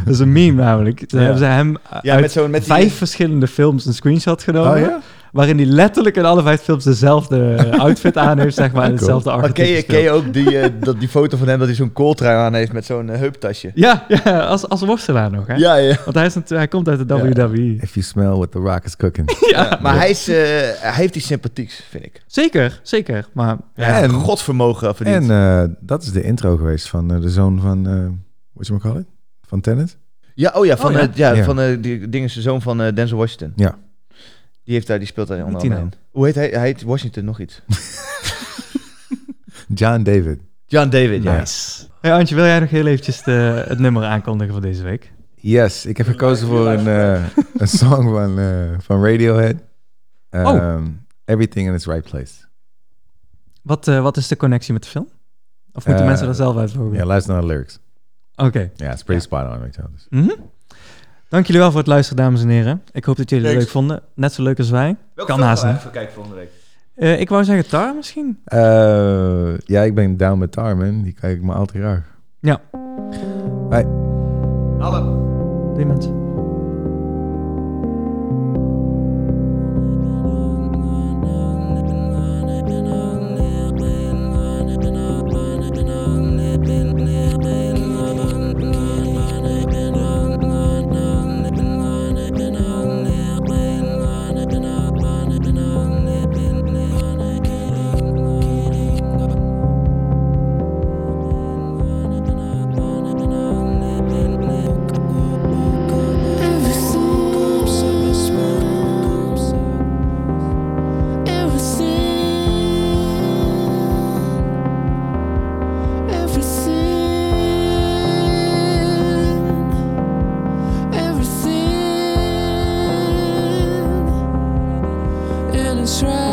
S2: Dat is een meme namelijk. Daar
S1: Ja.
S2: hebben ze hem
S1: Ja,
S2: uit
S1: met zo'n... Met die-
S2: vijf verschillende films een screenshot genomen.
S3: Oh ja?
S2: Waarin hij letterlijk in alle vijf films dezelfde [LAUGHS] eh, outfit aan heeft, zeg maar. En
S3: Cool.
S2: hetzelfde
S1: Maar ken je,
S2: archetype
S1: ken
S2: speelt.
S1: je ook die, eh, [LAUGHS] dat, die foto van hem dat hij zo'n kooltrui aan heeft met zo'n eh, heuptasje?
S2: Ja, ja als, als worstelaar nog, hè?
S1: Ja, ja.
S2: Want hij, is natu- hij komt uit de E.
S1: Ja.
S2: WWE.
S3: If you smell what the rock is cooking.
S1: [LAUGHS] Ja, Maar hij, is, eh, hij heeft iets sympathieks, vind ik.
S2: Zeker, zeker. Maar ja,
S1: En
S3: En-
S1: godvermogen verdiend.
S3: en eh, dat is de intro geweest van eh, de zoon van, eh whatchamacallit? Van Tenet?
S1: Ja, oh ja, van,
S2: Oh ja.
S1: eh, ja.
S3: Ja.
S1: van eh, die ding is de zoon van eh, Denzel Washington.
S3: Ja.
S1: Die heeft daar, die speelt daar onder
S2: Tino.
S1: andere in. Hoe heet hij? Hij heet Washington nog iets.
S3: John David.
S1: John David, ja.
S2: nice. Hey Antje, wil jij nog heel eventjes de, het nummer aankondigen van deze week?
S3: Yes, ik heb gekozen voor een, eh, een song van, eh, van Radiohead.
S2: Oh.
S3: Ehm, Everything in its right place.
S2: Wat, eh, wat is de connectie met de film? Of moeten
S3: Eh,
S2: mensen dat zelf uitvoeren?
S3: Ja, luister naar de lyrics.
S2: Oké.
S3: Ja, het is pretty spot on, weet je wel. Dus-
S2: Mhm. Dank jullie wel voor het luisteren, dames en heren. Ik hoop dat jullie het
S1: Thanks.
S2: leuk vonden. Net zo leuk als wij. Kan haast niet.
S1: Even kijken volgende week.
S2: Eh, ik wou zeggen tar misschien.
S3: Eh, ja, ik ben down met Tar, man. Die kijk ik me altijd graag.
S2: Ja,
S1: Hallo.
S2: die mensen.
S10: Everything, everything, and it's right.